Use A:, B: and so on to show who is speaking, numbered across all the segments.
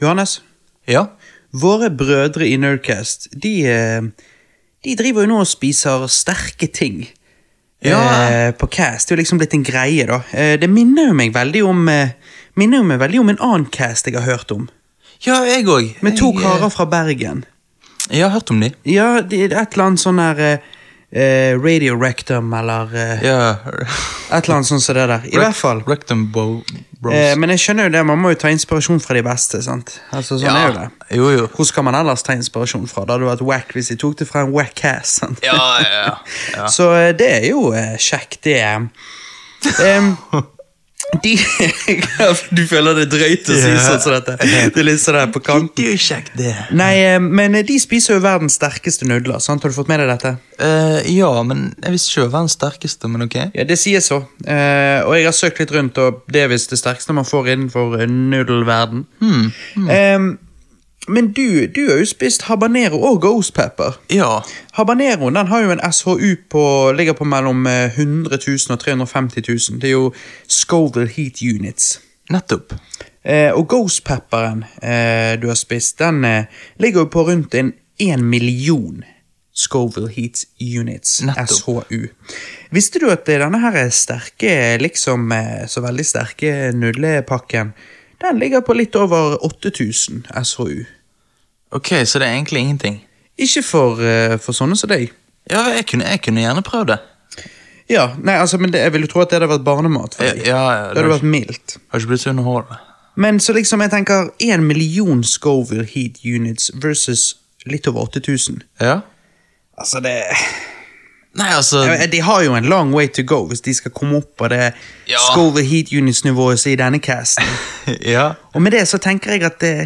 A: Johannes,
B: Ja.
A: våre brødre i Nerdcast, de, eh, de driver jo nå og spiser sterke ting.
B: Ja.
A: Eh, på cast. Det er jo liksom blitt en greie, da. Eh, det minner jo meg veldig om eh, Minner jo meg veldig om en annen cast jeg har hørt om.
B: Ja, jeg òg.
A: Med to
B: Jeg, eh,
A: karer fra Bergen.
B: Jeg har hørt om de.
A: Ja, det er et eller annet sånn der eh, eh, Radio Rectum, eller eh,
B: Ja.
A: Et eller annet sånt som det der. I hvert fall.
B: Rectum Bo Bros.
A: Eh, men jeg skjønner jo det, man må jo ta inspirasjon fra de beste, sant? Altså, sånn er jo det.
B: Jo, jo.
A: Hvor skal man ellers ta inspirasjon fra? Det hadde vært wack hvis de tok det fra en wack ass. Sant?
B: Ja, ja, ja. ja.
A: Så eh, det er jo eh, kjekt, det. Em, de Du føler det er drøyt å si
B: Ja.
A: sånn som dette. Det er litt sånn der på kant.
B: er jo kjekt, det.
A: Nei, eh, men eh, de spiser jo verdens sterkeste nudler. sant? Har du fått med deg dette?
B: Eh, ja, men jeg visste ikke det var den sterkeste, men ok.
A: Ja, Det sies så. Eh, og jeg har søkt litt rundt, og det er visst det sterkeste man får innenfor eh, nudelverden. Em, men du, du har jo spist habanero og ghost pepper.
B: Ja.
A: Habaneroen den har jo en SHU på, ligger på mellom eh, 100 000 og 350 000. Det er jo Scoville Heat Units.
B: Nettopp.
A: Eh, og ghost pepperen eh, du har spist, den eh, ligger jo på rundt en 1 million Scoville Heat Units,
B: Nettopp.
A: SHU. Visste du at eh, denne her er sterke, liksom eh, så veldig sterke nudlepakken, den ligger på litt over 8000 SHU.
B: Ok, så det er egentlig ingenting.
A: Ikke for, eh, for sånne som deg.
B: Ja, jeg kunne, jeg kunne gjerne prøvd det.
A: Ja, nei, altså, men det, jeg ville tro at det hadde vært barnemat. for
B: Ja,
A: deg.
B: Eh, ja, ja,
A: det
B: det
A: hadde
B: har
A: vært mildt.
B: har ikke blitt så underholdende.
A: Men så liksom, jeg tenker én million Scoville Heat Units versus litt over 8000.
B: Ja?
A: Altså, det
B: Nei, altså
A: Ja, De har jo en long way to go hvis de skal komme opp på det
B: Ja.
A: Scoville Heat Units-nivået som er i denne casten.
B: Ja,
A: Og med det så tenker jeg at det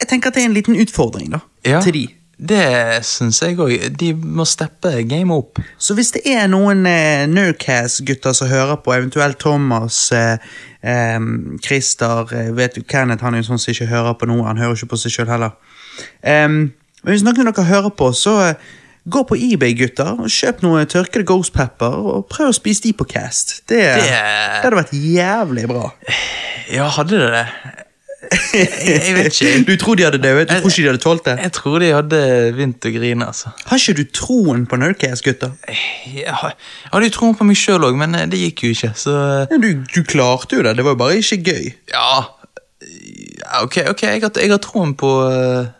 A: Jeg tenker at det er en liten utfordring, da.
B: ja.
A: Til de.
B: Det syns jeg òg. De må steppe gamet opp.
A: Så hvis det er noen eh, Nerdcast-gutter som hører på, eventuelt Thomas, eh, eh, Christer eh, vet du, Kenneth han er jo sånn som ikke hører på noe, han hører ikke på seg sjøl heller. Em, men hvis noen av dere hører på, så eh, gå på eBay, gutter, og kjøp noe tørkede Ghost Pepper, og prøv å spise de på Cast. Det, det... hadde vært jævlig bra.
B: Ja, hadde det det? Jeg, jeg vet ikke.
A: Du tror de hadde dødd? Du tror ikke de hadde tålt det?
B: Jeg tror de hadde begynt å grine, altså.
A: Har ikke du troen på Nerdcast, gutter?
B: Jeg har- jeg hadde jo troen på meg sjøl òg, men eh, det gikk jo ikke, så eh,
A: Du, du klarte jo det, det var jo bare ikke gøy.
B: Ja. ja ok, ok, jeg har, jeg har troen på eh,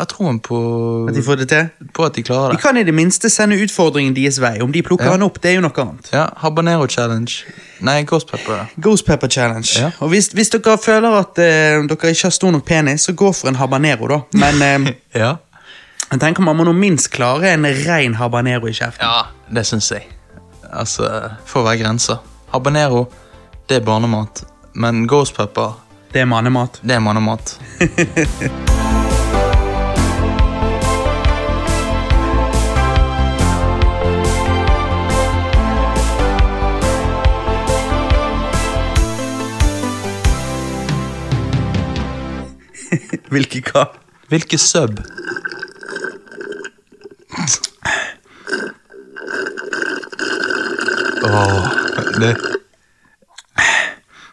B: Jeg har troen på
A: At de får det til?
B: På at de klarer
A: Vi
B: det.
A: kan i det minste sende utfordringen deres vei. Om de plukker den opp, det er jo noe annet.
B: Ja, Habanero challenge. Nei, ghost pepper.
A: Ghost pepper challenge.
B: Ja.
A: Og hvis, hvis dere føler at eh, dere ikke har stor nok penis, så gå for en habanero, da. Men eh,
B: Ja.
A: jeg tenker man må nå minst klare en rein habanero i kjeften.
B: ja det syns jeg. Altså, får være grenser. Habanero, det er barnemat. Men ghost pepper,
A: Det er mannemat.
B: det er mannemat.
A: Hvilke hva?
B: Hvilke sub? Åh, det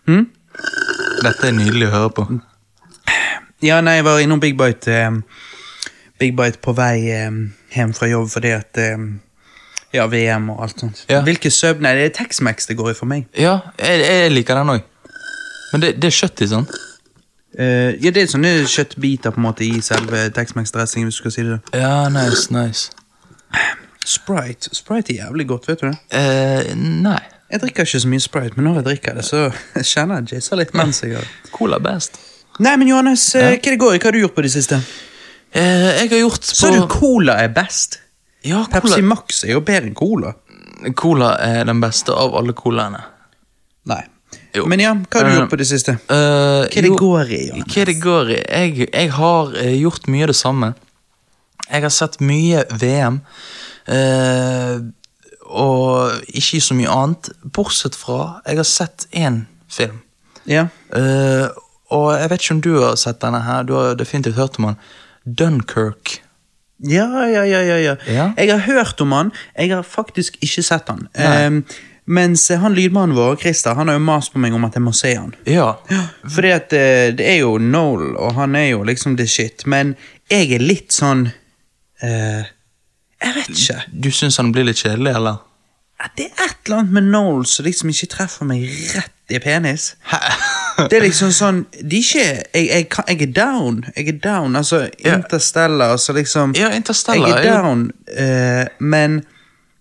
B: Hm? Dette er nydelig å høre på.
A: Ja, nei, jeg var innom Big Bite eh, Big Bite på vei eh, hjem fra jobb fordi at eh, Ja, VM og alt sånt.
B: Ja.
A: Hvilke sub... Nei, det er Tex-Mex det går i for meg.
B: Ja, jeg, jeg liker den òg. Men det, det er kjøtt i sånn.
A: Eh, ja, det er sånne kjøttbiter på en måte i selve Tex-Mex-dressingen, hvis du skal si det. sånn.
B: Ja, nice, nice.
A: Sprite Sprite er jævlig godt, vet du det?
B: Eh, nei.
A: Jeg drikker ikke så mye Sprite, men når jeg drikker det, så kjenner jeg jizzer litt mens jeg gjør det.
B: Cola best.
A: Nei, men Johannes, eh, hva er det går i? Hva har du gjort på det siste?
B: Eh, jeg har gjort på
A: Sa du cola er best?
B: ja,
A: Pepsi
B: cola.
A: Max er jo bedre enn cola.
B: cola er den beste av alle colaene.
A: Nei.
B: Jo.
A: Men ja, hva har du
B: Eh,
A: gjort på det siste?
B: Eh,
A: Hva er det går i, Johannes?
B: Hva det går i? Jeg, jeg har eh, gjort mye av det samme. Jeg har sett mye VM. eh, og ikke så mye annet. Bortsett fra jeg har sett én film.
A: Ja.
B: Eh, og jeg vet ikke om du har sett denne her. Du har definitivt hørt om den. Dunkerque.
A: Ja, ja, ja, ja, ja.
B: Ja.
A: Jeg har hørt om han, jeg har faktisk ikke sett han.
B: Nei.
A: Ehm, Mens eh, han lydmannen vår, Christer, han har jo mast på meg om at jeg må se han.
B: Ja.
A: Fordi at eh, det er jo Noel, og han er jo liksom the shit, men jeg er litt sånn eh, Jeg vet ikke.
B: Du syns han blir litt kjedelig, eller?
A: At Det er et eller annet med Noel som liksom ikke treffer meg rett i penis. Det er liksom sånn De er ikke Jeg, jeg, kan- jeg er down. Jeg er down. Altså, Interstellar, altså liksom
B: Ja, Interstellar
A: Jeg
B: er
A: er
B: jo-
A: down, eh, men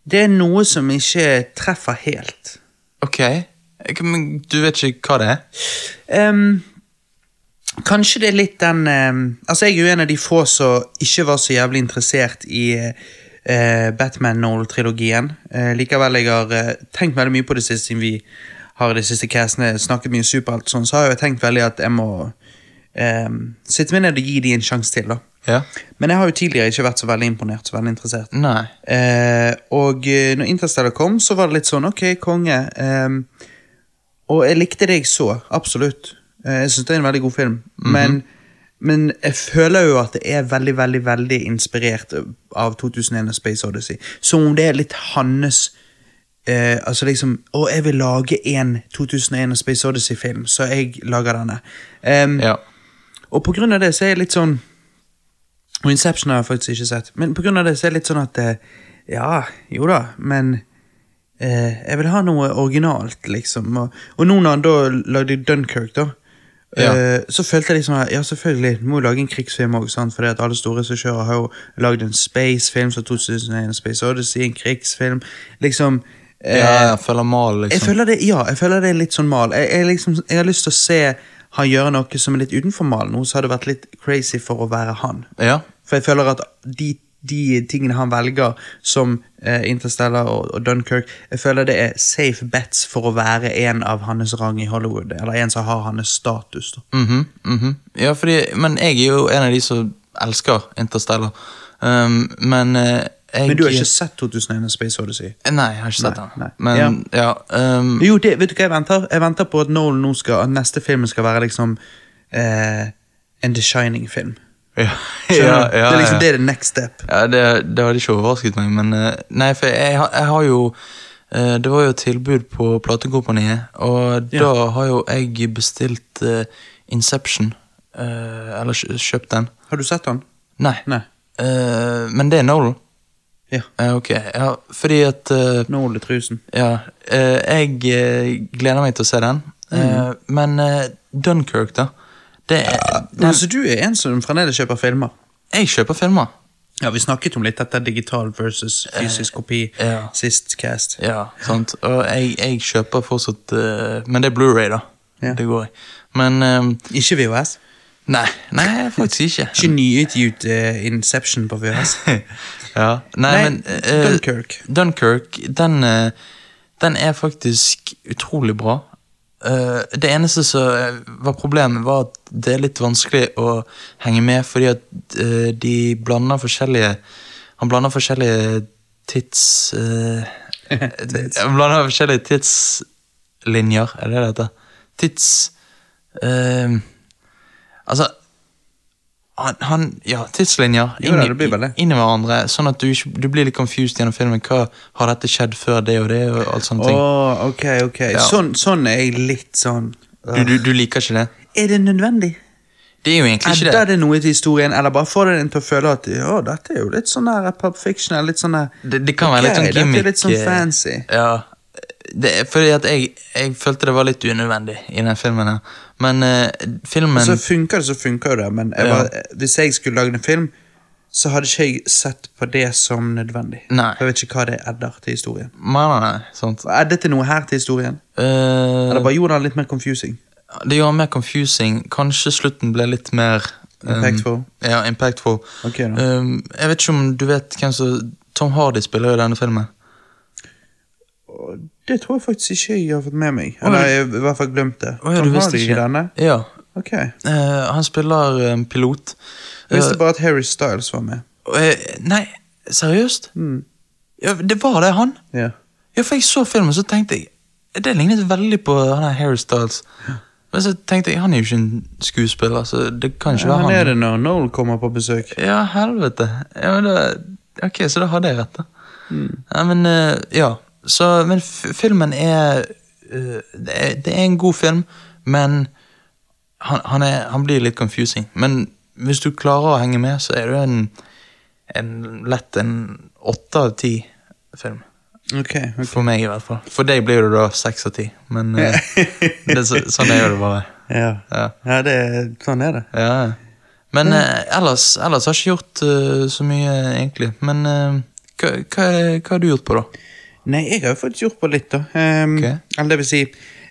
A: det er noe som ikke treffer helt.
B: Ok. Jeg- Men du vet ikke hva det er?
A: Ehm, kanskje det er litt den ehm, Altså, jeg er jo en av de få som ikke var så jævlig interessert i eh, Batman Noel-trilogien. Eh, likevel, jeg har eh, tenkt veldig mye på det siste siden vi har i de siste castene snakket mye superhelt, sånn, så har jeg tenkt veldig at jeg må ehm, sitte meg ned og gi de en sjanse til, da.
B: Ja.
A: Men jeg har jo tidligere ikke vært så veldig imponert, så veldig interessert.
B: Nei.
A: Eh, og eh, når Interstellar kom, så var det litt sånn Ok, konge. ehm, og jeg likte det jeg så, absolutt. Eh, jeg syns det er en veldig god film. men, men jeg føler jo at det er veldig, veldig veldig inspirert av 2001 og Space Odyssey. Som om det er litt hans eh, Altså liksom Å, jeg vil lage en 2001 og Space Odyssey-film, så jeg lager denne. Ehm,
B: Ja.
A: og på grunn av det så er jeg litt sånn Og Inception har jeg faktisk ikke sett. Men på grunn av det så er jeg litt sånn at eh, Ja, jo da, men eh, Jeg vil ha noe originalt, liksom. Og, og nå når han da lagde Dunkerque, da,
B: Ja.
A: eh, så følte jeg liksom at, Ja, selvfølgelig, du må jo lage en krigsfilm òg, fordi at alle store regissører har jo lagd en spacefilm som 2001 Space Odyssey, en krigsfilm, liksom eh,
B: Ja, jeg føler mal, liksom.
A: jeg føler det, ja, jeg føler det er litt sånn mal. Jeg, jeg, liksom, jeg har lyst til å se han gjøre noe som er litt utenfor malen. Noe som hadde vært litt crazy for å være han.
B: Ja.
A: For jeg føler at de, de tingene han velger, som eh, Interstellar og, og Dunkerque, jeg føler det er safe bets for å være en av hans rang i Hollywood. Eller en som har hans status. Da.
B: Mhm, mhm. Ja, fordi, men jeg er jo en av de som elsker Interstellar. Um, men eh, jeg
A: Men du har ikke sett 2001 Space Odyssey?
B: Nei, jeg har ikke sett den.
A: nei.
B: Men, ja. um,
A: Jo, det, vet du hva jeg venter? Jeg venter på at Nolan nå skal, at neste film skal være liksom eh, en The Shining-film.
B: ja, ja,
A: Skjønner du?
B: ja,
A: det er liksom
B: ja.
A: det er the next step.
B: Ja, det, det hadde ikke overrasket meg, men eh, Nei, for jeg, har- jeg har jo eh, Det var jo et tilbud på platekompaniet, og
A: Ja.
B: da har jo jeg bestilt eh, Inception. eh, eller kjø- kjøpt den.
A: Har du sett han?
B: Nei.
A: Nei.
B: Eh, men det er Nolan.
A: Ja.
B: Eh, ok. Ja, fordi at eh,
A: Nål i trusen.
B: Ja. eh, jeg eh, gleder meg til å se den.
A: Mm.
B: Eh, men eh, Dunkerque, da. Det er,
A: Nei, så Altså, du er en som fremdeles kjøper filmer?
B: Jeg kjøper filmer.
A: Ja, vi snakket om litt dette digital versus fysisk kopi
B: ja.
A: sist cast.
B: Ja, sant. Og jeg, jeg kjøper fortsatt eh, Men det er Blu-ray da.
A: Ja.
B: Det går jeg. Men eh,
A: Ikke VHS.
B: Nei, nei, faktisk ikke.
A: Ikke nyutgitt eh, Inception på VHS.
B: ja. Nei,
A: Nei,
B: men eh,
A: Dunkirk.
B: Dunkirk, den, eh, den er faktisk utrolig bra. Eh, det eneste som eh, var problemet, var at det er litt vanskelig å henge med, fordi at eh, de blander forskjellige Han blander forskjellige tids... eh,
A: Tids.
B: Han blander forskjellige tidslinjer, er det det heter? Tids... eh, altså han, han, ja, tidslinjer
A: Jo da, det blir vel det.
B: inn i hverandre, sånn at du, ikke, du blir litt confused gjennom filmen. Hva har dette skjedd før det og det? og alt sånne
A: Å,
B: ting.
A: ok, ok. Sånn, sånn er jeg litt sånn
B: Du, du, du liker ikke det?
A: Er det nødvendig?
B: Det er jo egentlig ikke
A: Edder
B: det.
A: det noe til historien, eller bare får det en til å føle at ja, dette er jo litt sånn der pub fiction, eller litt sånn der
B: Det, det kan være litt
A: Ok,
B: sånn gimmick.
A: Dette er litt sånn
B: eh,
A: fancy.
B: Ja, det, er fordi at jeg, jeg følte det var litt unødvendig i den filmen. her. Men eh, filmen
A: Så funker det, så funker det, men jeg
B: Ja.
A: bare, hvis jeg skulle lage en film, så hadde ikke jeg sett på det som nødvendig.
B: Nei.
A: For jeg vet ikke hva det edder til historien.
B: Nei, nei, nei, sant.
A: Og Eddet det noe her til historien?
B: Eh,
A: Eller bare gjorde den litt mer confusing?
B: det gjorde mer confusing. Kanskje slutten ble litt mer um,
A: Impactful.
B: Ja, impactful.
A: Ok, da.
B: Um, jeg vet ikke om du vet hvem som Tom Hardy spiller jo i denne filmen.
A: Og Det tror jeg faktisk ikke jeg har fått med meg. Eller jeg har i hvert fall glemt det.
B: Å ja, du
A: Tom
B: visste
A: Hardy i
B: ikke.
A: denne?
B: Ja.
A: Ok. Jeg
B: Eh, han spiller en pilot.
A: visste bare at Harry Styles var med. Hmm,
B: Eh, eh, nei, seriøst? Ja, det var det han?
A: Ja.
B: Ja, for jeg så filmen, så tenkte jeg Det lignet veldig på han her Harry Styles. Men så tenkte jeg, han er jo ikke en skuespiller, så det kan ikke være
A: Han
B: han.
A: er det når Noel kommer på besøk.
B: Ja, helvete. Ja, men da, ok, så da hadde jeg rett, da. Nei, men eh, ja. Så, men f filmen er, eh, det er Det er en god film, men han, han, er, han blir litt confusing. Men hvis du klarer å henge med, så er det en, en lett en åtte av ti film.
A: Ok, ok.
B: For meg, i hvert fall. For deg blir det da seks av ti, men eh, det, er så, sånn er jo det bare.
A: Ja,
B: Ja.
A: ja det, sånn er det.
B: Ja. Men eh, ellers, ellers har jeg ikke gjort eh, så mye, eh, egentlig. Men eh, hva, hva, er det, hva har du gjort på, da?
A: Nei, jeg har jo fått gjort på litt, da. Ehm,
B: Ok.
A: Eller det vil si,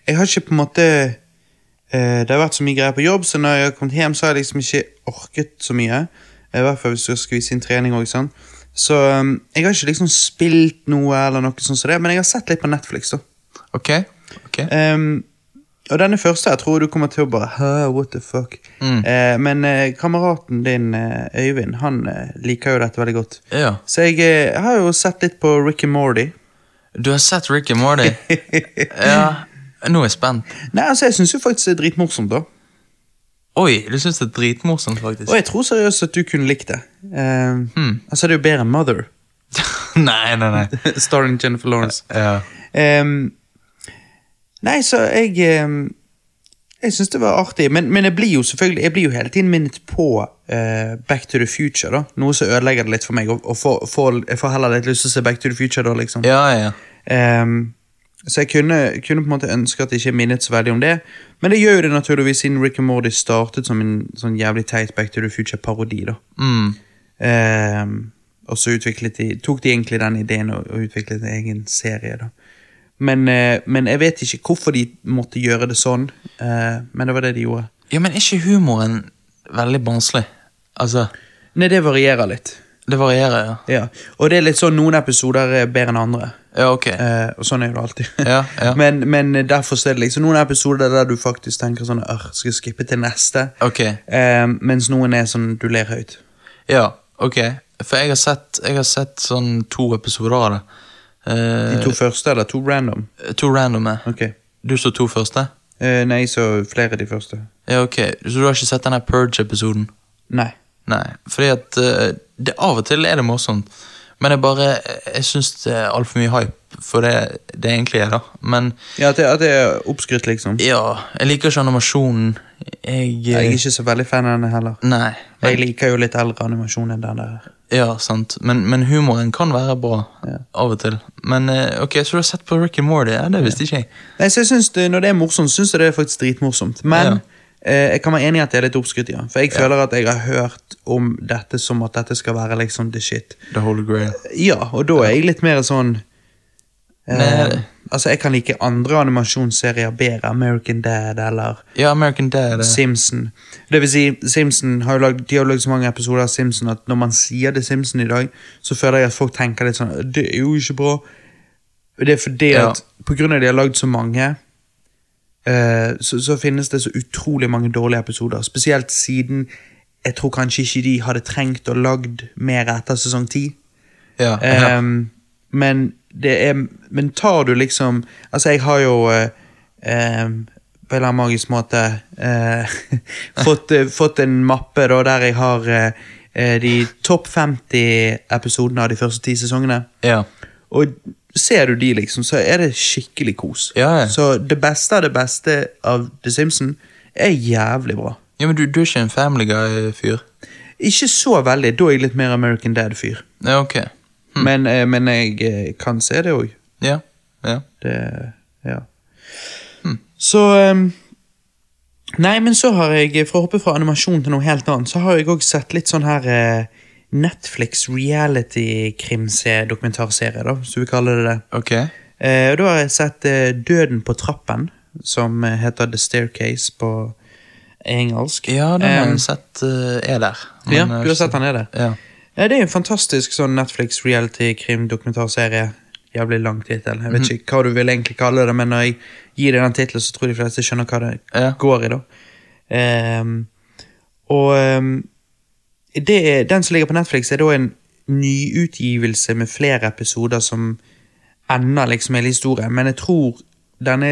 A: jeg har ikke på en måte eh, Det har vært så mye greier på jobb, så når jeg har kommet hjem, så har jeg liksom ikke orket så mye. I hvert fall hvis du skal skvise inn trening og sånn. Så ehm, jeg har ikke liksom spilt noe, eller noe sånt som det, men jeg har sett litt på Netflix, da.
B: Ok? ok.
A: Ehm, og denne første jeg tror du kommer til å bare Hæ, what the fuck?
B: Mm.
A: Eh, men eh, kameraten din, eh, Øyvind, han eh, liker jo dette veldig godt.
B: Ja.
A: Så jeg eh, har jo sett litt på Rick and Mordy.
B: Du har sett Rick and Morty? ja. Nå er jeg spent.
A: Nei, altså, jeg syns jo faktisk det er dritmorsomt, da.
B: Oi, du syns det er dritmorsomt, faktisk.
A: Og jeg tror seriøst at du kunne likt det. Ehm,
B: Hmm.
A: Altså, det er jo bedre enn Mother,
B: nei, nei, nei.
A: starring Jennifer Lawrence.
B: Ja.
A: Ehm, nei, så jeg ehm, Jeg syns det var artig, men, men jeg blir jo selvfølgelig Jeg blir jo hele tiden minnet på eh, Back to the Future, da. Noe som ødelegger det litt for meg, og, og får, får, jeg får heller litt lyst til å se Back to the Future, da, liksom.
B: ja, ja.
A: Ehm, så jeg kunne, kunne på en måte ønske at jeg ikke minnet så veldig om det. Men det gjør jo det naturligvis siden Rick and Morty startet som en sånn jævlig teit Back to the Future-parodi. da.
B: Mm.
A: Ehm, og så utviklet de, tok de egentlig den ideen og, og utviklet en egen serie. da. Men, eh, men jeg vet ikke hvorfor de måtte gjøre det sånn, eh, men det var det de gjorde.
B: ja, men er ikke humoren veldig barnslig? Altså,
A: Nei, det varierer litt.
B: det varierer, ja.
A: Ja. Og det er litt sånn noen episoder er bedre enn andre.
B: Ja, ok.
A: Eh, og sånn er jo det alltid.
B: Ja, ja.
A: men, men derfor så er det liksom noen episoder der du faktisk tenker sånn «Ør, Skal jeg skippe til neste?
B: Ok,
A: Eh, mens noen er sånn du ler høyt.
B: ja, ok. For jeg har sett, jeg har sett sånn to episoder av det.
A: De
B: Eh,
A: to første, eller to random?
B: to randome.
A: Ok.
B: Du så to første?
A: Eh, nei, så flere de første.
B: Ja, ok. Så du har ikke sett denne Purge-episoden?
A: Nei.
B: Nei, fordi at eh, det, Av og til er det morsomt, men jeg bare eh, Jeg syns det er altfor mye hype for det det egentlig er, da. Men
A: Ja, at det, at det er oppskrytt, liksom.
B: ja, jeg liker ikke animasjonen. Jeg, eh,
A: Jeg er ikke så veldig fan av den heller.
B: Nei.
A: Jeg liker jo litt eldre animasjon enn den der.
B: Ja, sant. Men, men humoren kan være bra
A: Ja.
B: av og til. Men eh, ok, så du har sett på Rick and Morty? Ja, det visste ikke jeg.
A: Nei, så jeg synes det, Når det er morsomt, syns jeg det er faktisk dritmorsomt. Men
B: Ja.
A: eh, jeg kan være enig i at det er litt oppskrytt, ja. For jeg føler at jeg har hørt om dette som at dette skal være liksom the shit.
B: The Holy Grail.
A: Ja, og da er jeg litt mer sånn eh,
B: Nei.
A: Altså, jeg kan like andre animasjonsserier bedre. American Dad eller
B: Ja, American Dad. eh,
A: Simpson. Det vil si, Simpson har jo lagd, de har jo lagd så mange episoder av Simpson at når man sier det Simpson i dag, så føler jeg at folk tenker litt sånn Det er jo ikke bra. Det er fordi
B: Ja.
A: at på grunn av de har lagd så mange, eh, så, så finnes det så utrolig mange dårlige episoder. Spesielt siden jeg tror kanskje ikke de hadde trengt å lagd mer etter sesong ti.
B: Ja, ja.
A: Ehm, men det er Men tar du liksom Altså, jeg har jo eh, ehm, på en eller annen magisk måte eh, fått, eh, fått en mappe da, der jeg har eh, eh, de topp 50 episodene av de første ti sesongene.
B: ja.
A: Og ser du de, liksom, så er det skikkelig kos.
B: Ja, ja.
A: Så det beste av det beste av The Simpsons er jævlig bra.
B: ja men du, du er ikke en Family Guy-fyr?
A: Ikke så veldig, da er jeg litt mer American Dad-fyr.
B: Ja, ok. Hm.
A: Men, eh, men jeg eh, kan se det òg.
B: Ja, ja.
A: Det, ja.
B: Hmm.
A: Så um, Nei, men så har jeg, for å hoppe fra animasjon til noe helt annet, så har jeg òg sett litt sånn her eh, Netflix reality-krimdokumentarserie, da, hvis du vil kalle det det.
B: Ok.
A: Eh, og da har jeg sett eh, Døden på trappen, som eh, heter The Staircase på engelsk.
B: Ja, den har
A: Eh,
B: jeg sett eh, er der. Men,
A: ja,
B: eh,
A: du har sett den er det?
B: Ja.
A: Ja, det er en fantastisk sånn Netflix reality-krim-dokumentarserie. Jævlig lang tittel. Jeg vet ikke hva du vil egentlig kalle det, men når jeg gir deg den tittelen, så tror de fleste skjønner hva det
B: Ja.
A: går i, da. Ehm, og ehm, det er, den som ligger på Netflix, er da en nyutgivelse med flere episoder som ender liksom hele historien, men jeg tror denne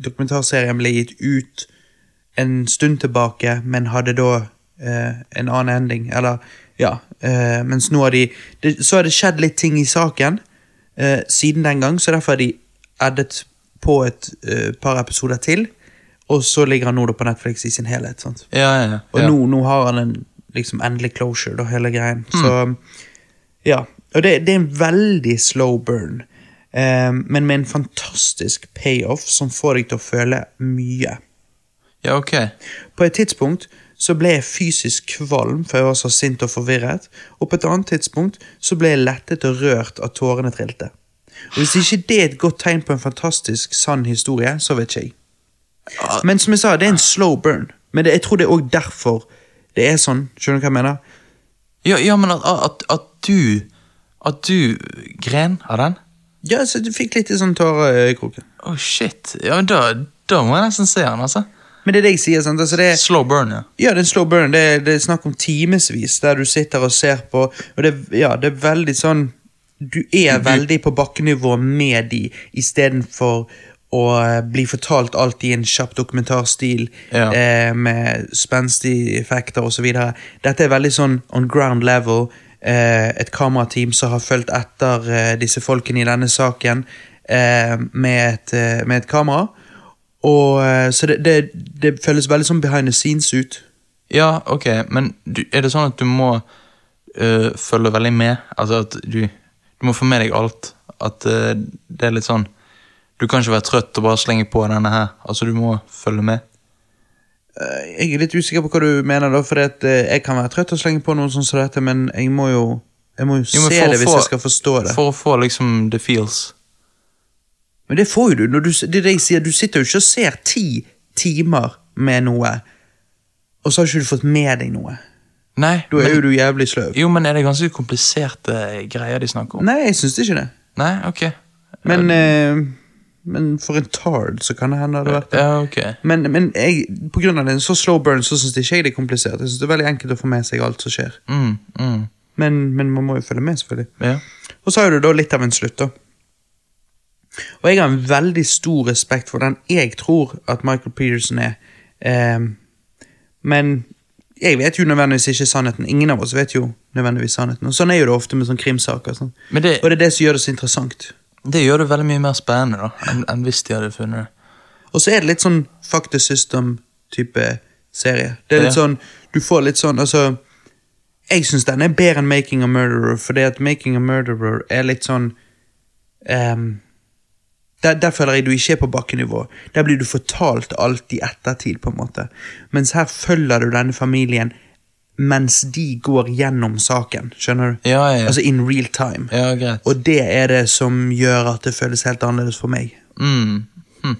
A: dokumentarserien ble gitt ut en stund tilbake, men hadde da eh, en annen ending. Eller, ja. eh, mens nå har de det, Så har det skjedd litt ting i saken, eh, siden den gang, så derfor har de addet på et eh, par episoder til. Og så ligger han nå da på Netflix i sin helhet. sant?
B: Ja, ja, ja.
A: Og
B: ja.
A: nå, nå har han en liksom endelig closure, da, hele greien. Så ja. Og det, det er en veldig slow burn, eh, men med en fantastisk payoff som får deg til å føle mye.
B: ja, ok.
A: På et tidspunkt så ble jeg fysisk kvalm, for jeg var så sint og forvirret. Og på et annet tidspunkt så ble jeg lettet og rørt av tårene trilte. Og Hvis ikke det er et godt tegn på en fantastisk sann historie, så vet ikke jeg. Men som jeg sa, det er en slow burn. Men det, jeg tror det er òg derfor det er sånn. Skjønner du hva jeg mener?
B: Ja, ja men at, at, at du At du gren av den?
A: Ja, så du fikk litt sånn tårer i kroken.
B: Å, shit. Ja, men da, da må jeg nesten se den, altså.
A: Men det er det jeg sier. sant? Altså, det er,
B: Slow burn, ja.
A: Ja, det er en slow burn. Det er, det er snakk om timevis der du sitter og ser på. Og det, er- ja, det er veldig sånn Du er veldig på bakkenivå med de, istedenfor å eh, bli fortalt alt i en kjapp dokumentarstil
B: Ja.
A: eh, med spenstige effekter osv. Dette er veldig sånn on ground level. Eh, et kamerateam som har fulgt etter eh, disse folkene i denne saken eh, med, et, eh, med et kamera. Og, eh, så det, det, det føles veldig sånn behind the scenes ut.
B: Ja, ok, men du, er det sånn at du må øh, følge veldig med? Altså at du, du må få med deg alt? At øh, det er litt sånn Du kan ikke være trøtt og bare slenge på denne her. Altså, du må følge med.
A: Eh, Jeg er litt usikker på hva du mener, da, for at, eh, jeg kan være trøtt og slenge på noe sånt som dette, men jeg må jo, jeg må jo,
B: Jo, men
A: se
B: for å
A: det hvis
B: få-
A: jeg skal forstå det.
B: For å få liksom the feels.
A: Men det får jo du. Når du det er det jeg sier, du sitter jo ikke og ser ti timer med noe, og så har ikke du fått med deg noe.
B: Nei,
A: Da er
B: men,
A: jo du jævlig sløv.
B: jo, men er det ganske kompliserte greier de snakker om?
A: Nei, jeg syns ikke det.
B: Nei, ok.
A: Men, eh, men for en tard så kan det hende det hadde vært det.
B: Ja, ok.
A: Men, men jeg, på grunn av det, så slow burn, så syns ikke jeg det er komplisert. Jeg synes det er veldig enkelt å få med seg alt som skjer.
B: Mm, mm,
A: Men, men man må jo følge med, selvfølgelig.
B: ja.
A: Og så har du da litt av en slutt, da. Og jeg har en veldig stor respekt for den jeg tror at Michael Peterson er. Ehm, men jeg vet jo nødvendigvis ikke sannheten. Ingen av oss vet jo nødvendigvis sannheten. Og sånn er jo det ofte med sånn krimsaker. Sånn.
B: Men det,
A: Og det er det som gjør det så interessant.
B: det gjør det veldig mye mer spennende da, enn enn hvis de hadde funnet det.
A: Og så er det litt sånn fuck the system-type serie. Det er litt
B: Ja.
A: sånn, Du får litt sånn altså, Jeg syns den er bedre enn Making a Murderer, fordi at Making a Murderer er litt sånn ehm, der, der føler jeg du ikke er på bakkenivå. Der blir du fortalt alt i ettertid, på en måte. Mens her følger du denne familien mens de går gjennom saken, skjønner du?
B: Ja, ja, ja.
A: Altså in real time.
B: ja, greit.
A: Og det er det som gjør at det føles helt annerledes for meg.
B: Mm. Hm.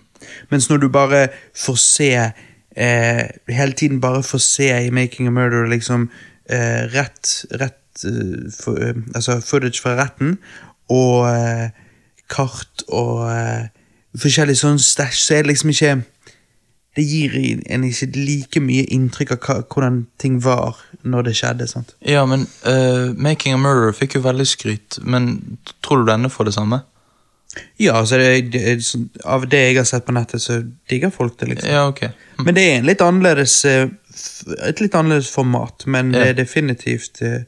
A: Mens når du bare får se eh, Hele tiden bare får se i Making a Murder liksom eh, rett, rett eh, for, eh, Altså footage fra retten og eh, kart og eh, forskjellig sånn stæsj, så er det liksom ikke Det gir en ikke like mye inntrykk av hva, hvordan ting var når det skjedde. sant?
B: Ja, men eh, Making a Murderer fikk jo veldig skryt, men tror du denne får det samme?
A: Ja, altså det, det, er sånn- Av det jeg har sett på nettet, så digger folk det, liksom.
B: Ja, ok. Hm.
A: Men det er en litt annerledes eh, f- et litt annerledes format, men
B: Ja.
A: det er definitivt eh,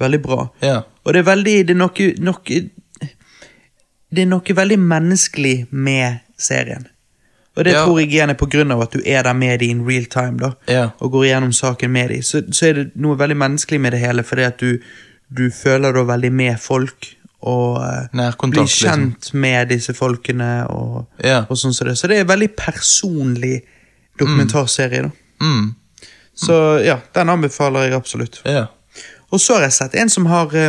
A: veldig bra.
B: Ja,
A: Og det er veldig Det er noe, noe Det er noe veldig menneskelig med serien. Og det
B: Ja.
A: tror jeg igjen er på grunn av at du er der med dem in real time. da
B: ja,
A: og går gjennom saken med dem, så, så er det noe veldig menneskelig med det hele, fordi at du, du føler da veldig med folk, og eh,
B: Nærkontakt,
A: blir kjent med disse folkene, og,
B: liksom. Ja.
A: og sånn som det. Så det er en veldig personlig dokumentarserie, da.
B: mm,
A: Så ja, den anbefaler jeg absolutt.
B: ja.
A: Og så har jeg sett en som har eh,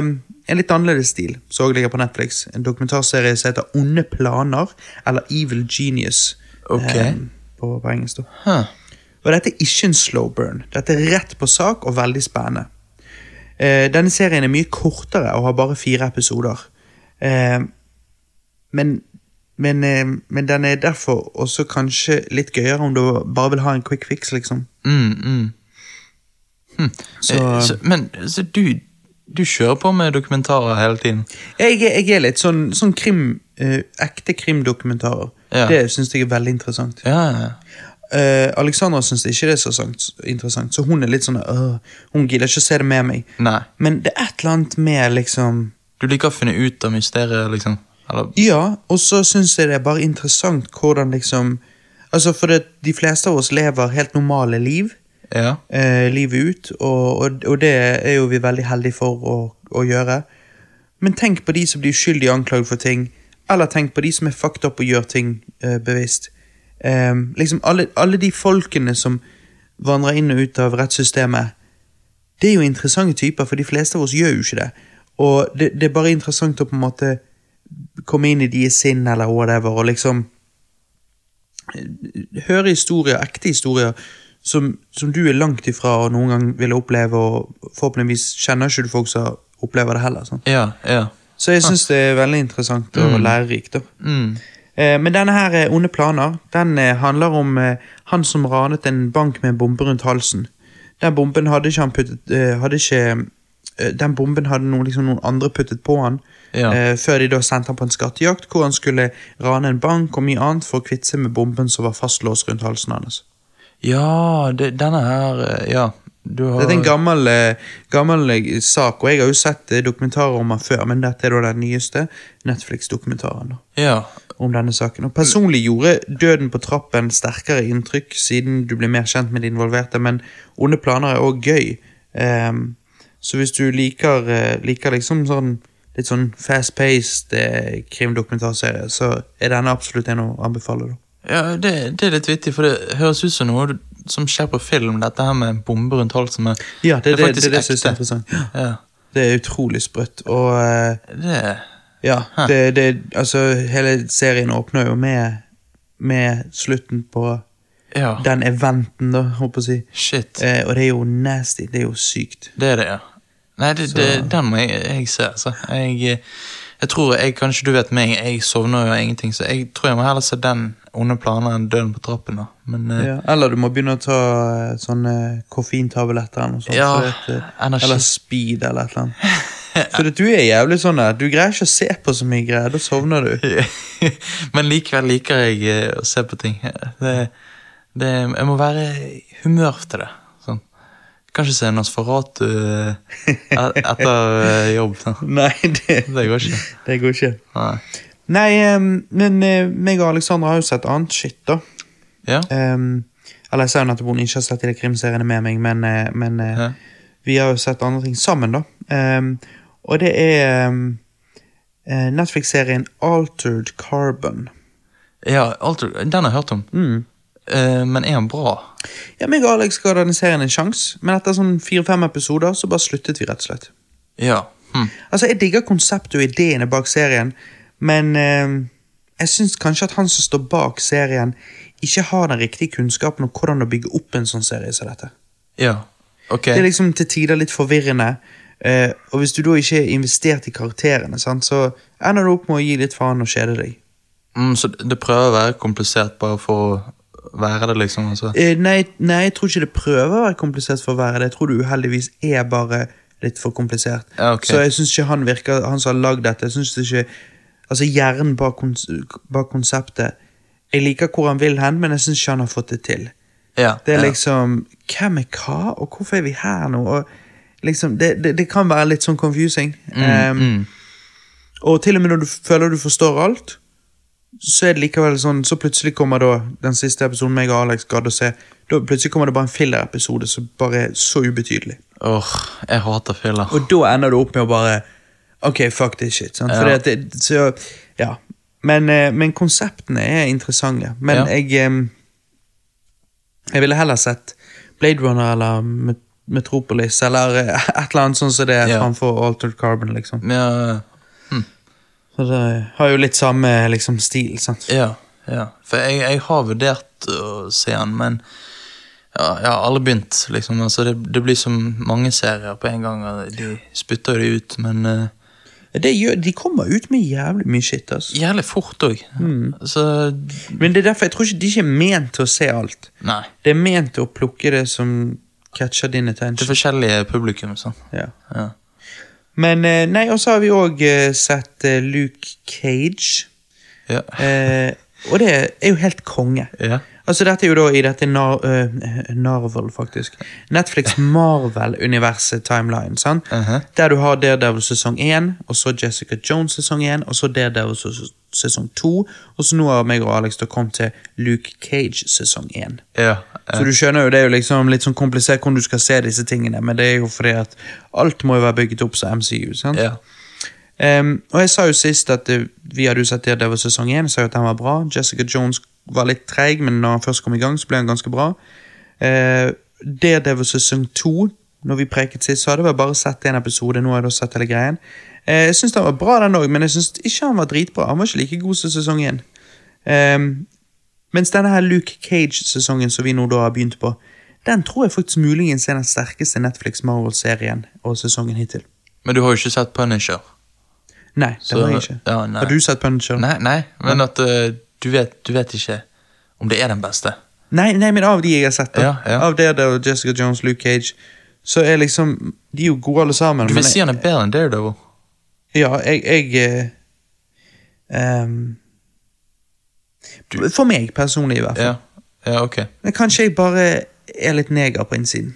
A: en litt annerledes stil, som også ligger på Netflix. En dokumentarserie som heter Onde planer, eller Evil Genius,
B: Ok.
A: eh, på, på engelsk. da.
B: Huh.
A: Og dette er ikke en slow burn. Dette er rett på sak og veldig spennende. Eh, denne serien er mye kortere og har bare fire episoder. Eh, men, men, eh, men den er derfor også kanskje litt gøyere om du bare vil ha en quick fix, liksom.
B: Mm, mm. Hm.
A: Så-
B: Eh, så, men så du, du kjører på med dokumentarer hele tiden?
A: Jeg, er- jeg er litt sånn, sånn krim, eh, ekte krimdokumentarer.
B: Ja.
A: Det syns jeg er veldig interessant.
B: Ja, ja.
A: Eh, Alexandra syns ikke det er så sant- interessant, så hun er litt sånn «Åh, Hun gidder ikke å se det med meg.
B: Nei.
A: Men det er et eller annet med liksom
B: Du liker å finne ut av mysteriet, liksom? Eller,
A: Ja, og så syns jeg det er bare interessant hvordan liksom Altså, for det, de fleste av oss lever helt normale liv.
B: ja.
A: eh, livet ut, og, og, og det er jo vi veldig heldige for å, å gjøre. Men tenk på de som blir uskyldig anklaget for ting, eller tenk på de som er fucked up og gjør ting eh, bevisst. Eh, liksom alle, alle de folkene som vandrer inn og ut av rettssystemet, det er jo interessante typer, for de fleste av oss gjør jo ikke det. Og det, det er bare interessant å på en måte komme inn i deres sinn eller whatever, og liksom høre historier, ekte historier, som, som du er langt ifra og noen gang ville oppleve, og forhåpentligvis kjenner ikke du folk som opplever det heller. Sant?
B: Ja, ja.
A: Så jeg syns det er veldig interessant og lærerikt. da.
B: Mm.
A: Eh, men denne her eh, Onde planer den eh, handler om eh, han som ranet en bank med en bombe rundt halsen. Den bomben hadde ikke han puttet eh, hadde ikke, eh, Den bomben hadde noen, liksom, noen andre puttet på han.
B: Ja.
A: Eh, før de da sendte han på en skattejakt hvor han skulle rane en bank og mye annet for å kvitte seg med bomben som var fastlåst rundt halsen hans.
B: Ja, det, denne her eh, Ja. Du har
A: Dette er en gammel, eh, gammel eh, sak, og jeg har jo sett eh, dokumentarer om den før, men dette er da den nyeste Netflix-dokumentaren da,
B: Ja.
A: om denne saken. Og Personlig gjorde Døden på trappen sterkere inntrykk siden du ble mer kjent med de involverte, men Onde planer er òg gøy. Ehm, så hvis du liker, eh, liker liksom sånn litt sånn fast-paced eh, krimdokumentarserie, så er denne absolutt en å anbefale. da.
B: ja det, det er litt vittig, for det høres ut som noe du- som skjer på film, dette her med en bombe rundt halsen. Med,
A: Ja, det, er det, det,
B: faktisk
A: det, synes jeg er
B: ekte.
A: interessant.
B: ja,
A: Det er utrolig sprøtt. og... eh,
B: det
A: Ja, det, det, altså hele serien åpner jo med, med slutten på
B: Ja.
A: den eventen, da, håper jeg å si.
B: Shit.
A: Eh, og det er jo nasty, det er jo sykt.
B: Det er det, ja. Nei, det, det, den må jeg, jeg se, altså. Jeg, eh, jeg tror jeg, Kanskje du vet meg, jeg sovner jo av ingenting, så jeg tror jeg må heller se den onde planen enn Døden på trappen. da. Men eh,
A: Ja. Eller du må begynne å ta eh, sånne koffeintabletter eller noe sånt.
B: Ja,
A: for det at, eh,
B: energi.
A: eller speed eller et eller annet. For at du er jævlig sånn der. Du greier ikke å se på så mye greier, da sovner du.
B: Men likevel liker jeg eh, å se på ting. Det, det, jeg må være i humør til det. Sånn. Kan ikke se Nosferatu eh, et- etter eh, jobb. da.
A: Nei, det,
B: Det går ikke.
A: det går ikke.
B: Nei.
A: Nei, eh, men eh, meg og Alexandra har jo sett annet shit, da.
B: Ja,
A: Ehm, eller jeg sa jo nettopp hun ikke har sett de krimseriene med meg, men, eh, men eh,
B: Ja.
A: vi har jo sett andre ting sammen, da. Ehm, og det er ehm, eh, Netflix-serien Altered Carbon.
B: ja alt, Den har jeg hørt om. Eh, men er han bra?
A: Ja, meg og Alex ga denne serien en sjanse, men etter sånn fire-fem episoder så bare sluttet vi. rett og slett.
B: Ja. Hm.
A: Altså, Jeg digger konseptet og ideene bak serien, men ehm, jeg syns kanskje at han som står bak serien, ikke har den riktige kunnskapen om hvordan å bygge opp en sånn serie som dette.
B: Ja. Ok.
A: Det er liksom til tider litt forvirrende. eh, og hvis du da ikke er investert i karakterene, sant, så ender du opp med å gi litt faen og kjede deg. liksom-
B: Mm, så det prøver å være komplisert bare for å være det, liksom? Altså.
A: Eh, nei, nei, jeg tror ikke det prøver å være komplisert for å være det. Jeg tror det uheldigvis er bare litt for komplisert.
B: Ja, ok.
A: Så jeg syns ikke han virker Han som har lagd dette, jeg synes ikke Altså hjernen bak, kons bak konseptet Jeg liker hvor han vil hen, men jeg syns ikke han har fått det til.
B: Ja,
A: Det er
B: ja.
A: liksom Hvem er hva, og hvorfor er vi her nå? Og liksom, det, det, det kan være litt sånn confusing. Ehm,
B: mm.
A: Og til og med når du føler du forstår alt, så er det likevel sånn Så plutselig kommer da den siste episoden meg og Alex gadd å se. Da plutselig kommer det bare en filler-episode som bare er så ubetydelig.
B: Åh, jeg hater filler.
A: Og da ender du opp med å bare Ok, fuck this shit. Sant? Fordi
B: Ja.
A: at det, så, ja. men, eh, men konseptene er interessante. Men
B: Ja.
A: jeg eh, Jeg ville heller sett Blade Runner eller Met- Metropolis eller eh, et eller annet sånt som det er
B: Ja.
A: framfor Altered Carbon. liksom.
B: Ja,
A: Så det har jo litt samme liksom, stil. sant?
B: ja, ja. For jeg, jeg har vurdert å se den, men ja, jeg har aldri begynt, liksom. Altså, det, det blir så mange serier på en gang, og de spytter jo det ut, men eh,
A: Det gjør, de kommer ut med jævlig mye shit. altså.
B: jævlig fort òg.
A: Mm.
B: Så
A: Men det er derfor jeg tror ikke de ikke er ment til å se alt.
B: nei.
A: Det er ment til å plukke det som catcher din
B: Det
A: attention.
B: er forskjellige publikum, sånn.
A: Ja.
B: Ja.
A: Men eh, nei, og så har vi òg sett eh, Luke Cage.
B: Ja.
A: Eh, og det er jo helt konge.
B: Ja.
A: Altså, dette er jo da i dette nar eh, Narvel, faktisk. Netflix Marvel-universet-timeline. sant?
B: Mhm.
A: Der du har Daredevil sesong 1, og så Jessica Jones sesong 1, og så Daredevil ses- sesong 2, og så nå har meg og Alex da kommet til Luke Cage sesong 1.
B: Ja.
A: Så du skjønner jo, det er jo liksom litt sånn komplisert hvordan du skal se disse tingene, men det er jo fordi at alt må jo være bygget opp som MCU. sant?
B: ja.
A: Ehm, og jeg sa jo sist at eh, vi hadde jo sett Daredevil sesong 1, sa jo at den var bra. Jessica Jones var litt treig, men når han først kom i gang, så ble han ganske bra. Uh, Daredevil sesong 2, når vi preket sist, så hadde jeg vel bare sett en episode. Nå har jeg da sett hele greien. Eh, jeg syns den var bra, den òg, men jeg syns ikke han var dritbra. Han var ikke like god som sesong 1. Ehm, mens denne her Luke Cage-sesongen som vi nå da har begynt på, den tror jeg faktisk muligens er den sterkeste Netflix Marvel-serien og sesongen hittil.
B: Men du har jo ikke sett Punisher.
A: Nei, det
B: Så-
A: har jeg ikke.
B: ja, nei.
A: Har du sett Punisher?
B: Nei, nei, men at eh, du, vet, du vet ikke om det er den beste.
A: Nei, nei, men av de jeg har sett, da.
B: Ja, ja.
A: av Daredevil, Jessica Jones, Luke Cage, så er liksom De er jo gode alle sammen.
B: Du vil
A: men
B: si han er bedre enn Daredevil.
A: jeg, ja, jeg, jeg eh, ehm,
B: Du-
A: For meg personlig, i hvert fall.
B: Ja, ja ok.
A: Men kanskje jeg bare er litt neger på innsiden.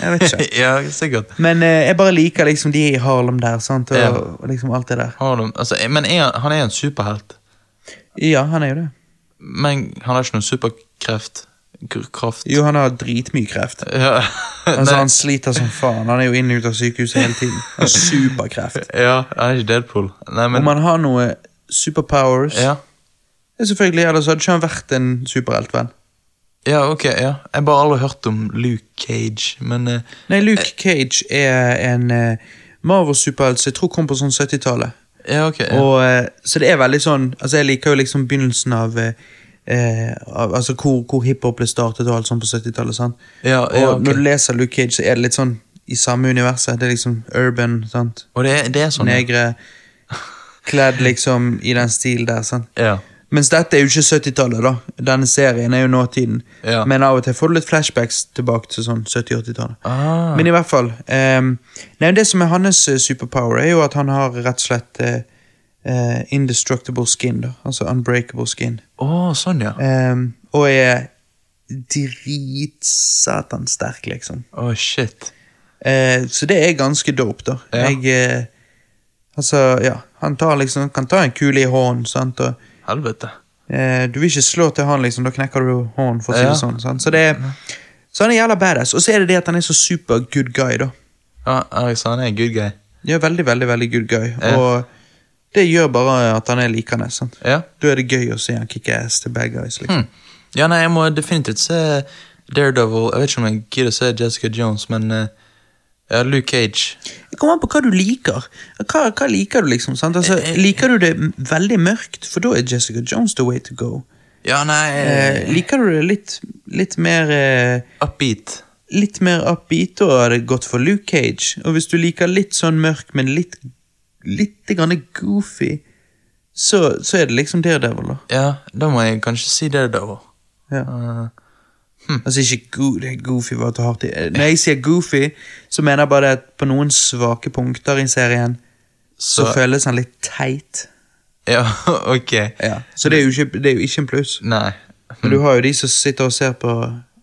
A: Jeg vet ikke.
B: ja, sikkert.
A: Men eh, jeg bare liker liksom de i Harlem der, sant? Og,
B: Ja.
A: og liksom alt det der.
B: Har de, altså, eh, men er, han- han er en superhelt.
A: Ja, han er jo det.
B: Men han har ikke noen superkreft. K- Kraft.
A: Jo, han har dritmye kreft.
B: Ja.
A: Altså,
B: Nei,
A: han sliter som faen. Han er jo inn og ut av sykehuset hele tiden. Han har superkreft.
B: ja, han er ikke Deadpool. Nei, men
A: Om han har noe superpowers
B: ja.
A: Ja, Selvfølgelig, ellers hadde ikke han vært en superhelt, vel?
B: ja, ok, ja. Jeg har bare aldri hørt om Luke Cage, men eh,
A: Nei, Luke Cage er en eh, Marvel-superhelt som jeg tror kom på sånn 70-tallet.
B: Ja, ok. Ja.
A: Og, eh, så det er veldig sånn Altså, jeg liker jo liksom begynnelsen av eh, eh, av, altså hvor, hvor hiphop ble startet og alt sånt på 70-tallet. sant?
B: Ja,
A: og
B: ja, ok.
A: når du leser Luke Cage, så er det litt sånn i samme universet. Det er liksom urban, sant?
B: Og det er, det er sånn ja.
A: negre, kledd liksom i den stil der. sant?
B: Ja.
A: Mens dette er jo ikke 70-tallet, da. Denne serien er jo nåtiden.
B: Ja.
A: Men av og til får du litt flashbacks tilbake til sånn 70-80-tallet.
B: Ah,
A: Men i hvert fall ehm, nei, Det som er hans eh, superpower, er jo at han har rett og slett eh, eh, indestructible skin. da Altså unbreakable skin.
B: Å, sånn, ja.
A: Ehm, og er dritsatan sterk, liksom.
B: Å, shit.
A: Eh, så det er ganske dope, da.
B: Ja.
A: Jeg eh, Altså, ja. Han tar liksom, kan ta en kule i hånden, sant. og
B: Helvete.
A: Eh, du vil ikke slå til han, liksom, da knekker du hånden. for å si
B: Ja.
A: det sånn, sant? Så, det er, så han er jævla badass. Og så er det det at han er så super good guy. da.
B: Ja, Erik Sande er en good guy.
A: Ja, veldig, veldig, veldig good guy.
B: Ja.
A: Og det gjør bare at han er likende. sant?
B: Ja.
A: Da er det gøy å se han kicke ass til bad guys. liksom.
B: Hm. Ja, nei, jeg må definitivt se Daredevil. Jeg vet ikke om jeg gidder å se Jessica Jones, men eh, ja, Luke Cage.
A: Det kommer an på hva du liker. Hva, hva liker du, liksom? sant? Altså,
B: Eh,
A: liker du det m- veldig mørkt, for da er Jessica Jones the way to go.
B: Ja, nei
A: Eh, liker du det litt, litt mer eh,
B: Upbeat.
A: litt mer upbeat, og er det godt for Luke Cage. Og hvis du liker litt sånn mørk, men litt, litt grann goofy, så, så er det liksom Daredevil, da.
B: Ja, da må jeg kanskje si Daredevil.
A: Ja.
B: Eh,
A: Altså ikke go det er goofy var til hardt i. Eh, Når jeg sier goofy, så mener jeg bare at på noen svake punkter i serien, så,
B: så
A: føles han litt teit.
B: Ja, ok.
A: Så det er, jo ikke, det er jo ikke en pluss.
B: Nei.
A: Men du har jo de som sitter og ser på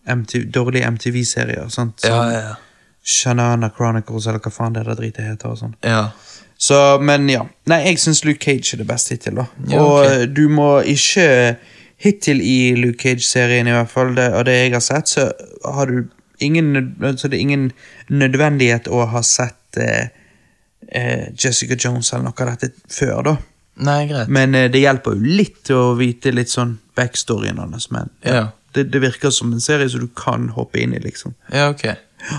A: MTV, dårlige MTV-serier, sant? Som
B: Ja, ja,
A: Shanana Chronicles, eller hva faen det der dritet heter og sånn.
B: ja.
A: Så, men ja. Nei, jeg syns Luke Cage er det beste hittil, da.
B: Ja,
A: Og
B: ok.
A: eh, du må ikke Hittil i Luke Cage-serien, i hvert fall, det, og det jeg har sett, så har du ingen, nød- altså det er ingen nødvendighet å ha sett eh, eh, Jessica Jones eller noe av dette før, da.
B: Nei, greit.
A: Men eh, det hjelper jo litt å vite litt sånn backstoryen hans, men
B: Ja.
A: det, det virker som en serie som du kan hoppe inn i, liksom.
B: Ja, ok.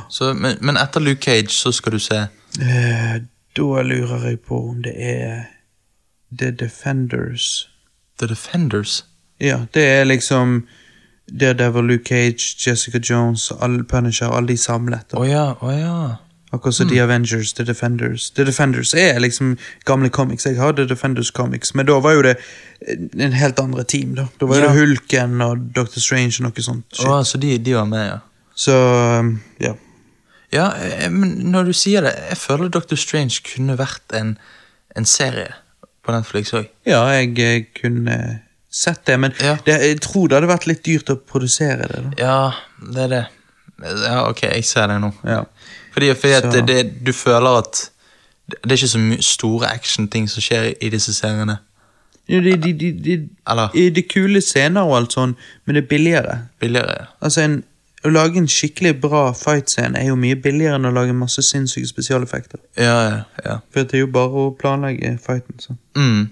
B: Så, men, men etter Luke Cage så skal du se
A: Eh, da lurer jeg på om det er The Defenders.
B: The Defenders.
A: Ja, det er liksom Daredevil, Luke Cage, Jessica Jones, all Punisher, alle de samlet.
B: Å
A: da.
B: ja, å ja.
A: Akkurat som The
B: Mm.
A: Avengers, The Defenders. The Defenders er liksom gamle comics. Jeg har The Defenders Comics, men da var jo det en helt andre team. da. Da var
B: Ja.
A: det Hulken og Doctor Strange og noe sånt. shit.
B: Å, så de, de var med, ja.
A: Så um, ja.
B: Ja, eh, men når du sier det, jeg føler Dr. Strange kunne vært en, en serie på Netflix òg.
A: Ja, jeg eh, kunne sett det, men
B: Ja.
A: det, jeg tror det hadde vært litt dyrt å produsere det. da.
B: Ja, det er det. Ja, ok, jeg ser det nå.
A: Ja.
B: Fordi, fordi at
A: Så-
B: det, det, du føler at det det er ikke så mye store actionting som skjer i disse seriene.
A: Jo, de, de, de, de,
B: Eller?
A: i de kule scener og alt sånn, men det er billigere.
B: Billigere.
A: Altså, en, å lage en skikkelig bra fightscene er jo mye billigere enn å lage masse sinnssyke spesialeffekter.
B: Ja, ja. ja.
A: For det er jo bare å planlegge fighten. Så.
B: Mm.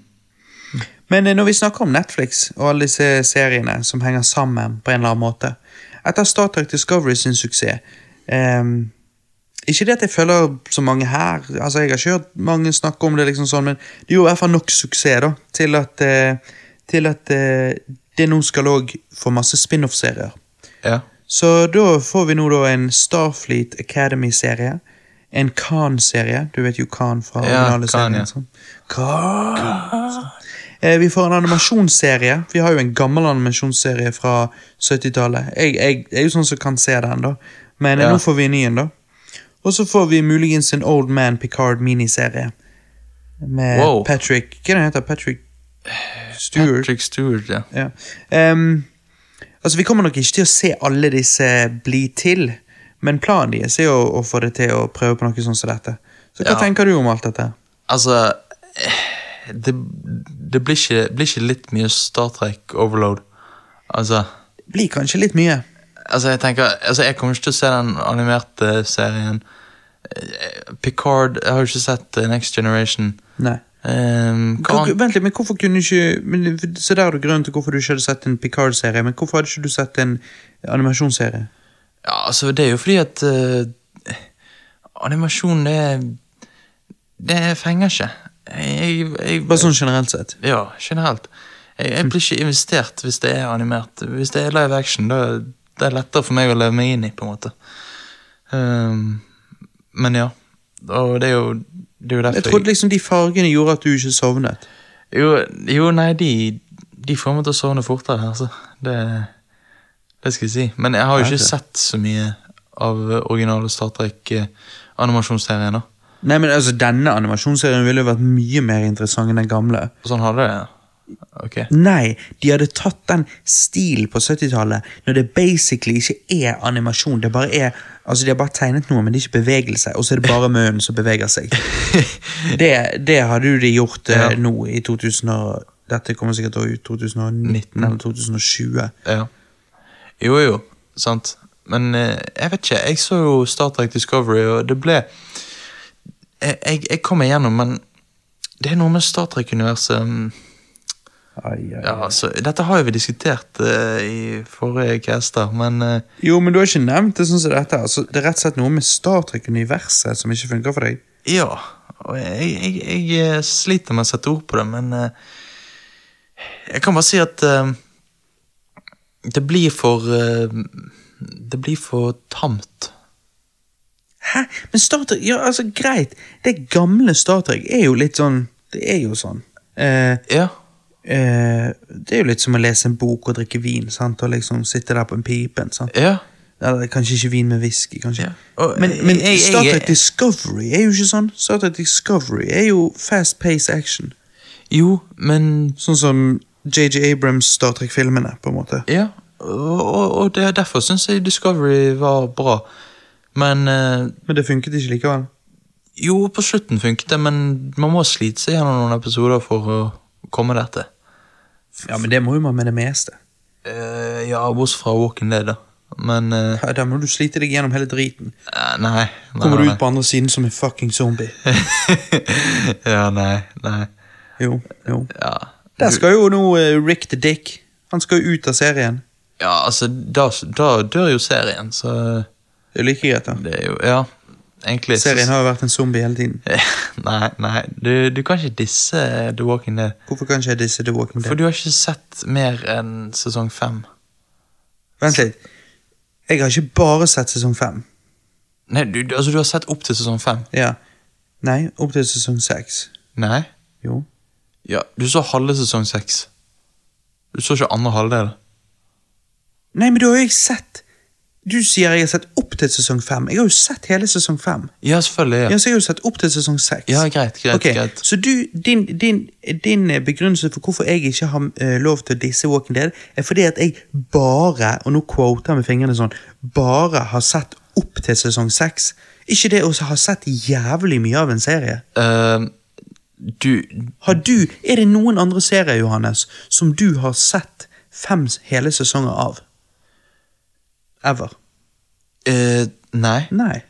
A: Men eh, når vi snakker om Netflix og alle disse seriene som henger sammen på en eller annen måte Etter Star Trek Discovery sin suksess ehm, Ikke det at jeg følger så mange her, altså jeg har ikke hørt mange snakke om det, liksom sånn, men det gjorde i hvert fall nok suksess da, til at, eh, til at eh, det nå skal òg få masse spin-off-serier.
B: Ja.
A: Så da får vi nå da en Starfleet Academy-serie. En Khan-serie. Du vet jo Khan fra
B: Ja,
A: originale
B: Khan,
A: serien.
B: ja.
A: sånn. Khan. Eh, Vi får en animasjonsserie. Vi har jo en gammel animasjonsserie fra 70-tallet. Jeg, jeg, jeg er jo sånn som kan se den, da. Men eh,
B: Ja.
A: nå får vi en ny en, da. Og så får vi muligens en Old Man Picard-miniserie. Med
B: Wow.
A: Patrick Hva er det han heter Patrick Stewart?
B: Patrick Stewart, ja.
A: Ja. Ehm, altså, vi kommer nok ikke til å se alle disse bli til, men planen deres er jo å få det til å prøve på noe sånn som dette. Så hva
B: Ja.
A: tenker du om alt dette?
B: Altså eh, Det, det blir, ikke, blir ikke litt mye Star Trek overload. Altså
A: Det blir kanskje litt mye.
B: Altså, jeg tenker altså, Jeg kommer ikke til å se den animerte serien. Eh, Picard Jeg har jo ikke sett eh, Next Generation.
A: Nei.
B: Um,
A: Hva, vent litt, men hvorfor kunne ikke men, Så der er det grunnen til hvorfor du ikke hadde sett en Picard-serie, men hvorfor hadde ikke du sett en animasjonsserie?
B: Ja, altså, det er jo fordi at eh, animasjon, det Det fenger ikke. Jeg, jeg,
A: Bare sånn generelt sett.
B: Ja, generelt. Jeg, jeg blir ikke investert hvis det er animert. Hvis det er live action, da det er lettere for meg å leve meg inn i, på en måte. Ehm, men ja. Og det er jo, det er jo
A: Jeg
B: derfor
A: trodde liksom de fargene gjorde at du ikke sovnet.
B: jo, jo, nei, de, de får meg til å sovne fortere, altså. Det, det skal jeg si. Men jeg har
A: Ja,
B: jo ikke
A: ok.
B: sett så mye av eh, originale Star eh, Trek-animasjonsserien. da.
A: Nei, men altså, Denne animasjonsserien ville jo vært mye mer interessant enn den gamle.
B: Sånn hadde det, ja. Ok.
A: Nei, de hadde tatt den stilen på 70-tallet, når det basically ikke er animasjon. Det bare er, altså De har bare tegnet noe, men det er ikke bevegelse. Og så er det bare munnen som beveger seg. Det, det hadde jo de gjort eh,
B: Ja.
A: nå i 2000 og, Dette kommer sikkert til å ut 2019 eller 2020.
B: Ja. Jo, jo, sant. Men eh, jeg vet ikke. Jeg så jo Star Trek Discovery, og det ble Jeg, jeg, jeg kom igjennom, men det er noe med Star Trek-universet mm,
A: Ai, ai.
B: ja, altså, Dette har jo vi diskutert eh, i forrige caster, men eh,
A: Jo, men du har ikke nevnt det sånn som dette. Altså, det er rett og slett noe med Star Trek-universet som ikke funker for deg.
B: Ja, og jeg, jeg, jeg eh, sliter med å sette ord på det, men eh, jeg kan bare si at eh, det blir for eh, Det blir for tamt.
A: Hæ? Men Star Trek, ja, altså greit. Det gamle Star Trek er jo litt sånn Det er jo sånn. Eh,
B: Ja,
A: Eh, det er jo litt som å lese en bok og drikke vin, sant? og liksom sitte der på en pipen. Sant?
B: ja.
A: Eller kanskje ikke vin med whisky, kanskje.
B: Ja. Og,
A: men
B: eh,
A: men
B: jeg- jeg-
A: Star
B: jeg-
A: Trek Discovery er jo ikke sånn. Star Trek Discovery er jo fast pace action.
B: Jo, men
A: Sånn som JJ Abrams Star Trek-filmene, på en måte.
B: Ja, og, og- og det, er derfor syns jeg Discovery var bra. Men eh,
A: Men det funket ikke likevel.
B: Jo, på slutten funket det, men man må slite seg gjennom noen episoder for å komme dit.
A: Ja, men det må jo man med det meste.
B: Eh, ja, bortsett fra Walking Dead, da. Men eh,
A: Ja, da må du slite deg gjennom hele driten.
B: eh, Nei. nei,
A: Kommer du
B: nei.
A: ut på andre siden som en fucking zombie.
B: ja, nei, nei.
A: Jo, jo.
B: Ja.
A: Der
B: Du-
A: skal jo nå eh, Rick the Dick. Han skal jo ut av serien.
B: ja, altså, da, da dør jo serien, så
A: Det er jo like greit, da.
B: det er jo Ja, egentlig så-
A: Serien har jo vært en zombie hele tiden.
B: Nei, nei, du, du kan ikke disse The Walking Dead.
A: Hvorfor kan ikke jeg disse The Walking
B: For
A: Dead?
B: du har ikke sett mer enn sesong fem.
A: Vent litt. Jeg har ikke bare sett sesong fem.
B: Nei, du, du- altså du har sett opp til sesong fem?
A: Ja. Nei, opp til sesong seks.
B: Nei.
A: Jo.
B: Ja, du så halve sesong seks. Du så ikke andre halvdel.
A: Nei, men da har jeg sett Du sier jeg har sett opp til sesong fem. Jeg har jo sett hele sesong fem.
B: Ja, selvfølgelig.
A: Ja,
B: Ja,
A: så jeg har jo sett opp til sesong seks.
B: ja greit, greit,
A: Ok,
B: greit.
A: Så du, din, din, din eh, begrunnelse for hvorfor jeg ikke har eh, lov til å disse Walking Dead, er fordi at jeg bare, og nå quoter jeg med fingrene sånn, bare har sett opp til sesong seks. Ikke det å ha sett jævlig mye av en serie.
B: Eh, du
A: Har du, er det noen andre serier, Johannes, som du har sett fem s- hele sesonger av? Ever?
B: eh, Nei.
A: Nei.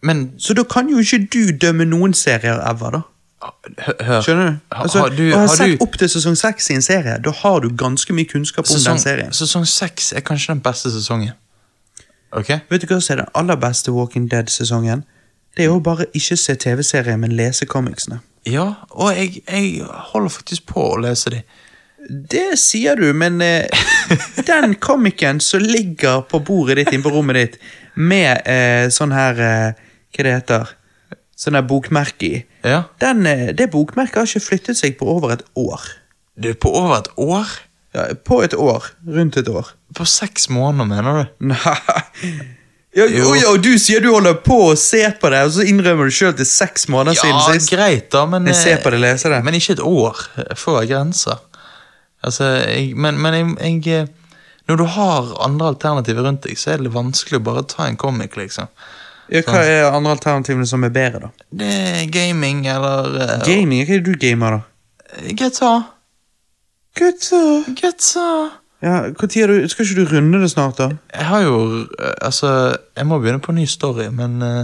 B: Men
A: Så da kan jo ikke du dømme noen serier ever, da.
B: hø- hør
A: Skjønner du?
B: Har-
A: Altså,
B: har du-
A: å ha
B: har
A: sett
B: du-
A: opp til sesong seks i en serie, da har du ganske mye kunnskap om den serien.
B: Sesong, sesong seks er kanskje den beste sesongen. Ok?
A: Vet du hva som er den aller beste Walking Dead-sesongen? Det er jo bare ikke se TV-serier, men lese comicsene.
B: Ja, og jeg, jeg holder faktisk på å lese de.
A: Det sier du, men eh, den komikken som ligger på bordet ditt inne på rommet ditt med eh, sånn her eh, Hva det heter Sånn her bokmerke i.
B: Ja.
A: Den, eh, det bokmerket har ikke flyttet seg på over et år.
B: Du er på over et år?
A: Ja, på et år. Rundt et år.
B: På seks måneder, mener du?
A: Nei ja,
B: Jo.
A: og, ja, og du sier du holder på å se på det, og så innrømmer du sjøl til seks måneder
B: Ja,
A: siden sist.
B: greit, da, men
A: Jeg ser
B: eh,
A: på det, leser det.
B: Men ikke et år. Det Får være grenser. Altså, jeg, men, men jeg, jeg eh, Når du har andre alternativer rundt deg, så er det vanskelig å bare ta en comic, liksom.
A: Ja, hva er andre alternativene som er bedre, da?
B: Det er gaming eller eh,
A: Gaming? Hva er det du gamer, da?
B: GTA.
A: Gutta
B: GTA.
A: Ja, hvor tid er du, Skal ikke du runde det snart, da?
B: Jeg har jo eh, Altså, jeg må begynne på en ny story, men eh,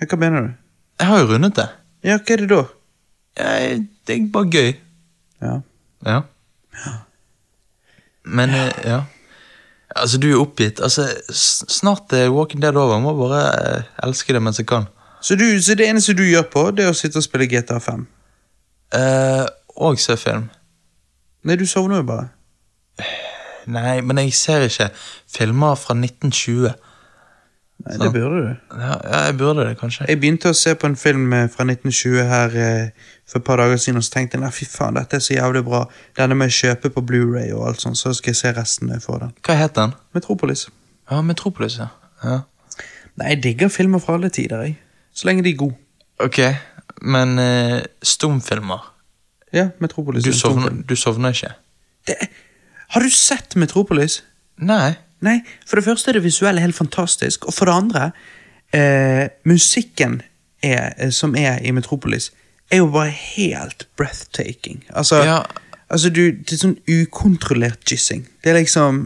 A: Ja, Hva mener du?
B: jeg har jo rundet det.
A: Ja, hva er det da?
B: Jeg, det er bare gøy.
A: Ja.
B: Ja. Men eh, ja. Altså, du er oppgitt. Altså, s- snart er Walking Dead over. Jeg må bare eh, elske det mens jeg kan.
A: Så, du, så det eneste du gjør på, det er å sitte og spille GTA 5?
B: Eh, og se film.
A: Nei, du sovner jo bare.
B: Nei, men jeg ser ikke filmer fra 1920.
A: Nei,
B: Sant.
A: Det burde du.
B: Ja, ja, jeg burde det, kanskje.
A: Jeg begynte å se på en film eh, fra 1920 her eh, for et par dager siden, og så tenkte jeg nei, fy faen, dette er så jævlig bra. Denne må jeg kjøpe på Blu-ray og alt sånt, så skal jeg se resten når jeg får den.
B: Hva het den?
A: Metropolis.
B: Ja, Metropolis, ja. ja.
A: Nei, jeg digger filmer fra alle tider, jeg. Så lenge de er gode.
B: Ok, men eh, stumfilmer.
A: Ja, Metropolis.
B: Du
A: er en stor
B: sovner,
A: film.
B: du sovner ikke?
A: Det, har du sett Metropolis?
B: Nei.
A: Nei, for det første er det visuelle helt fantastisk, og for det andre eh, Musikken er, eh, som er i Metropolis, er jo bare helt breathtaking. Altså,
B: Ja.
A: altså du, det er sånn ukontrollert jizzing. Det er liksom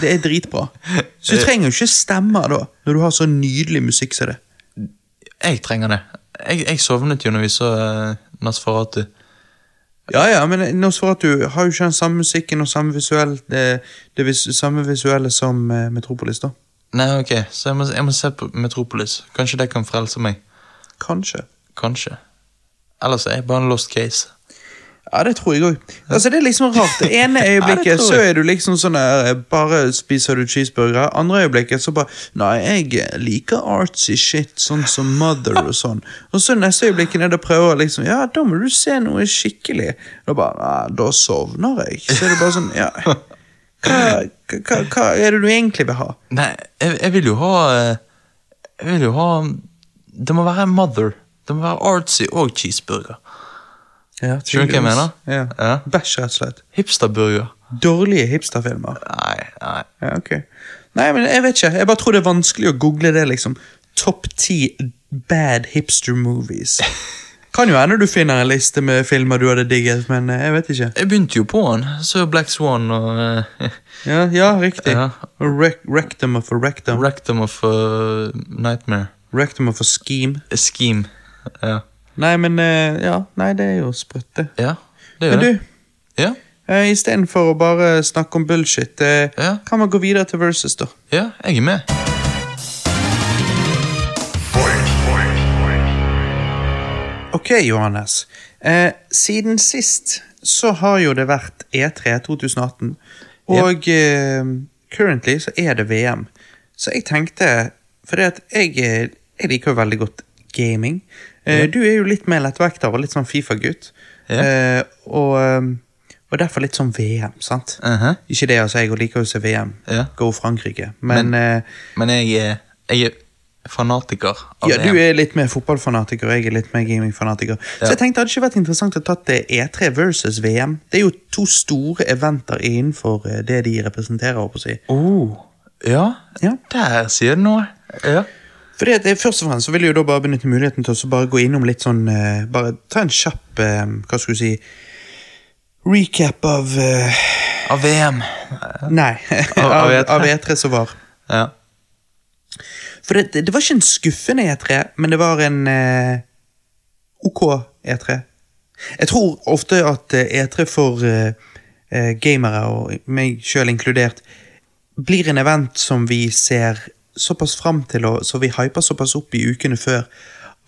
A: Det er dritbra. Så du trenger jo ikke stemmer da, når du har så nydelig musikk som det.
B: Jeg trenger det. Jeg, jeg sovnet jo når vi så eh, Nosferatu.
A: Ja, ja, men nå svarer at du har jo ikke den samme musikken og samme visuell, det, det vis, samme visuelle som eh, Metropolis, da.
B: Nei, ok, så jeg må, jeg må se på Metropolis. Kanskje det kan frelse meg.
A: Kanskje.
B: Kanskje. Ellers er jeg bare en lost case.
A: Ja, det tror jeg òg. Altså, det er liksom rart. Det ene øyeblikket
B: Ja, det tror
A: så
B: jeg.
A: er du liksom sånn der, Bare spiser du cheeseburger. Andre øyeblikket så bare Nei, jeg liker artsy shit, sånn som Mother og sånn. Og så neste øyeblikket er det prøver liksom Ja, da må du se noe skikkelig. Da bare Nei, da sovner jeg. Så er det bare sånn Ja. Hva, hva, hva er det du egentlig vil ha?
B: Nei, jeg, jeg vil jo ha eh, Jeg vil jo ha Det må være Mother. Det må være artsy og cheeseburger.
A: Ja,
B: Skjønner du hva jeg mener?
A: Ja.
B: Ja.
A: Bæsj, rett og slett.
B: Hipsterburger.
A: Dårlige hipsterfilmer.
B: Nei, nei.
A: Ja, ok. Nei, men jeg vet ikke. Jeg bare tror det er vanskelig å google det, liksom. Topp ti bad hipster movies. Kan jo hende du finner en liste med filmer du hadde digget, men eh, jeg vet ikke.
B: Jeg begynte jo på den. Så Black Swan og eh,
A: Ja, ja riktig.
B: Ja.
A: Rec rectum of a rectum.
B: Rectum of eh, Nightmare.
A: Rectum of a scheme.
B: A scheme. Ja.
A: Nei, men eh, Ja, nei, det er jo sprøtt, det.
B: ja, det er jo
A: Men du,
B: det. Ja,
A: eh, istedenfor å bare snakke om bullshit, eh,
B: Ja.
A: kan man gå videre til versus, da?
B: ja, jeg er med.
A: Ok, Johannes. Eh, siden sist så har jo det vært E E3 2018, og eh, currently så er det VM. Så jeg tenkte For at jeg, eh, jeg liker jo veldig godt gaming. Eh, Du er jo litt mer lettvekter og litt sånn Fifa-gutt.
B: Ja.
A: Eh, og, eh, Og derfor litt sånn VM, sant?
B: Mhm.
A: Ikke det, altså. Jeg liker jo å se VM.
B: Ja.
A: Go Frankrike. Men, eh,
B: Men jeg er, jeg er fanatiker av
A: ja,
B: VM.
A: du er litt mer fotballfanatiker, og jeg er litt mer gamingfanatiker. Så
B: Ja.
A: jeg tenkte det hadde ikke vært interessant å tatt det E3 versus VM. Det er jo to store eventer innenfor eh, det de representerer, holdt på å si.
B: Oh, ja.
A: Ja.
B: Der sier du noe. Ja.
A: Fordi at eh, Først og fremst så vil jeg jo da bare benytte muligheten til å så bare gå innom litt sånn eh, Bare ta en kjapp eh, Hva skulle du si Recap av eh,
B: Av VM.
A: Nei,
B: Av- E av
A: av,
B: E3.
A: av E3 som var.
B: Ja.
A: For det, det var ikke en skuffende E3, men det var en eh, OK E3. Jeg tror ofte at eh, E3 for eh, eh, gamere, og meg sjøl inkludert, blir en event som vi ser såpass fram til, og så vi hyper såpass opp i ukene før,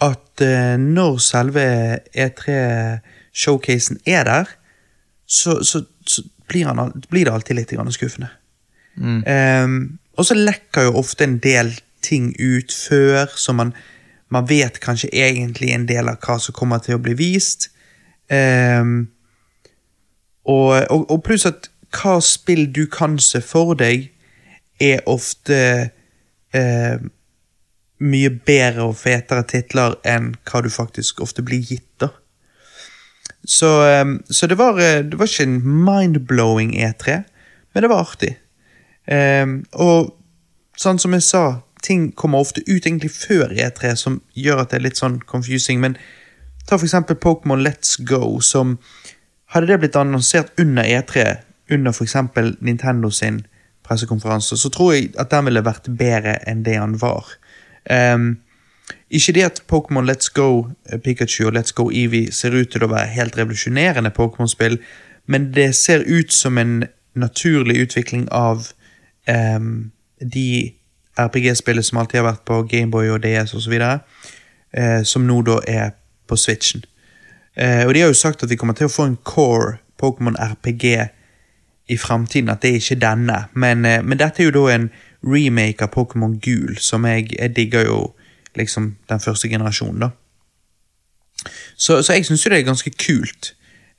A: at eh, når selve E3-showcasen er der, så, så, så blir, han, al- blir det alltid litt grann skuffende. Ehm, og så lekker jo ofte en del ting ut før, så man, man vet kanskje egentlig en del av hva som kommer til å bli vist. Ehm, og, og, og pluss at hva spill du kan se for deg, er ofte eh, mye bedre og fetere titler enn hva du faktisk ofte blir gitt, da. Så, ehm, så det, var, eh, det var ikke en mind-blowing E3, men det var artig. Ehm, og sånn som jeg sa, ting kommer ofte ut egentlig før E3, som gjør at det er litt sånn confusing, men ta for eksempel Pokémon Let's Go, som hadde det blitt annonsert under E3, under for eksempel Nintendo sin pressekonferanse, så tror jeg at den ville vært bedre enn det han var. Ehm, ikke det at Pokémon Let's Go eh, Pikachu og Let's Go Eevee ser ut til å være helt revolusjonerende Pokémon-spill, men det ser ut som en naturlig utvikling av ehm, de RPG-spillene som alltid har vært på Gameboy og DS osv., uh, som nå da er på Switchen. Eh, og de har jo sagt at vi kommer til å få en core Pokémon RPG i fremtiden, at det er ikke denne. Men, eh, men dette er jo da en remake av Pokémon Gul, som jeg, jeg digger jo liksom den første generasjonen, da. Så, så jeg syns jo det er ganske kult.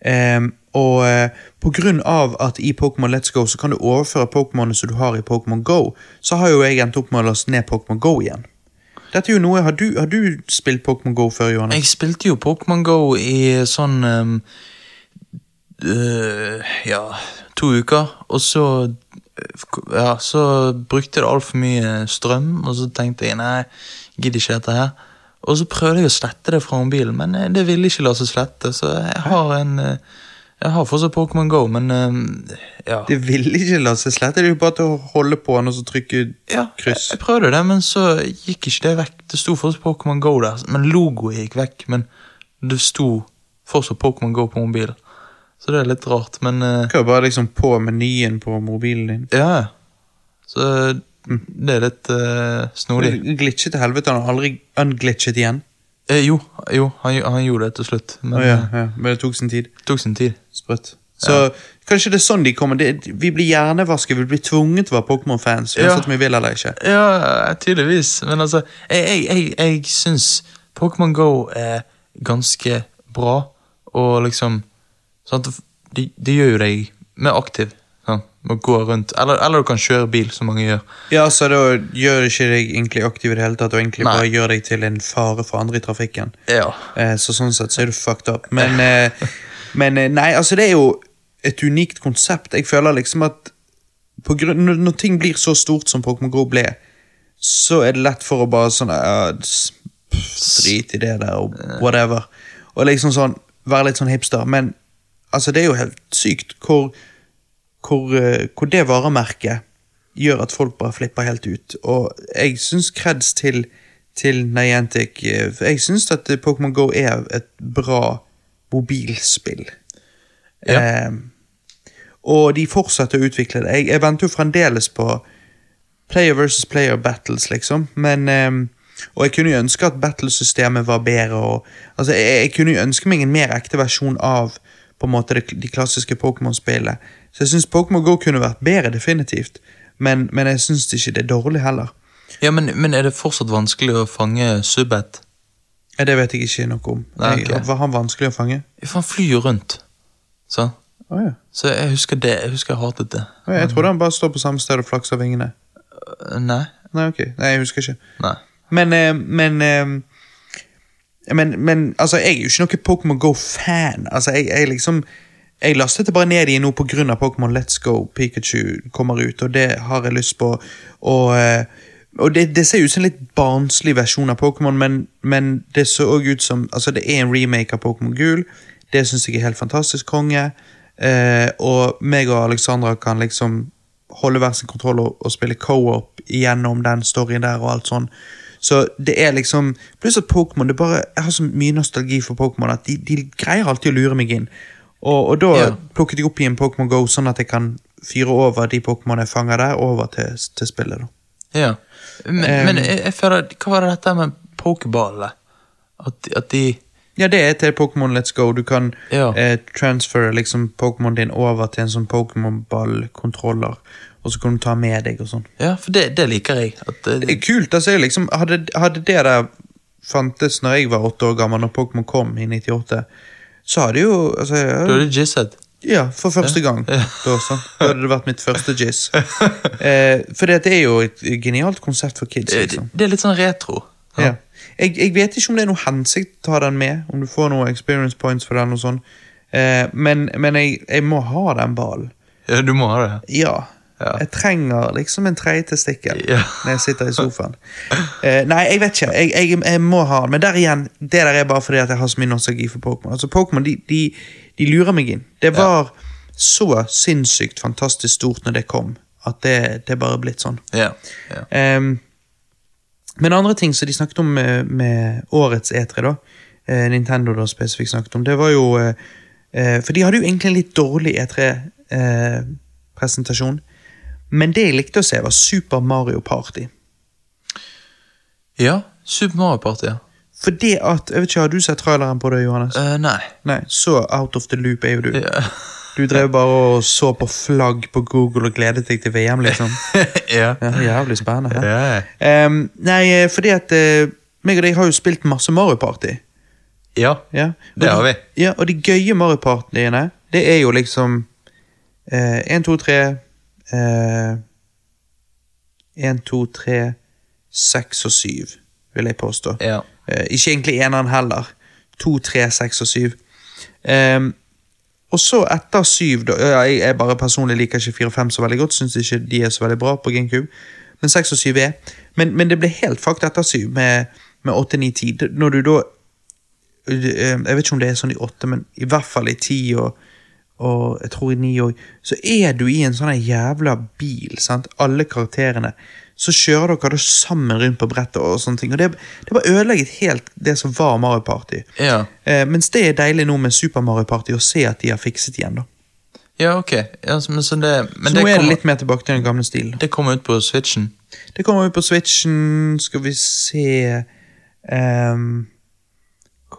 A: Ehm, og eh, på grunn av at i Pokémon Let's Go så kan du overføre Pokémonene som du har i Pokémon Go, så har jo jeg endt opp med å laste ned Pokémon Go igjen. Dette er jo noe, Har du, har du spilt Pokémon Go før, Johannes?
B: Jeg spilte jo Pokémon Go i sånn ehm, øh, Ja, to uker. Og så øh, Ja, så brukte det altfor mye strøm, og så tenkte jeg nei, jeg gidder ikke dette her. Og så prøvde jeg å slette det fra mobilen, men eh, det ville ikke la seg slette. Så jeg har en eh, Jeg har fortsatt Pokémon Go, men ehm, ja.
A: Det ville ikke la seg slette. Det er jo bare til å holde på den og så trykke
B: Ja,
A: kryss.
B: Jeg, jeg prøvde det, men så gikk ikke det vekk. Det sto fortsatt Pokémon Go der, men logoen gikk vekk. Men det sto fortsatt Pokémon Go på mobilen. Så det er litt rart, men eh,
A: Du kan jo bare liksom på menyen på mobilen din.
B: Ja, ja. Så
A: Mm.
B: det er litt eh, snodig.
A: Glitchet til helvete. Han har aldri unglitchet igjen.
B: Eh, jo, jo han, gjo- han gjorde det til slutt, men
A: Å ja,
B: eh,
A: ja, Men det tok sin tid.
B: det tok sin tid.
A: Sprøtt. Så kanskje det er sånn de kommer. Det, vi blir hjernevasket. Vi blir tvunget til å være Pokémon-fans.
B: Ja.
A: Uansett om vi vil eller ikke.
B: Ja, tydeligvis. Men altså, jeg, jeg, jeg, jeg syns Pokémon Go er ganske bra, og liksom sant, det, det gjør jo deg mer aktiv. Sånn, med å gå rundt. Eller, eller du kan kjøre bil, som mange gjør.
A: Ja, så da gjør det ikke deg egentlig aktiv i det hele tatt, og egentlig
B: Nei.
A: bare gjør deg til en fare for andre i trafikken.
B: Ja.
A: Eh, Så sånn sett så er du fucked up. Men, eh, men eh, nei, altså det er jo et unikt konsept. Jeg føler liksom at på grunn, når, når ting blir så stort som Pokémon Go ble, så er det lett for å bare sånn ja, s- pff, Drit i det der, og whatever. Og liksom sånn, være litt sånn hipster. Men altså, det er jo helt sykt hvor hvor, eh, hvor det varemerket gjør at folk bare flipper helt ut. Og jeg syns kreds til, til Niantic eh, for Jeg syns at eh, Pokémon Go er et bra mobilspill.
B: Ja.
A: Eh, og de fortsetter å utvikle det. Jeg, jeg venter jo fremdeles på player versus player battles, liksom. Men ehm, Og jeg kunne jo ønske at battlesystemet var bedre. Og, altså, jeg, jeg kunne jo ønske meg en mer ekte versjon av på en måte det, de klassiske Pokémon-spillene. Så jeg syns Pokémon Go kunne vært bedre, definitivt. Men, men jeg syns ikke det er dårlig heller.
B: ja men, men er det fortsatt vanskelig å fange Subhet?
A: Ja, Det vet jeg ikke noe om.
B: Nei,
A: Jeg-
B: ok.
A: Var han vanskelig å fange?
B: For han flyr jo rundt. Så.
A: Å ja.
B: Så jeg husker det. Jeg husker jeg hatet det.
A: Å ja, Jeg trodde han bare står på samme sted og flakser vingene.
B: Øh, Nei.
A: Nei, ok. Nei, jeg husker ikke.
B: Nei.
A: Men, eh, men eh, men, men altså, jeg er jo ikke noen Pokémon Go-fan. Altså, jeg, jeg liksom Jeg lastet det bare ned igjen nå pga. Pokémon Let's Go Pikachu kommer ut, og det har jeg lyst på. Og, eh, og det, det ser ut som en litt barnslig versjon av Pokémon, men, men det så også ut som Altså, det er en remake av Pokémon Gul. Det syns jeg er helt fantastisk konge. Eh, og meg og Alexandra kan liksom holde hver sin kontroll og, og spille co-op gjennom den storyen der og alt sånn. Så det er liksom Pluss at Pokémon det er bare, Jeg har så mye nostalgi for Pokémon at de, de greier alltid å lure meg inn. Og, og da
B: Ja.
A: plukket jeg opp igjen Pokémon Go, sånn at jeg kan fyre over de Pokémon jeg fanger der, over til, til spillet. da.
B: Ja. Men, men jeg, jeg føler Hva var det dette med pokerballene? At, de- at de
A: Ja, det er til Pokémon Let's Go. Du kan
B: Ja.
A: eh, transfere liksom Pokémon din over til en sånn Pokémon-ballkontroller, og så kan du ta med deg og sånn.
B: Ja, for det, det liker jeg. At, eh,
A: Det er kult. altså jeg liksom, hadde, hadde det der fantes når jeg var åtte år gammel, når Pokémon kom i 98, så hadde jo altså, jeg-
B: du hadde jizzet.
A: Ja, for første gang. Da, sånn. da hadde det vært mitt første jizz. Eh, for det er jo et genialt konsept for kids.
B: Eh,
A: liksom.
B: Det, det er litt sånn retro.
A: Ja. Jeg, jeg vet ikke om det er noe hensikt å ta den med, om du får noen experience points for den. og sånn. Eh, men men jeg, jeg må ha den ballen.
B: Ja, du må ha det.
A: Ja.
B: Ja.
A: Jeg trenger liksom en tredje testikkel
B: Ja.
A: når jeg sitter i sofaen. Eh, nei, jeg vet ikke. Jeg, jeg, jeg må ha den. Men der igjen, det der er bare fordi at jeg har så mye nostalgi for Pokémon. Altså, Pokémon de, de, de lurer meg inn. Det var så sinnssykt fantastisk stort når det kom, at det, det er bare blitt sånn.
B: Ja. ja.
A: Ehm, men andre ting som de snakket om med, med årets E3, da, eh, Nintendo da spesifikt snakket om, det var jo eh, eh, For de hadde jo egentlig en litt dårlig E E3-presentasjon. men det jeg likte å se, var Super Mario Party.
B: ja. Super Mario Party, ja.
A: Fordi at, jeg vet ikke, Har du sett traileren på det, Johannes?
B: Eh, nei.
A: Nei, Så out of the loop er jo du.
B: Ja.
A: Du drev bare og så på flagg på Google og gledet deg til VM, liksom.
B: ja.
A: Ja, jævlig spennende. hæ?
B: Ja.
A: Ehm, nei, eh, fordi at eh, meg og deg har jo spilt masse Mario Party.
B: ja.
A: Ja. Og
B: Det har
A: de- Ja, og de gøye Mario Partyene, det er jo liksom eh, 1, 2, 3 eh, 1, 2, 3, 6 og 7, vil jeg påstå.
B: ja.
A: Eh, ikke egentlig eneren heller. 2, 3, 6 og 7. Ehm, og så etter 7 da, ja, jeg, jeg bare personlig liker ikke 4 og 5 så veldig godt. Syns ikke de er så veldig bra på GameCube. Men 6 og 7 er. Men, men det ble helt fucked etter 7 med, med 8, 9, 10. D- Når du da eh, Jeg vet ikke om det er sånn i 8, men i hvert fall i 10 og, og jeg tror i 9 òg. Så er du i en sånn her jævla bil, sant? alle karakterene. Så kjører dere da sammen rundt på brettet og sånne ting. Og det, det bare ødelegget helt det som var Mario Party.
B: ja.
A: Eh, mens det er deilig nå med Super Mario Party å se at de har fikset igjen. da.
B: Ja, ok. Ja, så- men så det, men
A: Så
B: det,
A: nå er
B: kommer,
A: det litt mer tilbake til den gamle stilen.
B: det kommer ut på Switchen.
A: Det kommer ut på Switchen, skal vi se ehm,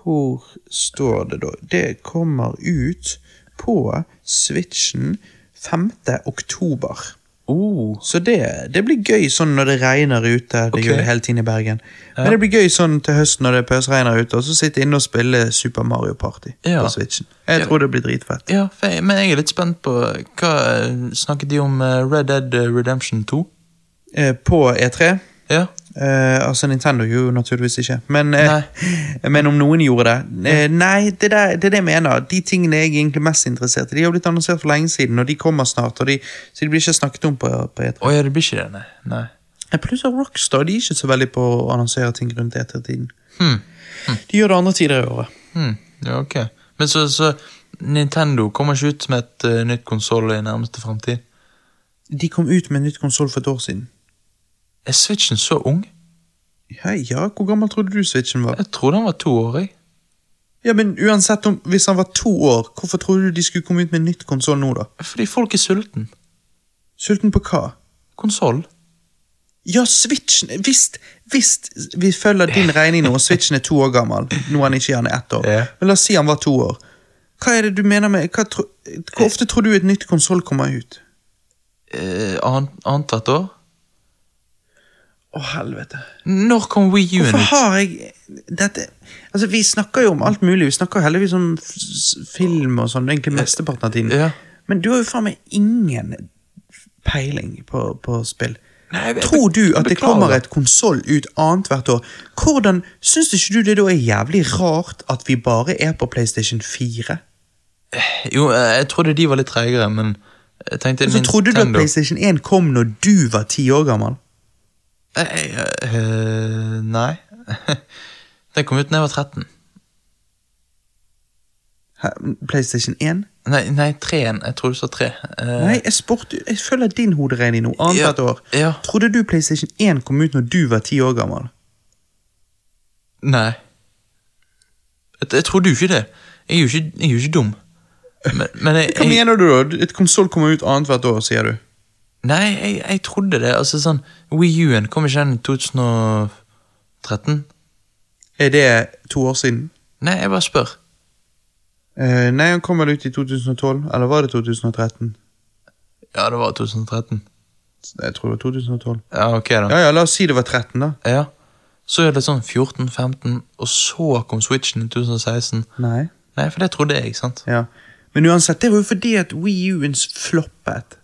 A: Hvor står det da? Det kommer ut på Switchen 5. oktober.
B: Oh.
A: Så det, det blir gøy sånn når det regner ute. Det
B: Ok.
A: gjør det hele tiden i Bergen. Men det blir gøy sånn til høsten når det pøsregner ute, og så sitte inne og spille Super Mario Party
B: Ja.
A: på Switchen. Jeg tror det blir dritfett.
B: Ja, for jeg, men jeg er litt spent på Hva eh, Snakket de om eh, Red Dead Redemption 2?
A: Eh, på E3
B: Ja.
A: Eh, altså, Nintendo gjorde jo naturligvis ikke, men, eh,
B: Nei.
A: men om noen gjorde det eh, Nei, det, der, det er det jeg mener. De tingene jeg er egentlig mest interessert i, de har blitt annonsert for lenge siden, og de kommer snart, og de, så de blir ikke snakket om på, på E3.
B: Å ja, det blir ikke det, nei. nei.
A: Eh, Pluss at Rockstar de er ikke så veldig på å annonsere ting rundt E3-tiden.
B: Hmm.
A: De gjør det andre tider i året.
B: Hmm. Ja, ok. Men så, så Nintendo kommer ikke ut med et eh, nytt konsoll i nærmeste fremtid?
A: De kom ut med en nytt konsoll for et år siden.
B: Er Switchen så ung?
A: Ja, ja, hvor gammel trodde du Switchen var?
B: Jeg trodde han var to år, jeg.
A: Ja, men uansett om, Hvis han var to år, hvorfor trodde du de skulle komme ut med en nytt konsoll nå, da?
B: Fordi folk er sulten.
A: Sulten på hva?
B: Konsoll.
A: Ja, Switchen Visst, visst vi følger din regning nå, og Switchen er to år gammel. Nå er han ikke gjerne ett år.
B: Ja.
A: Men la oss si han var to år. Hva er det du mener med hva tro, Hvor ofte tror du et nytt konsoll kommer ut?
B: Eh, annet- Annethvert år?
A: Å, helvete.
B: Når kom Wii U-en
A: Hvorfor
B: ut?
A: har jeg dette Altså, Vi snakker jo om alt mulig. Vi snakker jo heldigvis om f- s- film og sånn egentlig mesteparten av tiden.
B: Ja.
A: Men du har jo faen meg ingen peiling på, på spill.
B: Nei, jeg- jeg-
A: Tror du at det
B: beklager.
A: kommer et konsoll ut annethvert år? Hvordan Syns ikke du det da er jævlig rart at vi bare er på PlayStation 4?
B: Jo, eh, jeg trodde de var litt tregere, men jeg tenkte
A: Så Altså, trodde du at
B: Mm, Nintendo.
A: PlayStation 1 kom når du var ti år gammel?
B: Eh, eh, eh, Nei. Den kom ut da jeg var 13.
A: Hæ, PlayStation 1?
B: Nei, nei 3-en. Jeg trodde du sa 3. Eh,
A: Nei, jeg, spurte, jeg følger din hoderegning nå. Annethvert
B: Ja,
A: år.
B: ja.
A: Trodde du PlayStation 1 kom ut når du var ti år gammel?
B: Nei. Jeg, jeg trodde jo ikke det. Jeg er jo ikke, jeg er jo ikke dum. Men, men jeg,
A: Hva
B: jeg,
A: mener du, da? Et konsoll kommer ut annethvert år, sier du?
B: Nei, jeg, jeg trodde det. Altså sånn, Wii U-en kom ikke den i 2013?
A: Er det to år siden?
B: Nei, jeg bare spør.
A: Eh, nei, han kommer ut i 2012. Eller var det 2013?
B: Ja, det var 2013.
A: Jeg tror det var 2012.
B: Ja, ok da.
A: Ja, ja, la oss si det var 13, da.
B: Ja. Så er det sånn 14-15, og så kom Switchen i 2016.
A: Nei.
B: Nei, for det trodde jeg, sant?
A: Ja. Men uansett, det var jo fordi at Wii U-en floppet.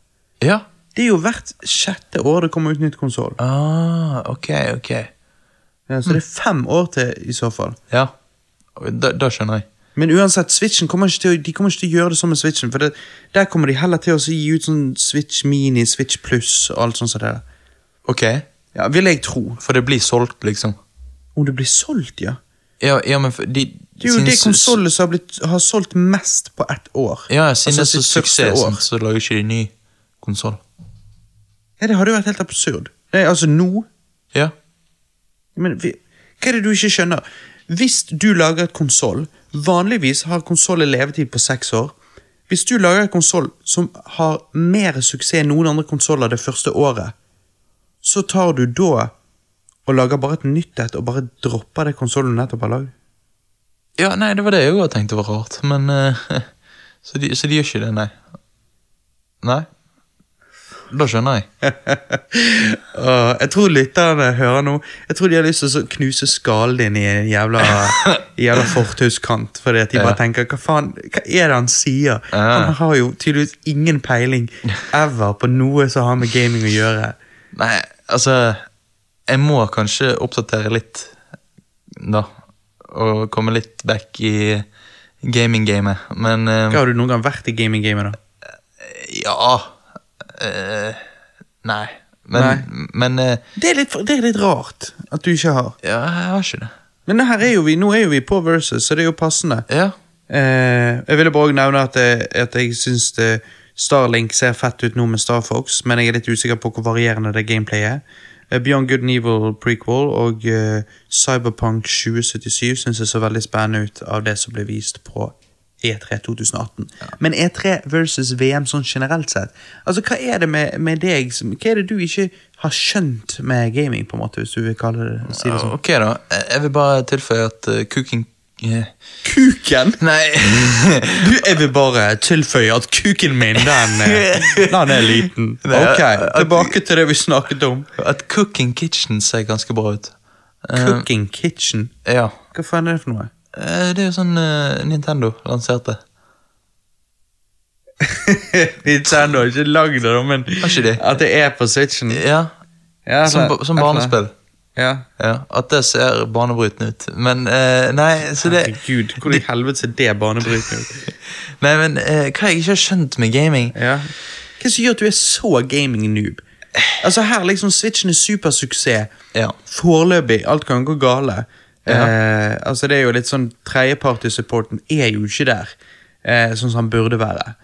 B: Ja.
A: Det er jo hvert sjette år det kommer ut nytt konsoll.
B: Ah, ok, ok.
A: Ja, så det er fem år til, i så fall.
B: Ja. Da, da skjønner jeg.
A: Men uansett, Switchen kommer ikke til, å- de kommer ikke til å gjøre det som med Switchen. For det, der kommer de heller til å gi ut sånn Switch Mini, Switch Plus og alt sånt. som det der.
B: Ok,
A: Ja, Vil jeg tro.
B: for det blir solgt, liksom.
A: Om det blir solgt, ja.
B: Ja, ja men for de...
A: Det er jo
B: siden
A: det
B: su-
A: konsollet som har, blitt, har solgt mest på ett år.
B: Ja,
A: Altså,
B: siden det er
A: sitt
B: så suksess,
A: første år.
B: sant, så lager ikke de ny konsoll.
A: Ja, Det hadde jo vært helt absurd. Nei, altså nå
B: Ja.
A: Men vi, hva er det du ikke skjønner? Hvis du lager et konsoll Vanligvis har konsollet levetid på seks år. Hvis du lager en konsoll som har mer suksess enn noen andre konsoller det første året, så tar du da og lager bare et nytt et og bare dropper det konsollen du nettopp har lagd.
B: ja, nei, det var det jeg òg tenkte var rart, men eh, så, de, så de gjør ikke det, nei. Nei? Da skjønner jeg.
A: Åh, jeg tror lytterne hører nå Jeg tror de har lyst til å så knuse skallen din i en jævla, i jævla fortauskant. Fordi at de bare
B: Ja.
A: tenker Hva faen, hva er det han sier?
B: Ja.
A: Han har jo tydeligvis ingen peiling ever på noe som har med gaming å gjøre.
B: Nei, altså Jeg må kanskje oppdatere litt, da. Og komme litt back i gaming-gamet, men eh,
A: Hva Har du noen gang vært i gaming-gamet, da?
B: Ja eh, Nei. Men, men eh,
A: Det er, litt, for- det er litt rart at du ikke har.
B: Ja, jeg har ikke det.
A: Men det her er jo vi, nå er jo vi på versus, så det er jo passende.
B: Ja.
A: Eh, jeg ville bare også nævne at, eh, at jeg syns det- Starlink ser fett ut nå med Star Fox, men jeg er litt usikker på hvor varierende det gameplayet er. Eh, Beyond Good and Evil prequel og eh, Cyberpunk 2077 syns jeg så veldig spennende ut av det som ble vist på E E3 2018. Men E3 versus VM sånn generelt sett, altså hva er det med, med deg som Hva er det du ikke har skjønt med gaming, på en måte, hvis du vil kalle det, si det sånn?
B: Ok, da. Jeg jeg vil bare tilføye at eh, cooking eh,
A: Kuken!
B: Nei.
A: Du, jeg vil bare tilføye at kuken min, den, er- den er liten.
B: Nei,
A: Ok,
B: at-
A: tilbake til det vi snakket om.
B: At Cooking Kitchen ser ganske bra ut. Eh,
A: Cooking Kitchen.
B: ja.
A: Hva faen er det for noe?
B: Eh, det er jo sånn eh, Nintendo lanserte.
A: Nintendo har ikke lagd det, da, men
B: ikke de?
A: at det er på Switchen.
B: Ja,
A: Ja,
B: Som,
A: det-
B: ba- som
A: altså,
B: barnespill.
A: Ja.
B: Ja, At det ser banebrytende ut. Men eh, Nei, så det
A: Herregud, hvor i helvete ser det banebrytende ut?
B: Nei, men eh, Hva jeg ikke har skjønt med gaming
A: Ja. Hva som gjør at du er så gaming-noob? Altså her liksom, Switchen er supersuksess.
B: Ja.
A: Foreløpig, alt kan gå gale. Eh, altså det er jo litt sånn Tredjeparty-supporten er jo ikke der, eh, sånn som han burde være.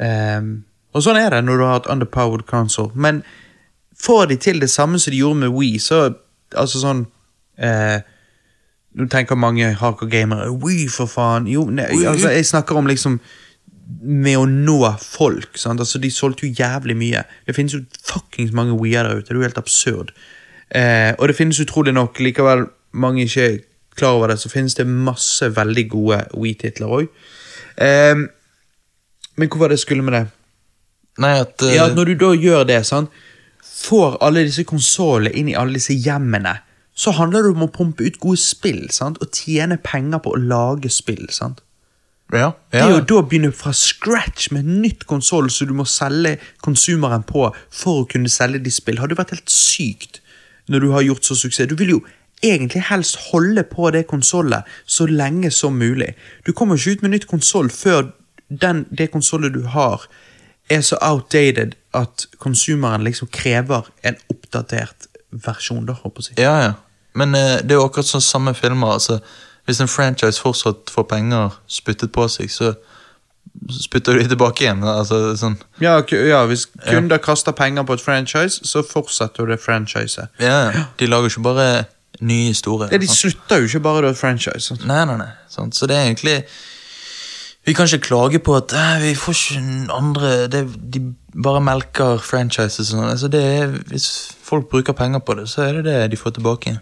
A: Ehm, og sånn er det når du har et underpowered console. Men får de til det samme som de gjorde med Wii, så altså sånn eh, Nå tenker mange hardcore gamere Wii, for faen. Jo, nei, altså, jeg snakker om liksom med å nå folk. Sant? Altså, de solgte jo jævlig mye. Det finnes jo fuckings mange Wii-er der ute. Det er jo helt absurd. Eh, og det finnes utrolig nok, likevel mange ikke er klar over det, så finnes det masse veldig gode Wii-titler òg. Eh, men hvor var det jeg skulle med det?
B: Nei, at eh,
A: Ja, at når du da gjør det, sant får alle disse konsollene inn i alle disse hjemmene, så handler det om å pumpe ut gode spill sant? og tjene penger på å lage spill. sant?
B: Ja,
A: Det
B: ja.
A: er jo da å begynne fra scratch med en nytt konsoll som du må selge konsumeren på for å kunne selge de spill, hadde jo vært helt sykt når du har gjort så suksess. Du vil jo egentlig helst holde på det konsollet så lenge som mulig. Du kommer ikke ut med nytt konsoll før den, det konsollet du har, er så outdated at konsumeren liksom krever en oppdatert versjon, da, håper jeg. å si.
B: Ja, ja. Men eh, det er jo akkurat sånn samme filmer. altså Hvis en franchise fortsatt får penger spyttet på seg, så spytter de tilbake igjen. altså sånn
A: Ja, ku- ja, hvis kunder kaster penger på et franchise, så fortsetter jo det franchiset.
B: Ja, ja. De lager ikke bare nye historier.
A: Ja, de
B: sant?
A: slutter jo ikke bare da et franchise. Sant?
B: Nei, nei, nei. Sant? Så det er egentlig Vi kan ikke klage på at eh, vi får ikke en andre det, De bare melker franchises og sånn. Altså, det er, hvis folk bruker penger på det, så er det det de får tilbake igjen.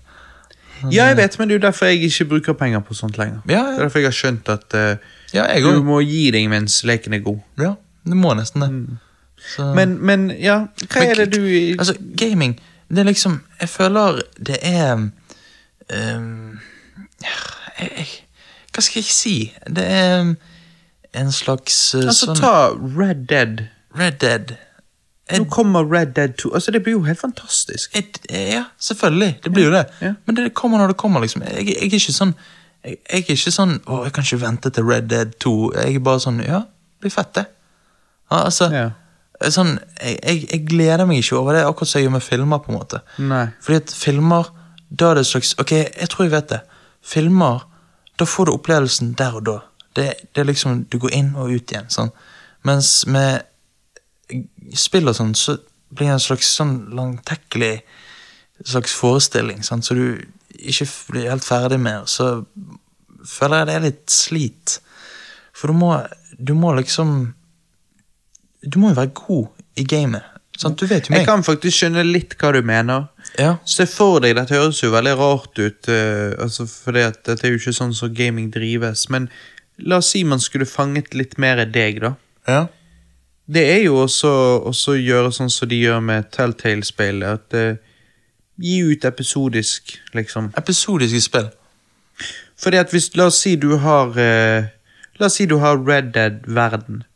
A: Ja, jeg vet, men det er jo derfor jeg ikke bruker penger på sånt lenger.
B: Ja,
A: Det er
B: ja.
A: derfor jeg har skjønt at eh,
B: ja jeg
A: du
B: òg.
A: må gi deg mens leken er god.
B: Ja, du må nesten det. Så-
A: Men, men ja, hva
B: Men
A: er det du
B: Altså, gaming, det er liksom Jeg føler det er ehm, jeg, jeg, Hva skal jeg si? Det er en slags eh,
A: Altså,
B: sånn
A: ta Red Dead.
B: Red Dead.
A: Nå kommer Red Dead 2. Altså, det blir jo helt fantastisk.
B: Et- eh, ja, selvfølgelig. Det blir jo det.
A: Ja.
B: Men det kommer når det kommer, liksom. Jeg, jeg er ikke sånn jeg, jeg er ikke sånn Å, jeg kan ikke vente til Red Dead 2. Jeg er bare sånn Ja, det blir fett, det. Ja, altså,
A: Ja.
B: sånn, jeg, jeg, jeg gleder meg ikke over det, akkurat som jeg gjør med filmer. på en måte.
A: Nei.
B: Fordi at filmer, da er det et slags Ok, jeg tror jeg vet det. Filmer, da får du opplevelsen der og da. Det, det er liksom, Du går inn og ut igjen. sånn. Mens med spill og sånn, så blir det en slags sånn langtekkelig slags forestilling, sant? så du ikke f- blir helt ferdig med, og så føler jeg det er litt slit. For du må, du må liksom Du må jo være god i gamet. Sant? Du vet jo
A: Jeg
B: meg.
A: kan faktisk skjønne litt hva du mener.
B: Ja.
A: Se for deg, dette høres jo veldig rart ut, eh, altså fordi at dette er jo ikke sånn som gaming drives, men la oss si man skulle fanget litt mer deg, da.
B: Ja.
A: Det er jo også også å gjøre sånn som de gjør med Telltale-spill. At eh, Gi ut episodisk, liksom.
B: Episodiske spill.
A: Fordi at hvis La oss si du har eh, La oss si du har Red Dead-verden.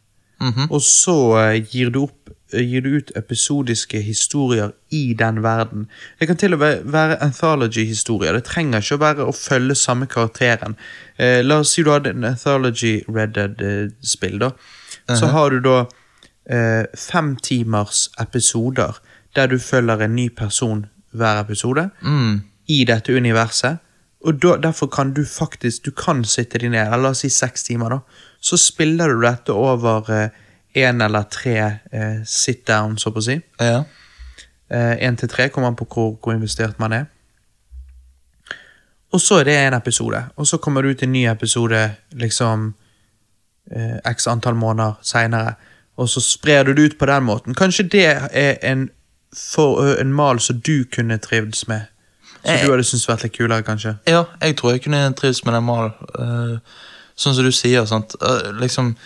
B: Mhm.
A: Og så eh, gir du opp eh, Gir du ut episodiske historier i den verden. Det kan til og med være anthology-historier. Det trenger ikke å være å følge samme karakteren. Eh, la oss si du hadde en anthology-Red Dead-spill, eh, da. Så har du da eh, fem timers episoder der du følger en ny person hver episode
B: Mm.
A: i dette universet. Og da, derfor kan du faktisk Du kan sitte deg ned, eller la oss si seks timer, da. Så spiller du dette over én eller tre eh, sit down, så på å si.
B: Ja.
A: Én Eh, til tre kommer an på hvor, hvor investert man er. Og så er det en episode, og så kommer det ut en ny episode liksom eh, x antall måneder seinere. Og så sprer du det ut på den måten. Kanskje det er en, for, ø, en mal som du kunne trivdes med? Som
B: Eh.
A: du hadde syntes vært litt kulere, kanskje?
B: Ja, jeg tror jeg kunne trives med den malen. Eh, sånn som du sier, sant. Eh, liksom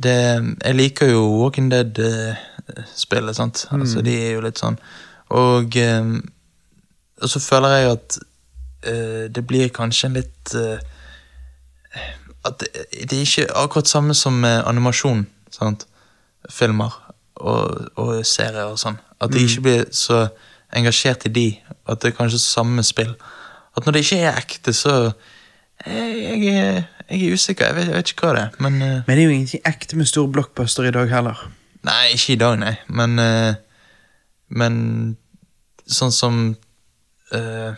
B: det, Jeg liker jo Walking Dead-spillet, sant. Altså, de er jo litt sånn. Og, eh, og så føler jeg at eh, det blir kanskje en litt eh, At det, det er ikke akkurat samme som med animasjon, sant. Filmer og, og serier og sånn. At jeg ikke blir så engasjert i de. At det er kanskje samme spill. At når det ikke er ekte, så Jeg, jeg, er- jeg er usikker. Jeg vet, jeg vet ikke hva det er. Men eh,
A: Men det er jo ingenting ekte med store blockbuster i dag heller.
B: Nei, ikke i dag, nei. Men eh, Men sånn som eh,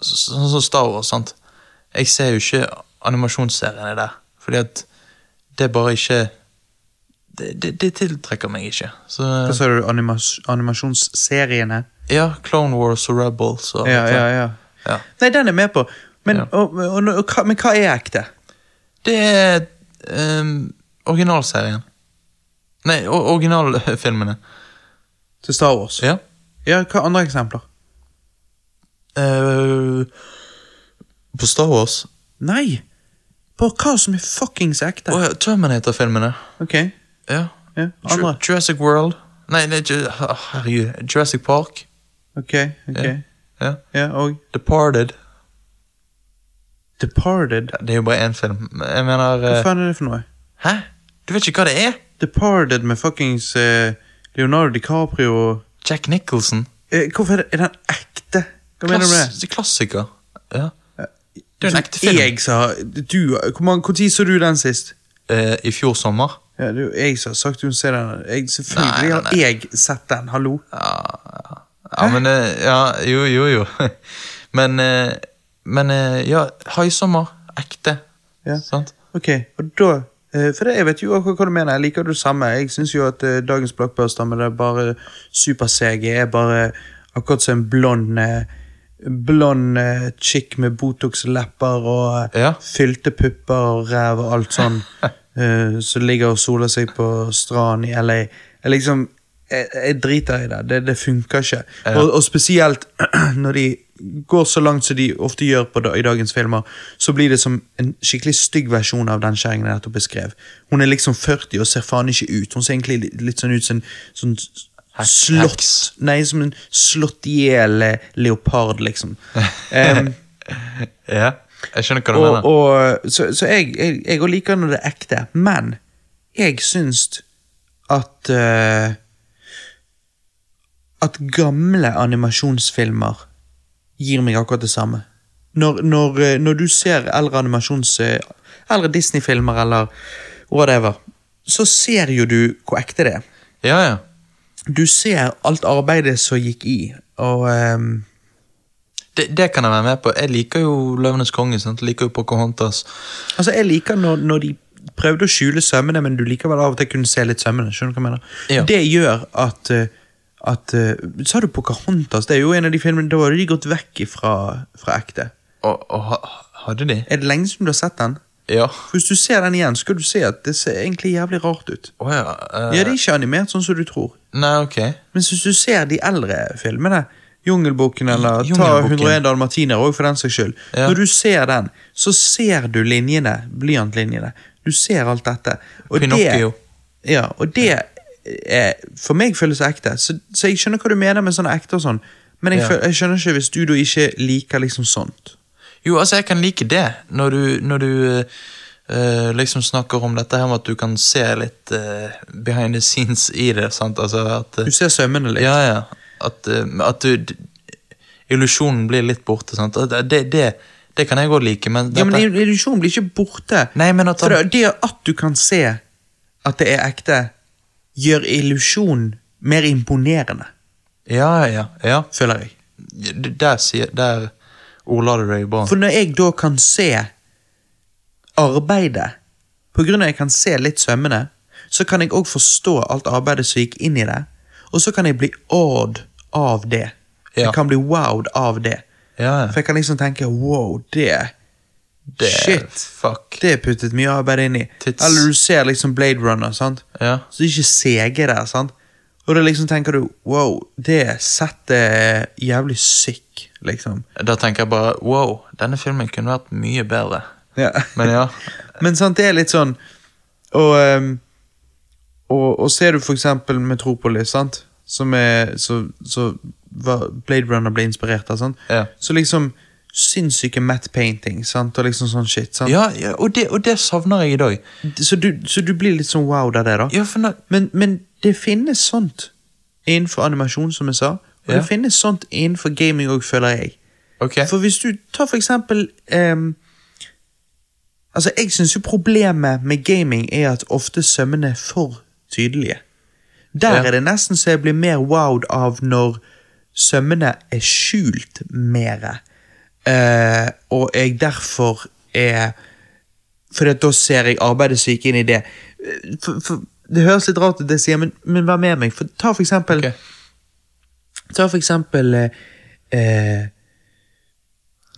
B: så- Sånn som Star Wars, sant. Jeg ser jo ikke animasjonsseriene der. Fordi at det er bare ikke det, det, det tiltrekker meg ikke. Så
A: Hva sa du, animas animasjonsseriene?
B: Ja, Clone Wars og Rebels og
A: Ja, ja, ja.
B: Ja.
A: Nei, den er med på. Men,
B: Ja.
A: og, og, og, hva- men hva er ekte?
B: Det er ehm, originalserien. Nei, o- originalfilmene.
A: Til Star Wars?
B: Ja.
A: Ja, hva andre eksempler?
B: Eh, på Star Wars.
A: Nei! På hva som er fuckings ekte.
B: Å ja, Terminator-filmene.
A: Ok,
B: Ja.
A: ja,
B: Ju-
A: andre.
B: Jurassic World. Nei, det er ikke ah, Herregud. Jurassic Park.
A: Ok, ok.
B: Ja. Ja.
A: Ja, og
B: Departed.
A: Departed?
B: Det er jo bare én film. Jeg mener
A: Hva
B: eh,
A: faen er det for noe?
B: Hæ? Du vet ikke hva det er?
A: Departed med fuckings eh, Leonardo DiCaprio og
B: Jack Nicholson.
A: Eh, Hvorfor er, det, er den ekte? Hva mener du med det?
B: Klass, klassiker. Ja. Det er jo en ekte film.
A: Jeg som har Du hvor mange- Hvor tid så du den sist?
B: Eh, I fjor sommer.
A: Ja, det er jo jeg som har sagt du må se den. Jeg, selvfølgelig
B: Nei, nei, nei.
A: har jeg sett den, hallo.
B: Ja, men eh, Ja, jo, jo, jo. Men eh, Men eh, ja, haisommer. Ekte.
A: Ja.
B: Sant?
A: Ok, og da eh, For det, jeg vet jo akkurat hva du mener. Jeg liker det samme. Jeg syns jo at eh, dagens blockbuster med det er bare super-CG er bare akkurat som en blond eh, Blond eh, chick med Botox-lepper og eh,
B: Ja.
A: fylte pupper og ræv og alt sånn, eh, som ligger og soler seg på stranden i LA. Jeg liksom jeg, jeg driter i det. Det, det funker ikke. Og, og spesielt når de går så langt som de ofte gjør på, da- i dagens filmer, så blir det som en skikkelig stygg versjon av den skjæringen jeg nettopp beskrev. Hun er liksom 40 og ser faen ikke ut. Hun ser egentlig litt, litt sånn ut som en sånn
B: Heks-
A: slått
B: heks.
A: Nei, som en slått i hjel eh, leopard, liksom. Em,
B: Ja. Jeg skjønner hva du
A: og,
B: mener.
A: og, så, så jeg, jeg, jeg også liker når det er ekte, men jeg syns at eh, At gamle animasjonsfilmer gir meg akkurat det samme. Når, når, eh, når du ser eldre animasjons... eh, Eldre Disney-filmer eller whatever, så ser jo du hvor ekte det er
B: Ja, ja.
A: du ser alt arbeidet som gikk i, og ehm,
B: Det, det kan jeg være med på. Jeg liker jo Løvenes konge. sant? Jeg liker jo Pocahontas.
A: Altså, jeg liker når, når de prøvde å skjule sømmene, men du likevel av og til kunne se litt sømmene. Skjønner du hva jeg mener?
B: Ja.
A: Det gjør at, eh, at eh, Sa du Pocahontas? Det er jo en av de filmene Da har de gått vekk ifra, fra ekte.
B: Og, og ha- hadde de?
A: Er det lenge siden du har sett den?
B: Ja.
A: For Hvis du ser den igjen, skal du se at det ser egentlig jævlig rart ut.
B: Å ja. eh,
A: Ja, det er ikke animert sånn som du tror.
B: Nei, ok.
A: Men hvis du ser de eldre filmene, Jungelboken eller ta
B: Jungelboken.
A: 101 dalmatiner òg, for den saks skyld,
B: Ja.
A: når du ser den, så ser du linjene, blyantlinjene. Du ser alt dette. Og
B: Pinocchio.
A: Det, ja, og det er, for meg føles ekte, så, så jeg skjønner hva du mener med sånn ekte og sånn, men jeg,
B: Ja.
A: føl, jeg skjønner ikke hvis du da ikke liker liksom sånt.
B: Jo, altså, jeg kan like det, når du, når du eh, eh, liksom snakker om dette her med at du kan se litt eh, behind the scenes i det. sant? Altså at eh,
A: Du ser sømmene litt.
B: Ja, ja. At, eh, at du d- Illusjonen blir litt borte. sant? At Det, det, det kan jeg godt like, men,
A: Ja, men
B: dette-
A: illusjonen blir ikke borte.
B: Nei, men at
A: For
B: han
A: det, det at du kan se at det er ekte, gjør illusjonen mer imponerende,
B: Ja, ja. ja.
A: føler jeg.
B: D- Der, sier, der ordla du deg bra.
A: For når jeg da kan se arbeidet, på grunn av at jeg kan se litt sømmene, så kan jeg òg forstå alt arbeidet som gikk inn i det, og så kan jeg bli awed av det.
B: Ja.
A: Jeg kan bli wowed av det.
B: Ja, ja.
A: For jeg kan liksom tenke wow, det
B: Det,
A: Shit.
B: Fuck.
A: Det er puttet mye arbeid inn i.
B: Tits.
A: Eller du ser liksom Blade Runner, sant?
B: Ja.
A: Så det er ikke CG der, sant? Og da liksom tenker du, wow, det settet er jævlig sick, liksom.
B: Da tenker jeg bare wow, denne filmen kunne vært mye bedre.
A: Ja.
B: Men ja.
A: Men sant, det er litt sånn, og, ehm, og, og ser du for eksempel Metropolis, sant? Som er, så, så var Blade Runner ble inspirert av, sant?
B: Ja.
A: Så liksom, sinnssyke matte painting, sant? Og liksom sånn shit, sant?
B: ja, ja og, det, og det savner jeg i dag.
A: Så, du, så du blir litt sånn wow av det da?
B: Ja, for nå,
A: Men, men det finnes sånt innenfor animasjon, som jeg sa. Og
B: Ja.
A: det finnes sånt innenfor gaming òg, føler jeg.
B: Ok.
A: For hvis du tar for eksempel ehm, Altså, jeg syns jo problemet med gaming er at ofte sømmene er for tydelige. Der
B: Ja.
A: er det nesten så jeg blir mer wowed av når sømmene er skjult mere, eh, og jeg derfor er fordi at da ser jeg arbeidet som gikk inn i det. For, for, det høres litt rart ut, det jeg sier, men, men vær med meg. For, ta for eksempel,
B: Ok.
A: ta for eksempel eh, eh,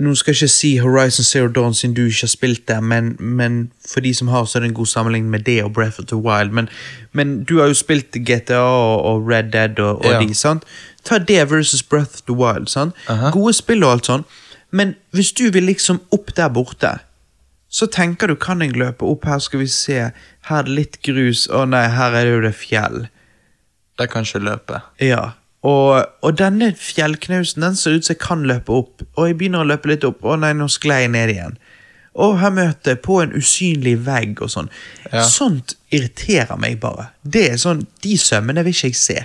A: Nå skal jeg ikke si Horizon Zero Dawn siden du ikke har spilt det, men, men for de som har, så er det en god sammenligning med det og Breath of the Wild. Men, men du har jo spilt GTA og, og Red Dead og, og
B: Ja.
A: de, sant? Ta det versus Breath of the Wild. Sant?
B: Aha.
A: Gode spill og alt sånn, men hvis du vil liksom opp der borte så tenker du, kan jeg løpe opp her, skal vi se, her er det litt grus, å nei, her er det jo det fjell.
B: Den kan ikke løpe.
A: Ja. Og, og denne fjellknausen den ser ut som jeg kan løpe opp, og jeg begynner å løpe litt opp. Å nei, nå sklei jeg ned igjen. Og her møter jeg på en usynlig vegg og sånn.
B: Ja.
A: Sånt irriterer meg bare. Det er sånn, De sømmene vil ikke jeg se.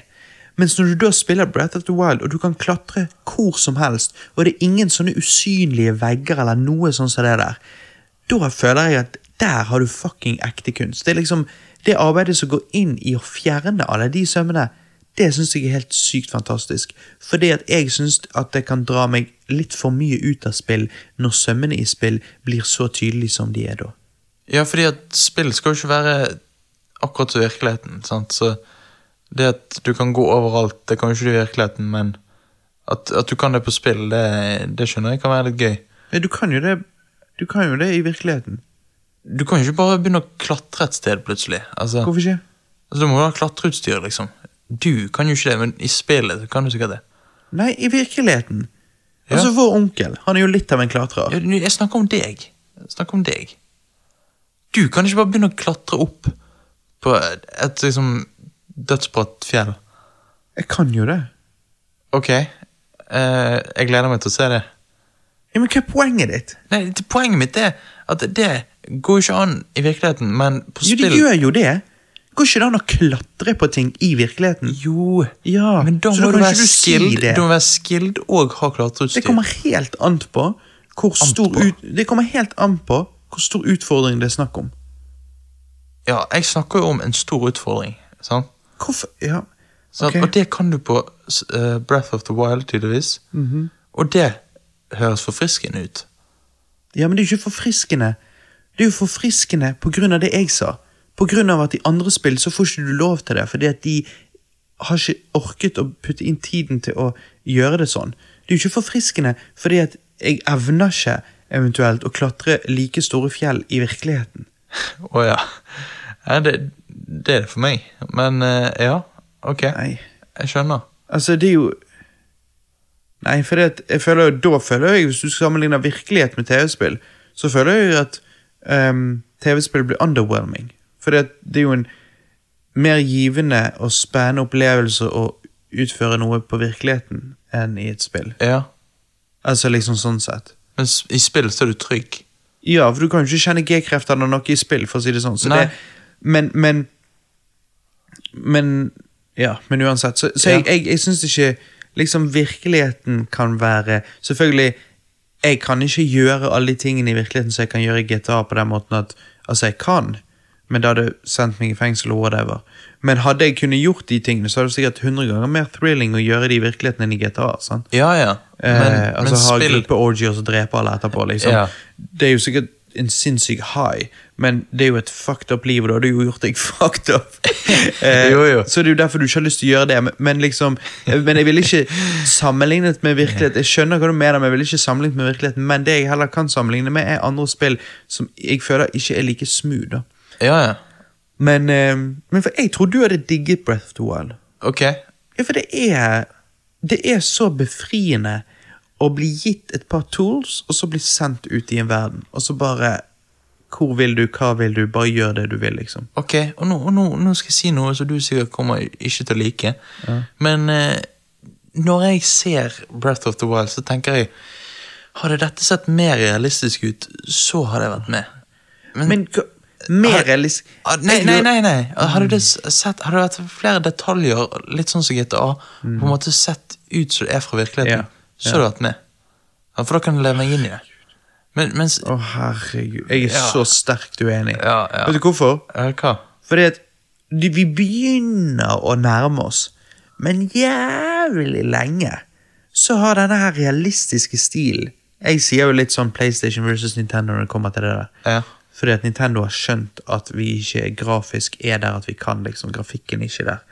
A: Mens når du da spiller Breath of the Wild, og du kan klatre hvor som helst, og det er ingen sånne usynlige vegger eller noe sånn som det der, da føler jeg at der har du fucking ekte kunst. Det er liksom det arbeidet som går inn i å fjerne alle de sømmene, det syns jeg er helt sykt fantastisk. Fordi at jeg syns at det kan dra meg litt for mye ut av spill når sømmene i spill blir så tydelige som de er da.
B: Ja, fordi at spill skal jo ikke være akkurat som virkeligheten. sant? Så det at du kan gå overalt, det kan jo ikke du i virkeligheten, men at, at du kan det på spill, det, det skjønner jeg kan være litt gøy.
A: Men du kan jo det, du kan jo det i virkeligheten.
B: Du kan jo ikke bare begynne å klatre et sted plutselig. Altså,
A: Hvorfor ikke?
B: altså Du må jo ha klatreutstyr, liksom. Du kan jo ikke det, men i spillet så kan du sikkert det.
A: Nei, i virkeligheten.
B: Ja.
A: Altså, vår onkel, han er jo litt av en klatrer.
B: Ja, nå- Jeg snakker om deg. Jeg snakker om deg. Du kan ikke bare begynne å klatre opp på et liksom dødsbratt fjell.
A: Jeg kan jo det.
B: Ok, eh, jeg gleder meg til å se det.
A: Ja, men hva er poenget ditt?
B: Nei, det- Poenget mitt er at det går jo ikke an i virkeligheten, men på
A: Jo, de
B: spill
A: gjør jo det. Går ikke det an å klatre på ting i virkeligheten?
B: Jo,
A: Ja,
B: men da
A: så
B: må
A: da
B: du
A: kan
B: være
A: ikke du si
B: skilled
A: det.
B: Du må være skilled og ha
A: Det
B: klatreutstyr.
A: kommer helt an på hvor stor
B: på.
A: ut, Det kommer helt an på hvor stor utfordring det er snakk om.
B: Ja, jeg snakker jo om en stor utfordring. sant?
A: Hvorfor Ja.
B: Sant?
A: ok.
B: Og det kan du på s- eh, Breath of the Wild, tydeligvis.
A: Mhm.
B: Og det høres forfriskende ut.
A: ja, men det er jo ikke forfriskende. Det er jo forfriskende på grunn av det jeg sa. På grunn av at i andre spill så får ikke du lov til det, fordi at de har ikke orket å putte inn tiden til å gjøre det sånn. Det er jo ikke forfriskende, fordi at jeg evner ikke eventuelt å klatre like store fjell i virkeligheten.
B: Å ja. ja det, det er det for meg. Men eh, ja, ok.
A: Nei.
B: Jeg skjønner.
A: Altså, det er jo Nei, for det, jeg føler, jo- da føler jeg, hvis du sammenligner virkelighet med TV-spill, så føler jeg jo at ehm, TV-spill blir underwhelming. For det, det er jo en mer givende og spennende opplevelse å utføre noe på virkeligheten enn i et spill.
B: Ja.
A: Altså liksom sånn sett.
B: Men s- i spill så er du trygg.
A: Ja, for du kan jo ikke kjenne G-kreftene og noe i spill, for å si det sånn. Så
B: Nei.
A: det, men, men Men Ja, men uansett. Så, så
B: Ja.
A: jeg, jeg, jeg syns ikke liksom virkeligheten kan være Selvfølgelig, jeg kan ikke gjøre alle de tingene i virkeligheten som jeg kan gjøre i GTA på den måten at Altså, jeg kan, men det hadde sendt meg i fengsel og whatever. Men hadde jeg kunnet gjort de tingene, så hadde det sikkert 100 ganger mer thrilling å gjøre det i virkeligheten enn i GTA. sant?
B: Ja, ja. Men,
A: eh, altså ha
B: men spill
A: gruppeorgier som dreper alle etterpå, liksom.
B: Ja.
A: Det er jo sikkert en sinnssyk high, men det er jo et fucked up liv, og da har du jo gjort deg fucked up. Eh,
B: Jo, jo.
A: Så det er jo derfor du ikke har lyst til å gjøre det, men- men liksom Men jeg ville ikke sammenlignet med virkelighet. Jeg skjønner hva du mener, men jeg ville ikke sammenlignet med virkeligheten, men det jeg heller kan sammenligne med, er andre spill som jeg føler ikke er like smooth, da.
B: Ja, ja.
A: Men, eh, men for jeg tror du hadde digget Breath of the Wild.
B: Ok.
A: Ja, for det er Det er så befriende å bli gitt et par tools, og så bli sendt ut i en verden. Og så bare Hvor vil du, hva vil du? Bare gjør det du vil, liksom.
B: ok. Og nå, og nå, nå skal jeg si noe som du sikkert kommer ikke til å like. Men eh, når jeg ser Breath of the Wild, så tenker jeg Hadde dette sett mer realistisk ut, så hadde jeg vært med.
A: Men hva- mer
B: Har-
A: realis...
B: Ah, Nei, nei, nei, nei.
A: Mm.
B: Hadde det, s- sett, hadde det vært flere detaljer, litt sånn som GTA, på en måte sett ut som det er fra virkeligheten,
A: Mm. Ja,
B: så hadde det vært med. Ja, For da kan du leve meg inn i det. Men, mens
A: Å, herregud. Jeg er
B: Ja.
A: så sterkt uenig.
B: Ja, ja.
A: Vet du hvorfor?
B: Ja, Eh, Hva?
A: Fordi at de- vi begynner å nærme oss, men jævlig lenge så har denne her realistiske stilen Jeg sier jo litt sånn PlayStation versus Nintendo når det kommer til det der.
B: Ja.
A: Fordi at Nintendo har skjønt at vi ikke grafisk er der at vi kan, liksom. Grafikken er ikke der.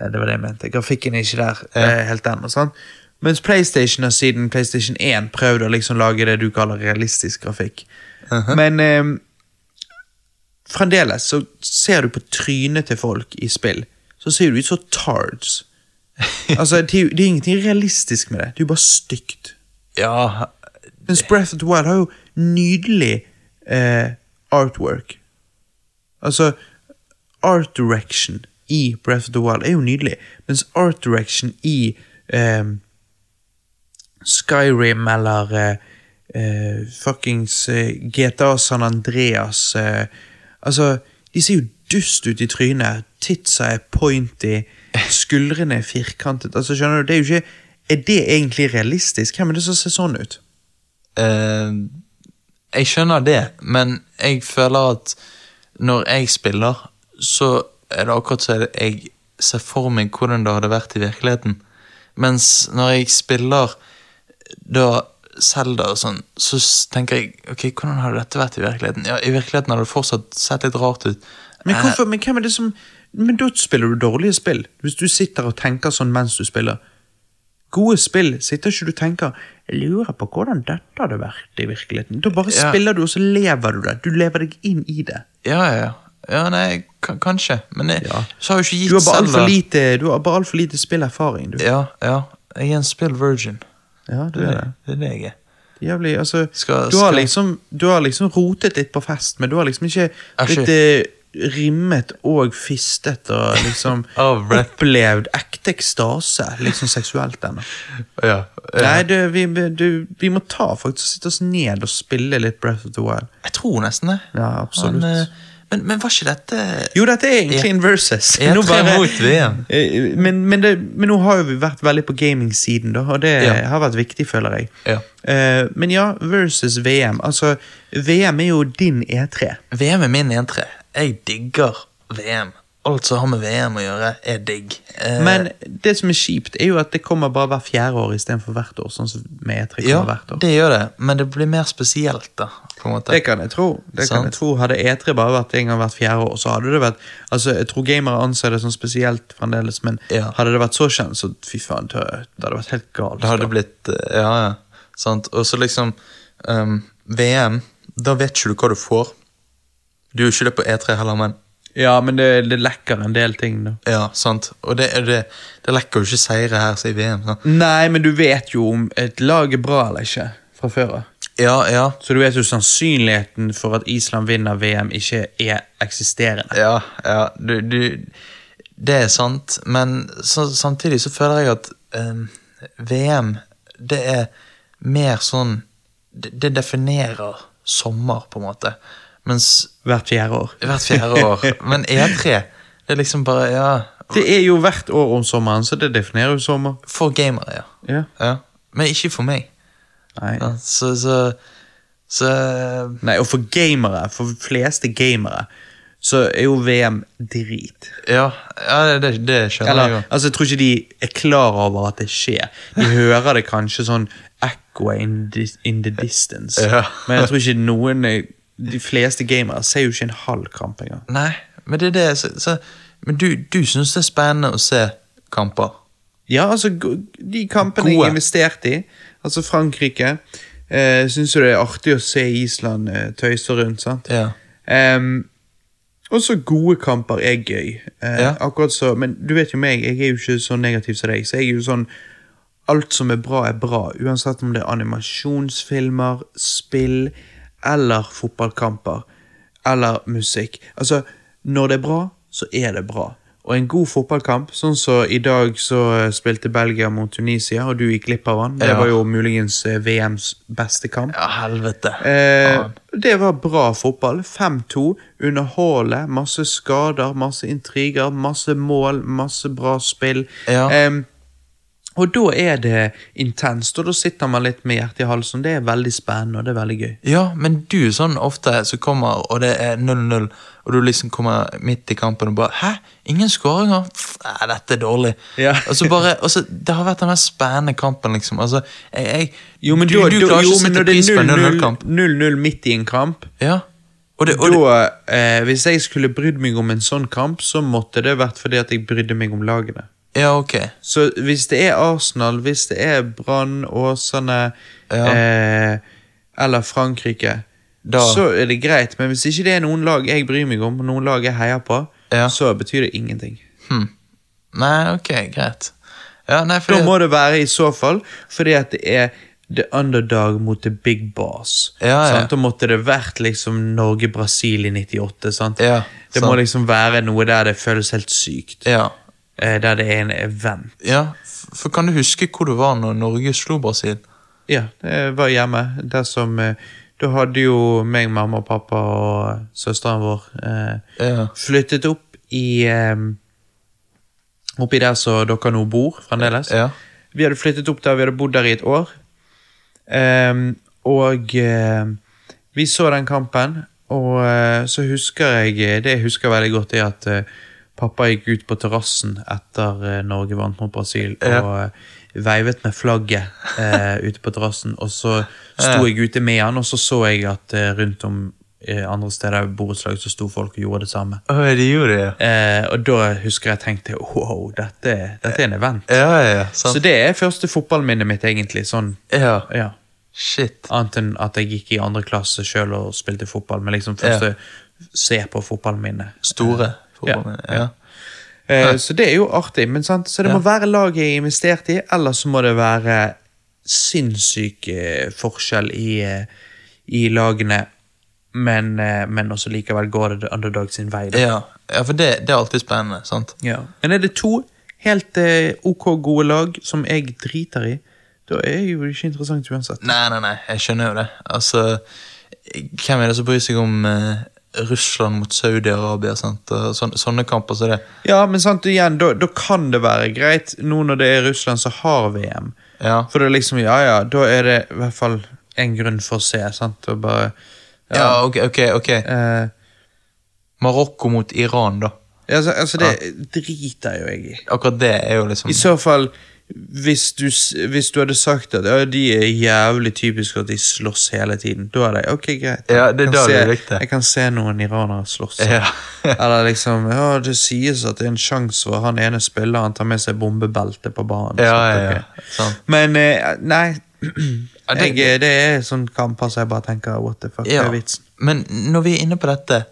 A: Eh, Det var det jeg mente. Grafikken er ikke der eh, helt ennå. sant? Mens PlayStation har siden PlayStation 1 prøvd å liksom lage det du kaller realistisk grafikk. Men eh, fremdeles så ser du på trynet til folk i spill, så ser du ut som tards. Altså, det er, jo- det er ingenting realistisk med det. Det er jo bare stygt.
B: Ja,
A: Mens Breath of the Wild har jo nydelig eh, artwork. Altså art direction. i Breath of the Wild er jo nydelig, mens art direction i eh, Skyrim eller eh, eh, fuckings eh, GTA San Andreas eh, Altså, de ser jo dust ut i trynet. Titsa er pointy, skuldrene er firkantet. Altså, skjønner du, det er jo ikke Er det egentlig realistisk? Hvem er det som ser sånn ut?
B: Eh, jeg skjønner det, men jeg føler at når jeg spiller, så er det akkurat så jeg ser for meg hvordan det hadde vært i virkeligheten. Mens når jeg spiller da Zelda og sånn, så s- tenker jeg ok, hvordan hadde dette vært i virkeligheten? Ja, I virkeligheten hadde det fortsatt sett litt rart ut.
A: Men,
B: Eh,
A: hvorfor, men hvem er det som Men da spiller du dårlige spill. Hvis du sitter og tenker sånn mens du spiller. Gode spill sitter ikke du og tenker Jeg lurer på hvordan dette hadde vært i virkeligheten. Da bare
B: Ja.
A: spiller du, og så lever du det. Du lever deg inn i det.
B: Eh, Ja, ja, ja. Ja, nei, ka- kanskje. Men jeg,
A: Ja.
B: så har jo ikke gitt
A: Du har bare altfor
B: Zelda-
A: lite, du har bare alt for lite spillerfaring, du.
B: Ja, ja. Jeg er en spill virgin.
A: Ja, du
B: Det
A: er
B: er
A: det.
B: det, er det jeg er.
A: Jævlig, altså
B: Skal-
A: du, har
B: skal-
A: liksom, du har liksom rotet litt på fest, men du har liksom ikke
B: Ah, shit.
A: blitt eh, rimmet og fistet og liksom
B: Av Brett.
A: opplevd ekte ekstase, liksom seksuelt ennå.
B: Ja.
A: Nei, du, vi, du, vi må ta faktisk og sitte oss ned og spille litt Breath of the Wild.
B: Jeg tror nesten det.
A: Ja, absolutt.
B: Men, eh, men, men var ikke dette
A: Jo, dette er egentlig en versus.
B: Jeg
A: Nå
B: tror jeg
A: bare-
B: mot VM.
A: Eh, Men, men, det, men nå har jo vi vært veldig på gaming-siden, da, og det
B: Ja.
A: har vært viktig, føler jeg.
B: Ja.
A: Eh, men ja, versus VM. Altså, VM er jo din E E3.
B: VM er min entré. Jeg digger VM. Alt som har med VM å gjøre, er digg. Eh,
A: Men det som er kjipt, er jo at det kommer bare hver fjerde år istedenfor hvert år. Sånn som med E3 kommer
B: ja,
A: hvert år.
B: det gjør det, men det blir mer spesielt, da. på en måte.
A: Det kan jeg tro. det kan
B: Sant.
A: jeg tro. Hadde E3 bare vært en gang hvert fjerde år, så hadde det vært Altså, Jeg tror gamere anser det som spesielt fremdeles, men
B: Ja.
A: hadde det vært så kjent, så fy faen, det det hadde vært helt galt.
B: Det hadde blitt eh, Ja, ja. Sant. Og så liksom ehm, VM, da vet ikke du hva du får. Du gjør ikke det på E3 heller, men
A: Ja, men det, det lekker en del ting, da.
B: Ja, sant. Og det, er det, det lekker jo ikke seire her som i VM. Sant?
A: Nei, men du vet jo om et lag er bra eller ikke fra før av.
B: Ja, ja.
A: Så du vet jo sannsynligheten for at Island vinner VM, ikke er eksisterende.
B: Ja, ja du, du, det er sant, men så, samtidig så føler jeg at ehm, VM, det er mer sånn det, det definerer sommer, på en måte. Mens
A: Hvert fjerde år.
B: hvert fjerde år Men E3, det er liksom bare Ja,
A: Det er jo hvert år om sommeren, så det definerer jo sommer.
B: for gamere, ja.
A: Ja.
B: ja. Men ikke for meg.
A: Nei.
B: Ja, så, så, så
A: Nei, og for gamere, for fleste gamere, så er jo VM drit.
B: Ja, ja det, det skjønner jeg
A: Eller,
B: jo.
A: altså, jeg tror ikke de er klar over at det skjer. De hører det kanskje sånn echo in, dis- in the distance.
B: Ja.
A: Men jeg tror ikke noen er- De fleste gamere ser jo ikke en halv kamp engang.
B: Nei, men det er det så, så, Men du, du syns det er spennende å se kamper?
A: Ja, altså, go- de kampene
B: Gode.
A: jeg investerte i, altså Frankrike eh, Syns jo det er artig å se Island eh, tøyse rundt, sant?
B: Ja.
A: Ehm, også gode kamper er gøy. Eh,
B: Ja.
A: Akkurat så, Men du vet jo meg, jeg er jo ikke så negativ som deg. Så jeg er jo sånn Alt som er bra, er bra. Uansett om det er animasjonsfilmer, spill eller fotballkamper. Eller musikk. Altså, når det er bra, så er det bra. Og en god fotballkamp, sånn som så i dag så eh, spilte Belgia mot Tunisia, og du gikk glipp av han. Det
B: Ja.
A: var jo muligens eh, VMs beste kamp.
B: Ja, helvete.
A: Eh, det var bra fotball. 5-2. Underholde. Masse skader, masse intriger, masse mål, masse bra spill.
B: Ja.
A: Em, og da er det intenst, og da sitter man litt med hjertet i halsen. Det er veldig spennende, og det er veldig gøy.
B: Ja, men du sånn ofte så kommer, og det er 0-0, og du liksom kommer midt i kampen og bare Hæ? Ingen skåringer? Pff, Nei, dette er dårlig.
A: Ja.
B: og så bare, og så, Det har vært den mest spennende kampen, liksom. Altså, jeg, jeg, du,
A: da-
B: du
A: da-
B: klarer
A: jo,
B: ikke å
A: men
B: sette
A: når det er
B: pris på en 0-0-kamp.
A: 0-0 midt i en kamp.
B: Ja. Og det, og det,
A: da, eh, hvis jeg skulle brydd meg om en sånn kamp, så måtte det vært fordi at jeg brydde meg om lagene.
B: ja, ok.
A: Så hvis det er Arsenal, hvis det er Brann, Åsane eh, eller Frankrike,
B: Da-
A: så er det greit. Men hvis ikke det er noen lag jeg bryr meg om, noen lag jeg heier på,
B: Ja.
A: så betyr det ingenting.
B: Nei, ok, greit. Ja,
A: Da
B: nei, fordi,
A: må det være i så fall fordi at det er the underdog mot the big boss.
B: Ja, ja.
A: Sant? Da måtte det vært liksom Norge-Brasil i 98. Sant?
B: Ja,
A: det
B: sant.
A: må liksom være noe der det føles helt sykt.
B: Ja.
A: Eh, Der det er en event.
B: ja. f- For kan du huske hvor du var når Norge slo Brasil?
A: Ja, jeg var hjemme. Der som eh, Da hadde jo meg, mamma og pappa og søsteren vår eh,
B: Ja.
A: flyttet opp i eh, Oppi der som dere nå bor fremdeles.
B: Ja.
A: Vi hadde flyttet opp der, vi hadde bodd der i et år. Ehm, og eh, vi så den kampen, og eh, så husker jeg eh, Det jeg husker veldig godt, er at eh, pappa gikk ut på terrassen etter eh, Norge vant mot Brasil,
B: Ja.
A: og eh, veivet med flagget eh, ute på terrassen. Og så sto jeg ute med han, og så så jeg at eh, rundt om eh, andre steder i borettslag så sto folk og gjorde det samme.
B: Å, de gjorde det,
A: Eh, og da husker jeg tenkte wow, dette, dette er en event.
B: ja. Ja, ja, ja. Sant.
A: Så det er første fotballminnet mitt, egentlig. sånn,
B: ja.
A: ja.
B: Shit.
A: Annet enn at jeg gikk i andre klasse sjøl og spilte fotball. Men liksom første se på fotballminnet.
B: Store. fotballmenn,
A: Ja,
B: Eh, Ja.
A: Eh, så det er jo artig. men sant? Så det må være laget jeg har investert i, eller så må det være sinnssyk eh, forskjell i, eh, i lagene. Men, eh, men også likevel går det underdog sin vei. da.
B: Ja. ja, for det, det er alltid spennende. sant?
A: Ja. Men er det to helt eh, ok gode lag som jeg driter i, da er jeg jo ikke interessant uansett.
B: Nei, nei, nei, jeg skjønner jo det. Altså, Hvem er det som bryr seg om eh, Russland mot Saudi-Arabia? sant? Og Sånne, sånne kamper som det.
A: Ja, men sant, igjen, da, da kan det være greit, nå når det er Russland som har VM.
B: Ja.
A: For det er liksom, ja ja, da er det i hvert fall en grunn for å se, sant, og bare
B: Ja, ok, ok, ok.
A: eh,
B: Marokko mot Iran, da.
A: altså, altså, det driter jo jeg i.
B: Akkurat det er jo liksom
A: I så fall, hvis du, s- hvis du hadde sagt at ja, de er jævlig typiske at de slåss hele tiden, da hadde jeg ok, greit.
B: Ja, det-
A: Jeg kan
B: da hadde
A: se-
B: du likt det.
A: Jeg kan se noen iranere slåss.
B: Ja.
A: Eller liksom, ja, det sies at det er en sjanse for han ene spilleren tar med seg bombebelte på banen.
B: Ja,
A: sant,
B: ja, ja.
A: ok.
B: Sant.
A: Men eh, nei
B: det-
A: jeg, Det er sånn kamper som jeg bare tenker What the fuck, det
B: ja.
A: er vitsen?
B: Men når vi er inne på dette,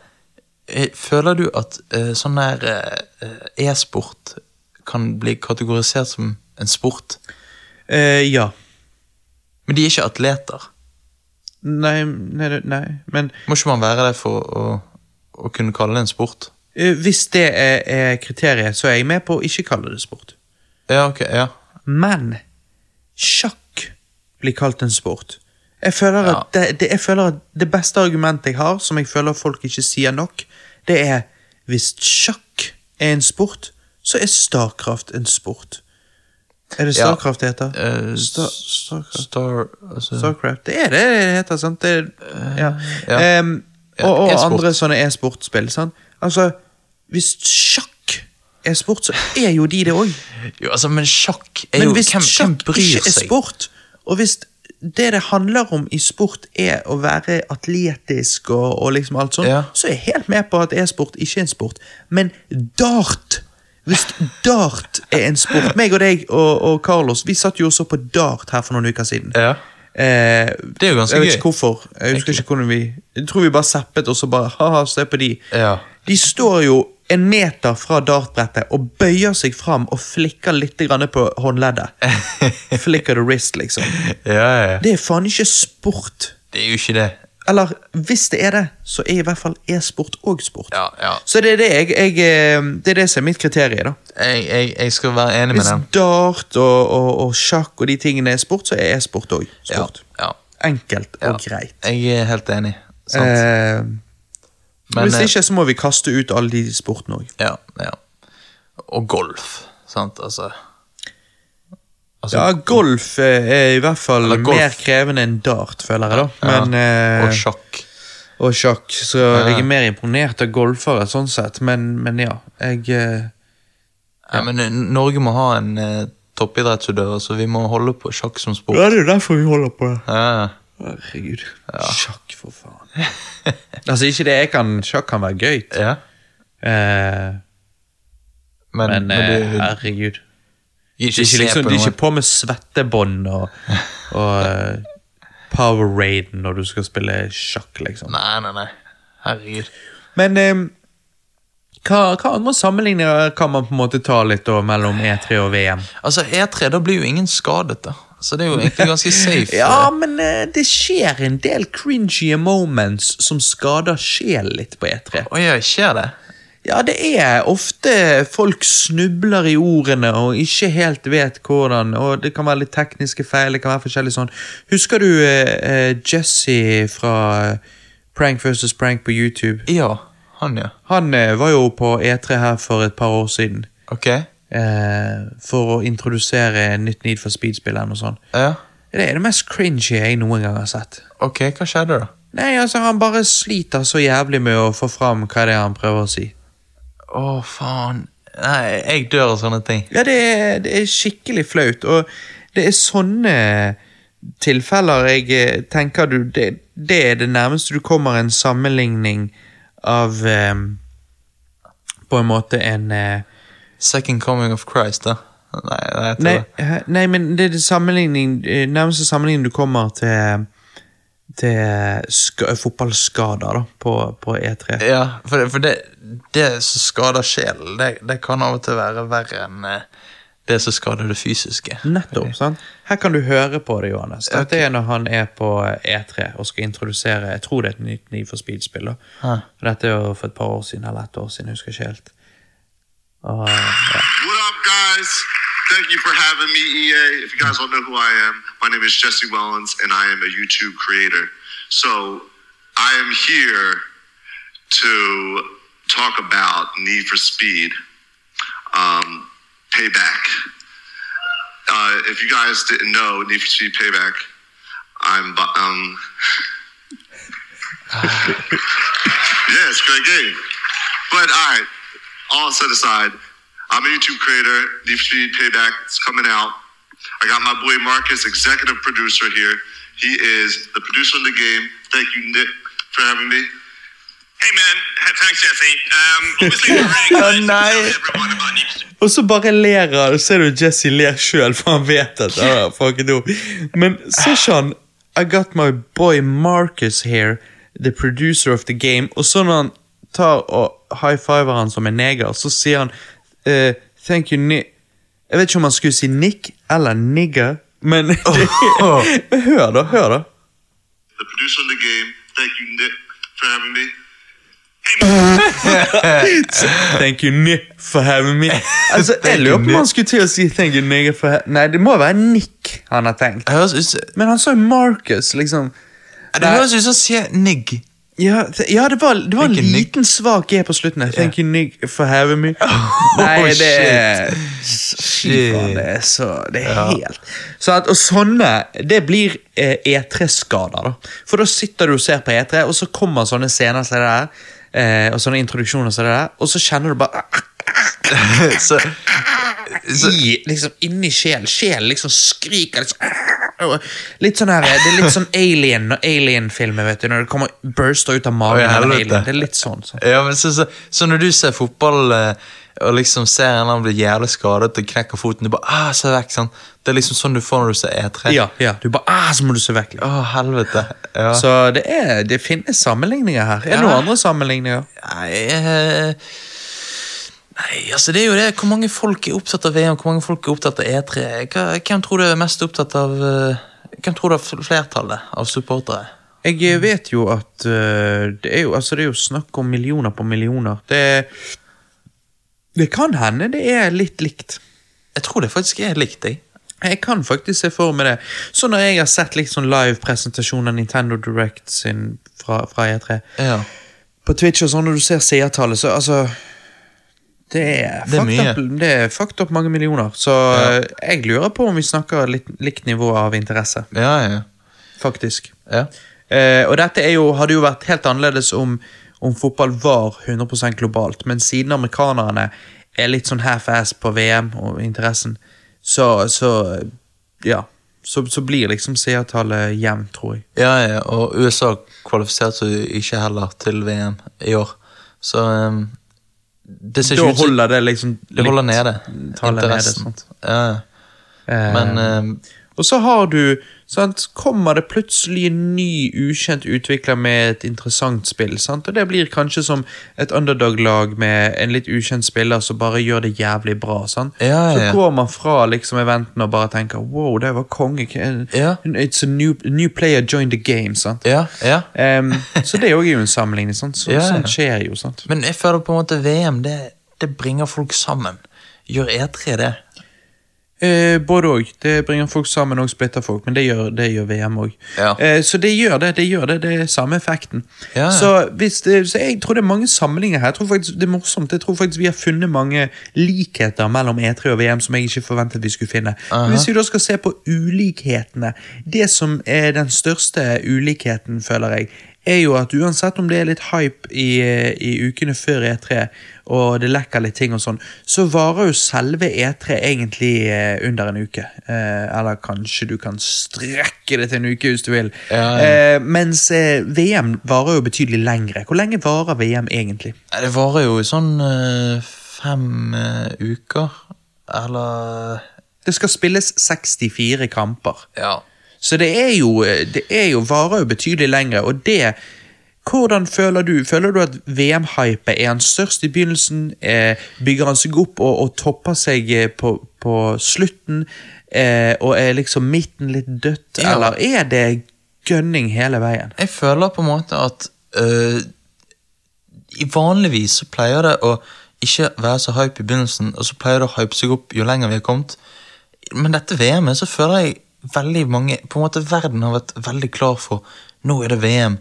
B: eh, føler du at eh, sånn der eh, eh, e-sport kan bli kategorisert som en sport?
A: Eh, ja.
B: Men de er ikke atleter.
A: Nei, nei, det- nei. men
B: Må ikke man være det for å, å kunne kalle det en sport?
A: eh, hvis det er, er kriteriet, så er jeg med på å ikke kalle det sport.
B: Ja, ok, ja.
A: Men sjakk blir kalt en sport. Jeg føler,
B: Ja.
A: at det, det, jeg føler at det beste argumentet jeg har, som jeg føler folk ikke sier nok, det er hvis sjakk er en sport, så er Starcraft en sport. Er det
B: Ja.
A: Starcraft det heter?
B: Eh,
A: Star-
B: s-
A: Starcraft.
B: Star, altså,
A: Starcraft. Det er det det heter, sant? Det, er- ja.
B: ja.
A: Ehm, og og
B: E-sport.
A: andre sånne e-sportspill. sant? Altså, hvis sjakk er sport, så er jo de det òg.
B: jo, altså, men sjakk er
A: Men
B: jo
A: hvis
B: hvem, hvem
A: sjakk
B: bryr
A: ikke er
B: seg?
A: sport, og hvis det det handler om i sport er å være atletisk og, og liksom alt sånt,
B: Ja.
A: så er jeg helt med på at e-sport ikke er en sport. Men dart Hvis dart er en sport Meg og deg og, og Carlos vi satt jo og så på dart her for noen uker siden.
B: Ja.
A: Eh,
B: Det er jo ganske
A: jeg vet
B: gøy.
A: ikke hvorfor. Jeg husker ikke hvordan vi Jeg tror vi bare zappet og så bare haha, se på de.
B: Ja.
A: De står jo en meter fra dartbrettet og bøyer seg fram og flikker litt grann på håndleddet. flikker the wrist, liksom.
B: Ja, ja.
A: Det er faen ikke sport.
B: Det er jo ikke det.
A: Eller hvis det er det, så er i hvert fall e-sport òg sport.
B: Ja, ja.
A: Så det er det, jeg, jeg, eh, det er det som er mitt kriterium. da.
B: Jeg, jeg, jeg skal være enig med
A: Hvis
B: den.
A: dart og, og, og sjakk og de tingene er sport, så er e-sport òg
B: Ja,
A: sport.
B: ja.
A: Enkelt og
B: Ja.
A: greit.
B: Jeg er helt enig. Sant.
A: Eh,
B: Men,
A: hvis
B: eh,
A: ikke, så må vi kaste ut alle de sportene òg.
B: Ja, ja. Og golf, sant, altså. altså
A: Ja, golf eh, er i hvert fall
B: Eller golf.
A: mer krevende enn dart, føler jeg, da. Men,
B: ja. Og
A: eh,
B: sjakk.
A: og sjakk. Så jeg er mer imponert av golfere, sånn sett. Men, men ja, jeg eh,
B: Ja. men eh, Norge må ha en eh, toppidrettsutøver, så vi må holde på sjakk som sport.
A: Ja, det er jo derfor vi holder på.
B: Ja.
A: Herregud. Sjakk, for faen. altså, ikke det jeg kan Sjakk kan være gøy,
B: ja.
A: eh,
B: Men,
A: men,
B: men,
A: eh,
B: du
A: herregud.
B: ikke,
A: De er ikke,
B: se
A: liksom,
B: på
A: de er
B: noen.
A: ikke på med svettebånd og, og eh, power raid når du skal spille sjakk, liksom.
B: Nei, nei, nei. Herregud.
A: Men eh, hva, hva andre sammenligninger kan man på en måte ta litt da mellom E3 og VM?
B: Altså, E3, da blir jo ingen skadet, da. så det er jo egentlig ganske safe.
A: Ja, men eh, det skjer en del cringy moments som skader sjelen litt på E3.
B: Å ja, skjer det?
A: Ja, det er ofte folk snubler i ordene og ikke helt vet hvordan, og det kan være litt tekniske feil, det kan være forskjellig sånn. Husker du eh, eh, Jesse fra eh, Prank vs. Prank på YouTube?
B: Ja, han ja.
A: Han eh, var jo på E3 her for et par år siden,
B: Ok.
A: eh, for å introdusere nytt Need for Speed-spilleren og sånn.
B: Ja.
A: Det er det mest cringy jeg noen gang har sett.
B: Ok, hva skjedde da?
A: Nei, altså, han bare sliter så jævlig med å få fram hva det er han prøver å si.
B: Å, faen. Nei, jeg dør av sånne ting.
A: Ja, det er, det er skikkelig flaut, og det er sånne tilfeller jeg eh, tenker du Det, det er det nærmeste du kommer en sammenligning av eh, På en måte en eh,
B: Second coming of Christ, da. Nei, nei, jeg tror
A: nei,
B: det.
A: hæ? nei, men det er det sammenligning, eh, nærmeste sammenligning du kommer til til sk fotballskader da, på, på E E3.
B: Ja, for det, for det, det som skader sjelen, det, det kan av og til være verre enn eh, det som skader det fysiske.
A: Nettopp. sant? Her kan du høre på det, Johannes. Dette
B: Ok.
A: er når han er på E3 og skal introdusere Jeg tror det er et nytt Need for Speed-spill. da.
B: Ah.
A: For Dette er jo for et par år siden eller et år siden. jeg husker ikke helt. Og,
C: What up, guys? Thank you for having me, EA. If you guys don't know who I am, my name is Jesse Wellens, and I am a YouTube creator. So I am here to talk about Need for Speed um, Payback. Uh, if you guys didn't know, Need for Speed Payback, I'm. bu- Um, yeah, it's a great game. But all right, all set aside, I'm a YouTube creator. Deep Speed Payback is coming out. I got my boy Marcus, executive producer here. He is the producer of the game. Thank you, Nick, for having me.
D: Hey man, H- thanks Jesse. Um, obviously we're really excited to tell everyone about Need for Speed.
A: og så bare ler han. Ser du Jesse ler sjøl, for han vet at han har fucket opp. Men så sa han I got my boy Marcus here, the producer of the game. Og så når han tar og high-fiver han som en neger, så sier han eh, Thank you, Nick. Jeg vet ikke om han skulle si Nick eller nigger, men Men Hør, da. Hør, da.
C: The producer of the game. Thank you, Nick, for having me.
A: Thank you, Nick, for having me. Altså,
B: Thank
A: Jeg lurer
B: you,
A: på om
B: Nick.
A: han skulle til å si thank you, nigger, for ha- Nei, det må være Nick han har tenkt.
B: Det høres ut som
A: Men han sa jo Marcus, liksom.
B: det høres ut som sier nigg.
A: Ja, th- ja det var, det var en
B: Thank you, Nick.
A: liten svak G på slutten. der. Thank you, Nick, for having me.
B: Oh,
A: Nei, det er Fy faen, det er så Det er helt så at, Og sånne Det blir eh, E3-skader, da. For da sitter du og ser på E3, og så kommer sånne scener som det der, eh, og sånne introduksjoner som det der, og så kjenner du bare
B: Så, så,
A: i, liksom inni sjel. Sjelen liksom skriker liksom, og Litt sånn her, Det er litt sånn alien alien-filmer, vet du. Når det kommer burster ut av magen.
B: Å, ja,
A: av en
B: helvete.
A: alien. Det er litt sånn. sånn.
B: ja, men så, så, så når du ser fotball eh, og liksom ser en annen bli jævlig skadet og knekker foten, du bare ah, se vekk, sånn. Det er liksom sånn du får når du ser E3.
A: Ja, ja. Du bare ah, Så må du se vekk.
B: Å, helvete. Ja.
A: Så det, er, det finnes sammenligninger her. Er det
B: Ja.
A: noen andre sammenligninger?
B: Nei, eh, nei, altså det er jo det. Hvor mange folk er opptatt av VM? Hvor mange folk er opptatt av E3? Hva, hvem tror du er mest opptatt av eh, Hvem tror du er fl- flertallet av supportere?
A: Jeg eh, vet jo at øh, det, er jo, altså det er jo snakk om millioner på millioner. Det, det kan hende det er litt likt.
B: Jeg tror det faktisk er likt, jeg.
A: Jeg kan faktisk se for meg det. Så når jeg har sett liksom live-presentasjon av Nintendo Direct sin fra, fra E3
B: Ja.
A: På Twitch og sånn, når du ser seertallet, så altså Det er,
B: Det er
A: fucked
B: mye.
A: Up, det er fucked up mange millioner. Så eh, jeg lurer på om vi snakker litt likt nivå av interesse,
B: Ja, ja,
A: faktisk.
B: ja.
A: Eh, og dette er jo, hadde jo vært helt annerledes om, om fotball var 100 globalt, men siden amerikanerne er litt sånn half-ass på VM og interessen, så, så ja. Så, så blir liksom seertallet jevnt, tror jeg.
B: ja, ja. Og USA kvalifiserte seg ikke heller til VM i år, så eh, det ser
A: Da
B: ikke ut som
A: holder det liksom
B: Det holder
A: litt
B: nede
A: tallet nede.
B: interessen.
A: Sant?
B: Ja, ja.
A: Eh,
B: men eh,
A: Og så har du sant, Kommer det plutselig en ny, ukjent utvikler med et interessant spill, sant? og det blir kanskje som et underdog-lag med en litt ukjent spiller som bare gjør det jævlig bra. Sant?
B: Ja, ja, ja.
A: Så går man fra liksom eventen og bare tenker Wow, det var konge. hva-
B: Ja.
A: It's a new, new player joined the game. Sant?
B: Ja, ja.
A: Em, så det òg er jo en sammenligning. Sant? Så,
B: Ja, ja.
A: Sånt skjer jo. Sant?
B: Men jeg føler på en måte VM, det, det bringer folk sammen. Gjør E3 det?
A: Eh, både òg. Det bringer folk sammen og splitter folk, men det gjør, det gjør VM òg.
B: Ja.
A: Eh, så det gjør det. Det gjør det, det er samme effekten.
B: Ja, ja.
A: Så, hvis det, så jeg tror det er mange sammenligninger her. Jeg tror faktisk Det er morsomt. Jeg tror faktisk vi har funnet mange likheter mellom E3 og VM som jeg ikke forventet vi skulle finne. Men Hvis vi da skal se på ulikhetene Det som er den største ulikheten, føler jeg, er jo at uansett om det er litt hype i, i ukene før E3, og det lekker litt ting og sånn, så varer jo selve E3 egentlig eh, under en uke. Eh, eller kanskje du kan strekke det til en uke hvis du vil.
B: Ja,
A: Eh, mens eh, VM varer jo betydelig lengre. Hvor lenge varer VM egentlig?
B: Nei, Det varer jo i sånn eh, fem eh, uker. Eller
A: Det skal spilles 64 kamper.
B: Ja.
A: Så det er jo, eh, det er jo varer jo betydelig lengre, og det hvordan føler du Føler du at VM-hypet er han størst i begynnelsen? Eh, bygger han seg opp og, og topper seg eh, på, på slutten? Eh, og er liksom midten litt dødt?
B: Ja.
A: Eller er det gønning hele veien?
B: Jeg føler på en måte at øh, i Vanligvis så pleier det å ikke være så hype i begynnelsen, og så pleier det å hype seg opp jo lenger vi har kommet. Men dette VM-et så føler jeg veldig mange På en måte verden har vært veldig klar for Nå er det VM,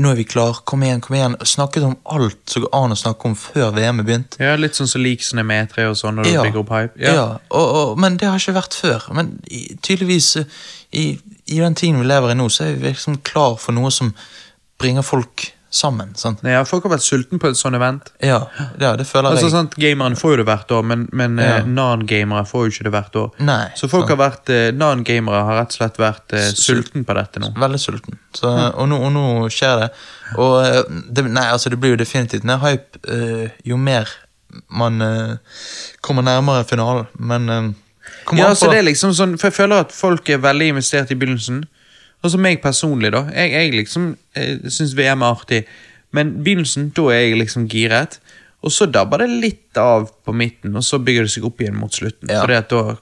B: nå er vi klar, kom igjen, kom igjen. og Snakket om alt som går an å snakke om før VM er begynt.
A: Ja, Litt sånn som Leaksen er med tre og sånn, når
B: Ja.
A: du bygger opp hype.
B: Ja, og, og, men det har ikke vært før. Men i, tydeligvis, eh, i, i den tiden vi lever i nå, så er vi liksom klar for noe som bringer folk sammen. Sant?
A: Nei, ja, Folk har vært sulten på et sånt event.
B: Ja, ja, det føler
A: Altså
B: jeg.
A: sant, Gameren får jo det hvert år, men, men
B: Ja.
A: eh, non-gamere får jo ikke det hvert år.
B: Nei,
A: så folk
B: sant.
A: har vært, eh, non-gamere har rett og slett vært eh,
B: Sulten.
A: sulten på dette nå.
B: Veldig sulten. Så, og, nå, og nå skjer det. Og eh, det, nei, altså, det blir jo definitivt mer hype eh, jo mer man eh, kommer nærmere finalen. Men eh, kommer
A: Ja,
B: an
A: så
B: på-
A: det er liksom sånn, for Jeg føler at folk er veldig investert i begynnelsen. Og så meg personlig, da. Jeg, jeg liksom eh, syns VM er artig, men begynnelsen, da er jeg liksom giret. Og så dabber det litt av på midten, og så bygger det seg opp igjen mot slutten.
B: Ja.
A: Fordi at da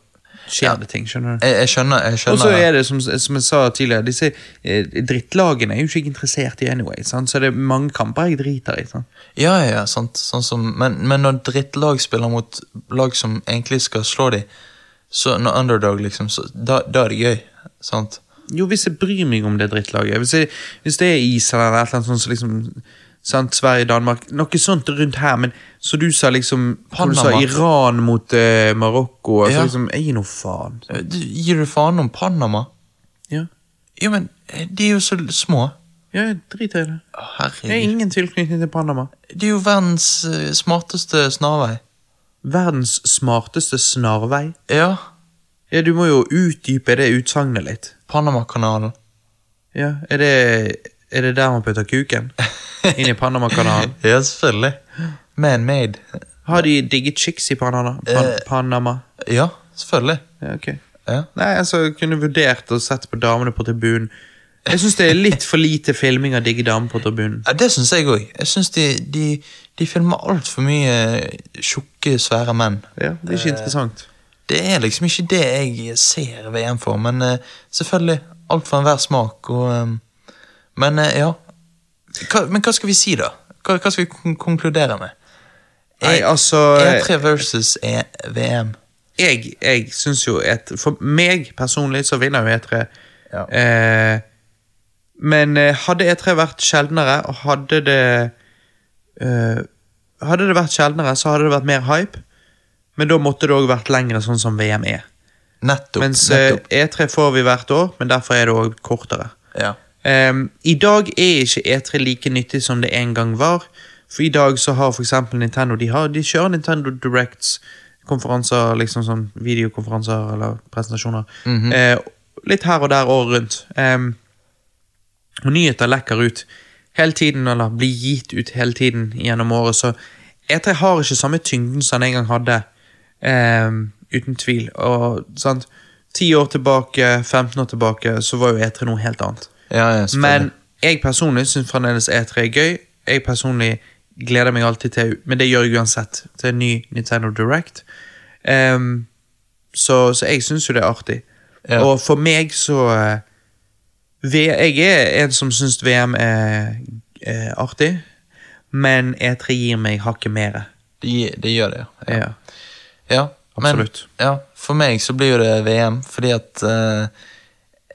A: skjer det ting, skjønner du.
B: jeg, jeg skjønner. Jeg skjønner
A: Og så er det, som, som jeg sa tidligere, disse eh, drittlagene er jo ikke interessert i anyway, sant? så det er mange kamper jeg driter i. Sant?
B: Ja, ja, ja, sant. Sånn som, men, men når drittlag spiller mot lag som egentlig skal slå dem, så når underdog, liksom, så, da, da er det gøy. Sant?
A: Jo, hvis jeg bryr meg om det drittlaget, hvis, jeg, hvis det er Island eller et eller annet sånt, så liksom, sant? Sverige, Danmark, noe sånt rundt her, men så du sa liksom, hvor du sa
B: Panama.
A: Iran mot eh, Marokko, og
B: Ja.
A: så liksom, jeg gir noe faen.
B: Eh, Du, gir du faen om Panama?
A: Ja,
B: Jo, men eh, de er jo så små.
A: ja jeg driter i det.
B: Å,
A: Jeg har
B: Herregud.
A: ingen tilknytning til Panama.
B: De er jo verdens eh, smarteste snarvei.
A: Verdens smarteste snarvei.
B: Ja,
A: Ja, du må jo utdype det utsagnet litt.
B: Panamakanalen.
A: Ja, er det, er det der man putter kuken? Inn i Panamakanalen?
B: Ja, selvfølgelig. Man-made.
A: Har de digge chicks i Panama? Pan
B: Eh.
A: Panama?
B: Ja, selvfølgelig.
A: Ja, ok.
B: Ja.
A: Nei, altså, jeg kunne vurdert å sette på damene på tribunen. Jeg syns det er litt for lite filming av digge damer på tribunen.
B: Ja, det syns jeg òg. Jeg syns de, de, de filmer altfor mye tjukke, svære menn.
A: Ja, det er
B: Eh.
A: ikke interessant.
B: Det er liksom ikke det jeg ser VM for, men eh, selvfølgelig alt for enhver smak. Og, eh, men eh, ja hva, Men hva skal vi si, da? Hva, hva skal vi kon konkludere med?
A: Nei, altså
B: E3 versus e VM.
A: Jeg, jeg syns jo at For meg personlig så vinner jo E3.
B: Ja.
A: Eh, men eh, hadde E3 vært sjeldnere, og hadde det eh, Hadde det vært sjeldnere, så hadde det vært mer hype. Men da måtte det òg vært lengre, sånn som VM er.
B: Nettopp.
A: Mens eh,
B: nettopp.
A: E3 får vi hvert år, men derfor er det òg kortere.
B: Ja.
A: Ehm, I dag er ikke E3 like nyttig som det en gang var. For i dag så har for eksempel Nintendo De, har, de kjører Nintendo Directs konferanser, liksom sånn videokonferanser eller presentasjoner. Eh, litt her og der året rundt. Ehm, og nyheter lekker ut hele tiden, eller blir gitt ut hele tiden gjennom året. Så E3 har ikke samme tyngden som den en gang hadde, ehm, uten tvil. Og, sant? 10 år tilbake, 15 år tilbake, så var jo E3 noe helt annet.
B: Ja, ja, selvfølgelig.
A: Men jeg personlig syns fremdeles E3 er gøy. Jeg personlig gleder meg alltid til Men det gjør jeg uansett. Til en ny Nintendo Direct. Ehm, så, så jeg syns jo det er artig.
B: Ja.
A: Og for meg så eh, v, Jeg er en som syns VM er, er artig, men E3 gir meg hakket mer.
B: det, gi- det gjør det, ja.
A: Ja.
B: ja.
A: Absolutt.
B: Men, ja, for meg så blir jo det VM, fordi at eh,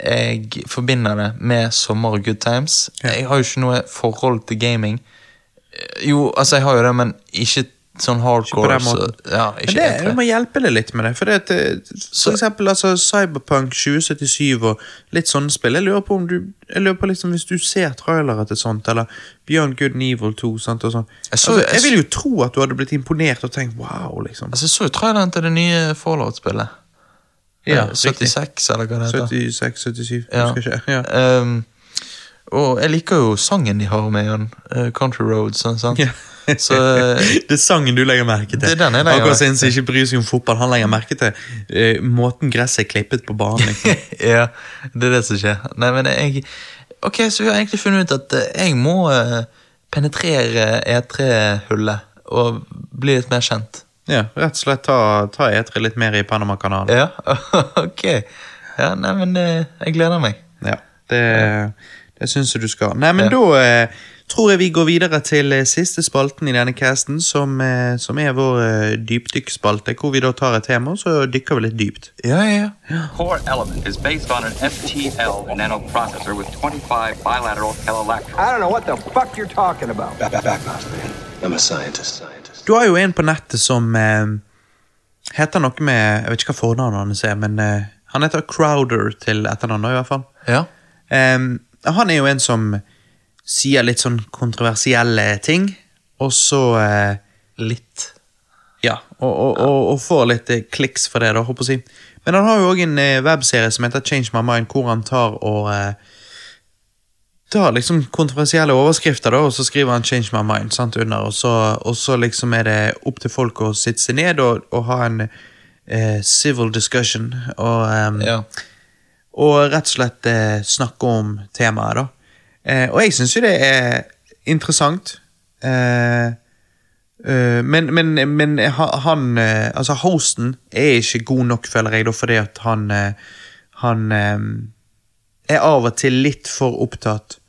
B: jeg forbinder det med sommer og good times. Jeg har jo ikke noe forhold til gaming. Eh, Jo, altså jeg har jo det, men ikke sånn hardcore.
A: Ikke på den måten.
B: Så, ja, ikke
A: Men det,
B: E3.
A: vi må hjelpe det litt med det. For, det at, eh,
B: Så-
A: for eksempel altså, Cyberpunk 2077 og litt sånne spill. Jeg lurer på, om du, jeg lurer på liksom, hvis du ser trailere til sånt, eller Beyond Good and Evil 2 sant, og sånn.
B: Jeg så-
A: altså,
B: jeg
A: jeg
B: så-
A: vil jo tro at du hadde blitt imponert og tenkt wow, liksom.
B: Altså, jeg så jo traileren til det nye Fallout-spillet.
A: Ja,
B: Eh, 76, eller hva det heter.
A: 76-77,
B: Ja.
A: husker ikke. Ja.
B: Ehm, og jeg liker jo sangen de har med den. eh, Country Roads, sånn, sant?
A: Ja.
B: Så eh,
A: Det er sangen du legger merke til.
B: Det er den jeg legger merke
A: Akkurat som en som ikke bryr seg om fotball. Han legger merke til eh, måten gresset er klippet på banen. Liksom.
B: ja, det er det som skjer. Nei, men jeg Ok, så vi har egentlig funnet ut at eh, jeg må eh, penetrere E3-hullet og bli litt mer kjent.
A: Ja, rett og slett ta, ta E3 litt mer i Panamakanalen.
B: Ja, ok. Ja, nei, men eh, jeg gleder meg.
A: Ja, det, det syns jeg du skal. Nei, men da eh, tror jeg vi går videre til eh, siste spalten i denne casten, som, eh, som er vår eh, dypdykkspalte, hvor vi da tar et tema, og så dykker vi litt dypt.
B: Ja, ja, ja.
E: Core Element is based on an FTL nanoprocessor with 25 bilateral electrons.
F: I don't know what the fuck you're talking about.
A: Du har jo en på nettet som eh, heter noe med Jeg vet ikke hva fornavnet hans er, men eh, han heter Crowder til etternavn, da, i hvert fall.
B: ja.
A: Ehm, han er jo en som sier litt sånn kontroversielle ting, og så eh,
B: Litt.
A: Ja, og, og, og, og får litt eh, kliks for det, da, håper jeg å si. Men han har jo òg en eh, webserie som heter Change My Mind, hvor han tar og eh, tar liksom kontroversielle overskrifter, da, og så skriver han 'Change My Mind' sant, under, og så, og så liksom er det opp til folk å sitte seg ned og, og ha en eh, civil discussion, og, ehm,
B: Ja.
A: og rett og slett eh, snakke om temaet, da. Eh, og jeg syns jo det er interessant. Eh, Eh, men, men, men ha- han eh, Altså, hosten er ikke god nok, føler jeg, da, fordi at han eh, Han eh, er av og til litt for opptatt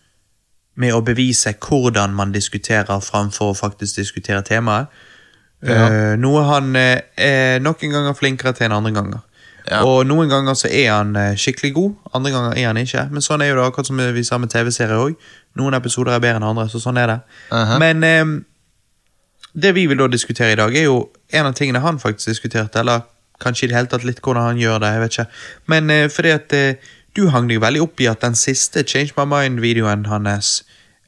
A: med å bevise hvordan man diskuterer, framfor å faktisk diskutere temaet. Eh, noe han eh, er noen ganger flinkere til enn andre ganger.
B: Ja.
A: Og noen ganger så er han eh, skikkelig god, andre ganger er han ikke. Men sånn er jo det akkurat som vi sa med TV-serier òg. Noen episoder er bedre enn andre, så sånn er det.
B: Aha.
A: Men eh, det vi vil da diskutere i dag, er jo en av tingene han faktisk diskuterte, eller kanskje i det hele tatt litt hvordan han gjør det, jeg vet ikke. Men eh, fordi at eh, du hang deg veldig opp i at den siste Change My Mind-videoen hans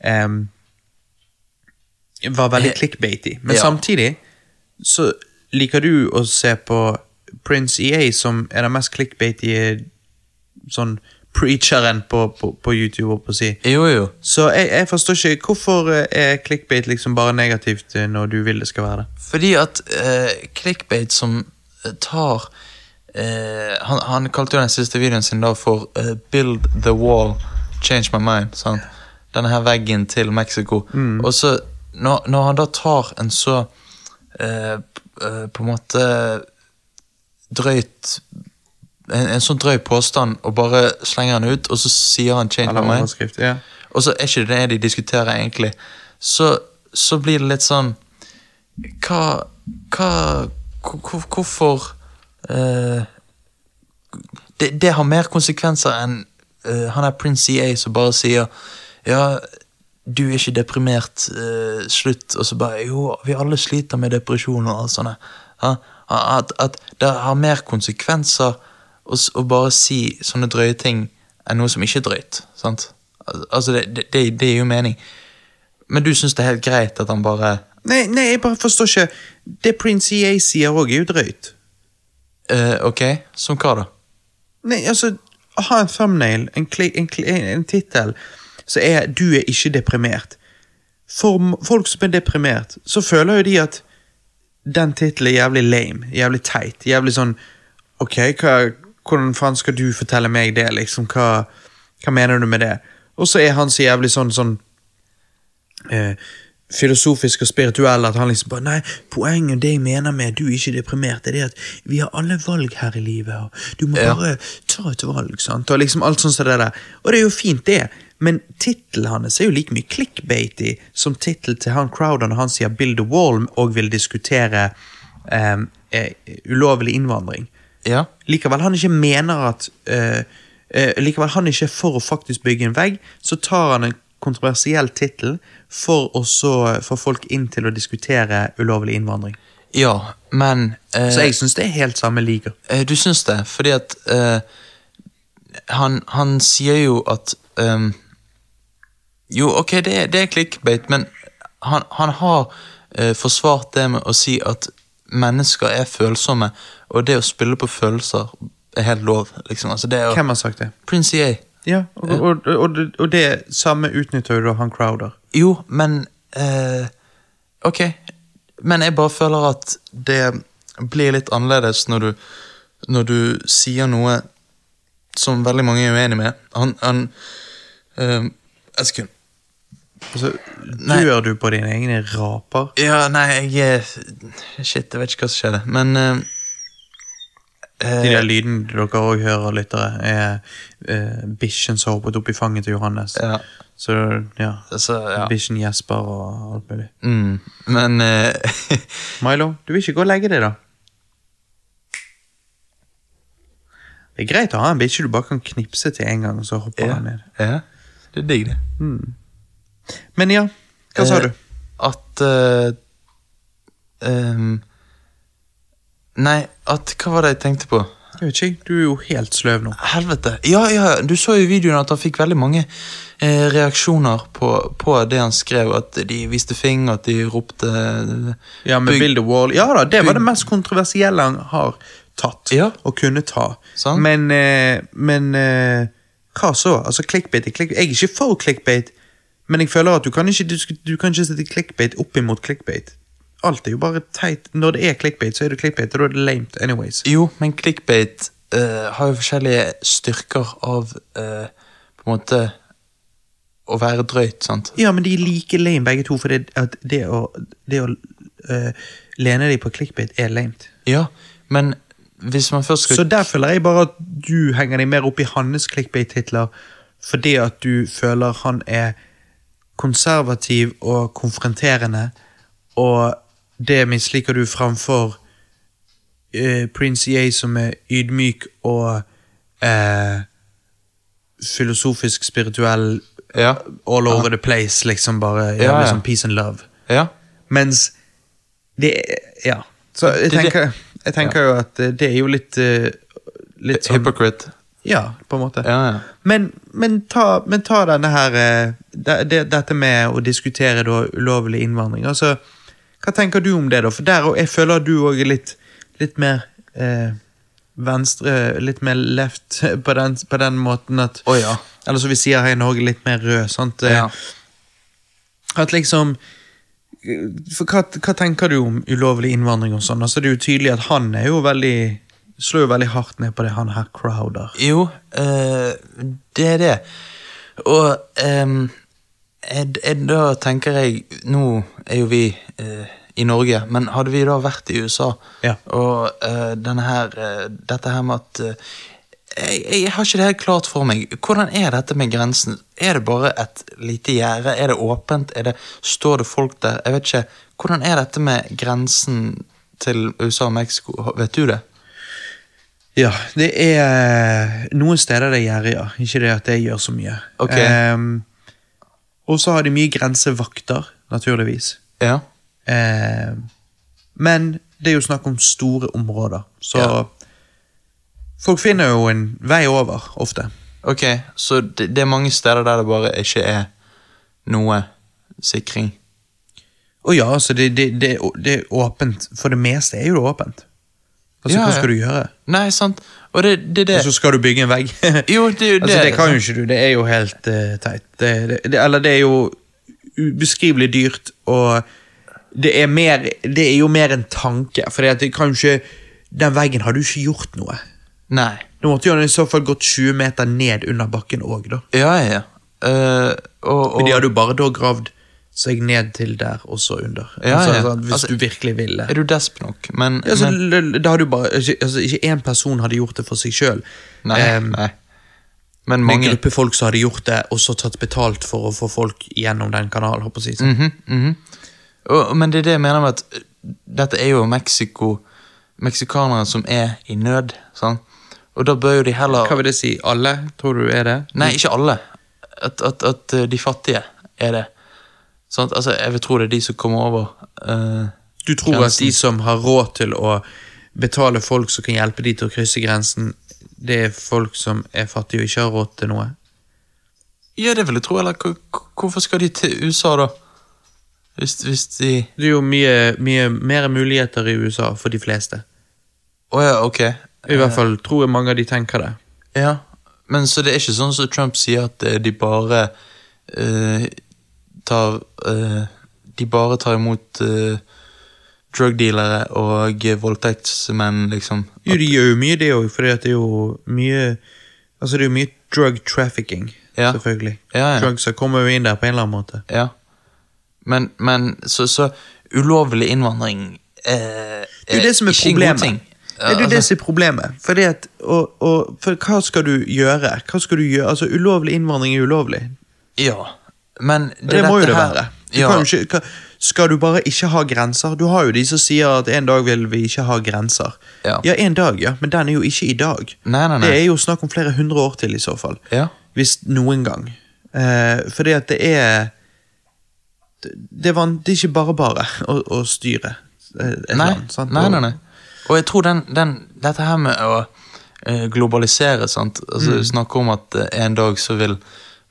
A: em, var veldig
B: Eh,
A: clickbaity. Men
B: ja.
A: samtidig så liker du å se på Prince EA, som er den mest clickbaity sånn preacheren på, på, på YouTube, holdt på å si.
B: Jo, jo.
A: Så jeg, jeg forstår ikke hvorfor eh, er clickbait liksom bare negativt eh, når du vil det skal være det.
B: Fordi at eh, clickbait som eh, tar eh, han, han kalte jo den siste videoen sin da for eh, 'Build the wall, change my mind'. Sant? Denne her veggen til Mexico. Og så, når, når han da tar en så eh, p- eh, på en måte drøyt en, en sånn drøy påstand, og bare slenger den ut, og så sier han 'change
A: Eller
B: my mind'.
A: overskrift, ja.
B: Og så er ikke det det de diskuterer egentlig Så, så blir det litt sånn Hva, hva hvor- hvor- Hvorfor eh, det, det har mer konsekvenser enn eh, Han er Prince EA som bare sier Ja, du er ikke deprimert eh, Slutt Og så bare, jo, vi alle sliter med depresjon Og alt sånt ja, at, at det har mer konsekvenser å, s- å bare si sånne drøye ting Enn noe som ikke er drøyt Sant? Al- Altså, det, det, det, det gir jo mening Men du synes det er helt greit at han bare
A: Nei, nei, jeg bare forstår ikke. Det Prince EA sier òg, er jo drøyt.
B: eh, Ok, som hva da?
A: Nei, altså, å ha en thumbnail, en, kli- en, kli- en tittel, så er 'du er ikke deprimert'. For m- folk som er deprimert, så føler jo de at den tittelen er jævlig lame, jævlig teit, jævlig sånn Ok, hva, Hvordan faen skal du fortelle meg det, liksom? Hva, hva mener du med det? Og så er han så jævlig sånn sånn eh, filosofisk og spirituell at han liksom bare Nei, poenget det jeg mener med at du ikke er deprimert, det er det at vi har alle valg her i livet, og du må
B: Ja.
A: bare ta et valg, sant, og liksom alt sånt som det der. Og det er jo fint, det, men tittelen hans er jo like mye clickbaity som tittelen til han crowdene han sier 'Build the Wall' og vil diskutere eh, eh, ulovlig innvandring
B: Ja.
A: likevel han ikke mener at eh, eh, Likevel han ikke er for å faktisk bygge en vegg, så tar han en kontroversiell tittel for å så få folk inn til å diskutere ulovlig innvandring.
B: ja, men eh,
A: Så jeg syns det er helt samme liga.
B: Eh, Du syns det, fordi at eh, han, han sier jo at ehm, Jo, ok, det, er- det er clickbait, men han, han har eh, forsvart det med å si at mennesker er følsomme, og det å spille på følelser er helt lov. liksom. Altså, det er jo
A: Hvem har sagt det? Eh.
B: Prince E EA.
A: Ja, og, og, og, det- og det samme utnytter jo da han Crowder.
B: Jo, men eh, Ok. Men jeg bare føler at det blir litt annerledes når du, når du sier noe som veldig mange er uenig med. Han, han eh, Et sekund.
A: Altså,
B: Nei.
A: Dør du på dine egne raper?
B: Ja, nei, jeg eh, Shit, jeg vet ikke hva som skjedde, men eh,
A: De der lydene dere òg hører, lyttere, er eh, bikkjen som hoppet opp i fanget til Johannes.
B: Ja.
A: Så ja,
B: altså, ja.
A: bikkjen gjesper og alt mulig.
B: Mm, men eh,
A: Milo, du vil ikke gå og legge deg, da? Det er greit å ha en bikkje du bare kan knipse til en gang, og så hopper
B: ja,
A: han ned.
B: ja, Det er digg, det.
A: Men ja, hva sa
B: Eh,
A: du?
B: At eh, ehm, Nei, at Hva var det jeg tenkte på?
A: Jeg vet ikke, du er jo helt sløv nå.
B: Helvete. Ja, ja, du så jo i videoen at han fikk veldig mange eh, reaksjoner på, på det han skrev. At de viste finger, at de ropte eh,
A: Ja, med
B: Bygg-
A: Build a Wall. Ja da, det var
B: Bygg-
A: det mest kontroversielle han har tatt,
B: Ja.
A: og kunne ta.
B: Sant.
A: Men, eh, men eh, hva så? Altså, clickbait er clickbait. Jeg er ikke for clickbait, men jeg føler at du kan ikke, disk- du kan ikke sette clickbait opp imot clickbait. Alt er jo bare teit. Når det er clickbait, så er det clickbait, og da er det lamet anyways.
B: Jo, men clickbait eh, har jo forskjellige styrker av eh, på en måte å være drøyt, sant?
A: Ja, men de er like lame begge to, for det, at det å, det å eh, lene deg på clickbait er lamet.
B: Ja, men hvis man først skal
A: Så der føler jeg bare at du henger deg mer opp i hans clickbait-titler fordi at du føler han er konservativ og konfronterende, og det misliker du framfor eh, Prince EA som er ydmyk og eh, filosofisk spirituell eh,
B: Ja.
A: all over the place, liksom bare ja,
B: Ja, ja.
A: liksom peace and love.
B: ja.
A: Mens det er- Ja. Så jeg
B: Det- det-
A: tenker, jeg tenker jo at eh, det er jo litt eh, Litt sånn
B: Hypocrite.
A: Ja, på en måte.
B: Ja, ja.
A: Men, men, ta, men ta denne her eh, de, de, Dette med å diskutere da ulovlig innvandring. Altså, hva tenker du om det, da? For der og jeg føler at du òg er litt, litt mer eh, venstre Litt mer left på den, på den måten at
B: Å, ja.
A: Eller som vi sier her i Norge, litt mer rød. sant? Eh,
B: Ja.
A: At liksom for hva, hva tenker du om ulovlig innvandring og sånn? Altså, det er jo tydelig at han er jo veldig Slår jo veldig hardt ned på det, han her Crowder.
B: Jo, eh, det er det. Og ehm, jeg, jeg, da tenker jeg Nå er jo vi eh, i Norge, men hadde vi da vært i USA
A: Ja.
B: og eh, denne her, eh, dette her med at eh, jeg, jeg har ikke det helt klart for meg. Hvordan er dette med grensen? Er det bare et lite gjerde? Er det åpent? Er det, står det folk der? Jeg vet ikke. Hvordan er dette med grensen til USA og Mexico? Vet du det?
A: Ja, det er noen steder det gjør, ja. Ikke det at det gjør så mye.
B: Ok.
A: Ehm, og så har de mye grensevakter, naturligvis.
B: Ja.
A: Ehm, men det er jo snakk om store områder, så
B: Ja.
A: folk finner jo en vei over ofte.
B: Ok, så det, det er mange steder der det bare ikke er noe sikring.
A: Og ja, altså, det, det, det, det er åpent. For det meste er jo det åpent. Altså,
B: Ja,
A: hva
B: ja.
A: skal du gjøre?
B: Nei, sant? Og det det er det.
A: Og så skal du bygge en vegg?
B: Jo, det er jo
A: altså,
B: det,
A: det kan jo
B: sant?
A: ikke du. Det er jo helt eh, teit. Det, det, det, eller det er jo ubeskrivelig dyrt, og det er, mer, det er jo mer en tanke. For det kan jo ikke Den veggen har du ikke gjort noe.
B: Nei.
A: Da måtte jo han i så fall gått 20 meter ned under bakken òg, da.
B: Ja, ja, ja. Eh, og,
A: Men
B: og,
A: de hadde jo bare da gravd seg ned til der, og så under.
B: Ja,
A: Altså,
B: ja.
A: sånn, hvis
B: Altså,
A: du virkelig ville.
B: er du desp nok? Men,
A: Ja, altså,
B: men
A: l- det hadde jo bare, ikke- altså, ikke én person hadde gjort det for seg sjøl.
B: Nei, nei. Men
A: En
B: mange.
A: gruppe folk som hadde gjort det, og så tatt betalt for å få folk gjennom den kanalen. holdt på å si.
B: Mhm, Og, men det er det jeg mener med at eh, dette er jo Mexico, meksikanere som er i nød. Sant? Og da bør jo de heller
A: Hva vil det si? Alle, tror du er det?
B: Nei, ikke alle. At, at, at eh, de fattige er det. Sant? Altså, jeg vil tro det er de som kommer over. eh,
A: Du tror
B: Grensen.
A: at de som har råd til å betale folk som kan hjelpe de til å krysse grensen, det er folk som er fattige og ikke har råd til noe?
B: ja, det vil jeg tro. Eller hvor- hvor- hvorfor skal de til USA, da? Hvis, hvis de
A: Det er jo mye, mye mer muligheter i USA for de fleste.
B: Å ja, ok.
A: I hvert fall tror jeg mange av de tenker det.
B: Ja. Men så det er ikke sånn som Trump sier, at eh, de bare eh, tar eh, De bare tar imot eh, drug dealere og eh, voldtektsmenn, liksom.
A: Jo, de gjør jo mye det òg, for det er jo mye Altså, det er jo mye drug trafficking,
B: Ja.
A: selvfølgelig.
B: Ja, ja.
A: Drugs kommer jo inn der på en eller annen måte.
B: Ja. Men, men så, så ulovlig innvandring eh,
A: Det er jo det som er
B: ikke en god
A: problemet.
B: ting.
A: Det er jo det
B: altså-
A: som er problemet. Fordi at, og, og, for hva skal du gjøre? Hva skal du gjøre? Altså, Ulovlig innvandring er ulovlig.
B: Ja, men det,
A: Det, må jo
B: dette
A: det
B: her-
A: være. Du
B: Ja,
A: kan jo ikke, hva, skal du bare ikke ha grenser? Du har jo de som sier at en dag vil vi ikke ha grenser.
B: Ja.
A: ja en dag, ja. Men den er jo ikke i dag.
B: Nei, nei, nei.
A: Det er jo snakk om flere hundre år til i så fall.
B: Ja.
A: Hvis noen gang. Eh, fordi at det er det, det, er van, det er ikke bare bare å, å styre eh, et
B: nei,
A: land. sant?
B: nei, nei, nei. Og jeg tror den, den, dette her med å eh, globalisere, sant? Altså,
A: Mm.
B: snakke om at eh, en dag så vil,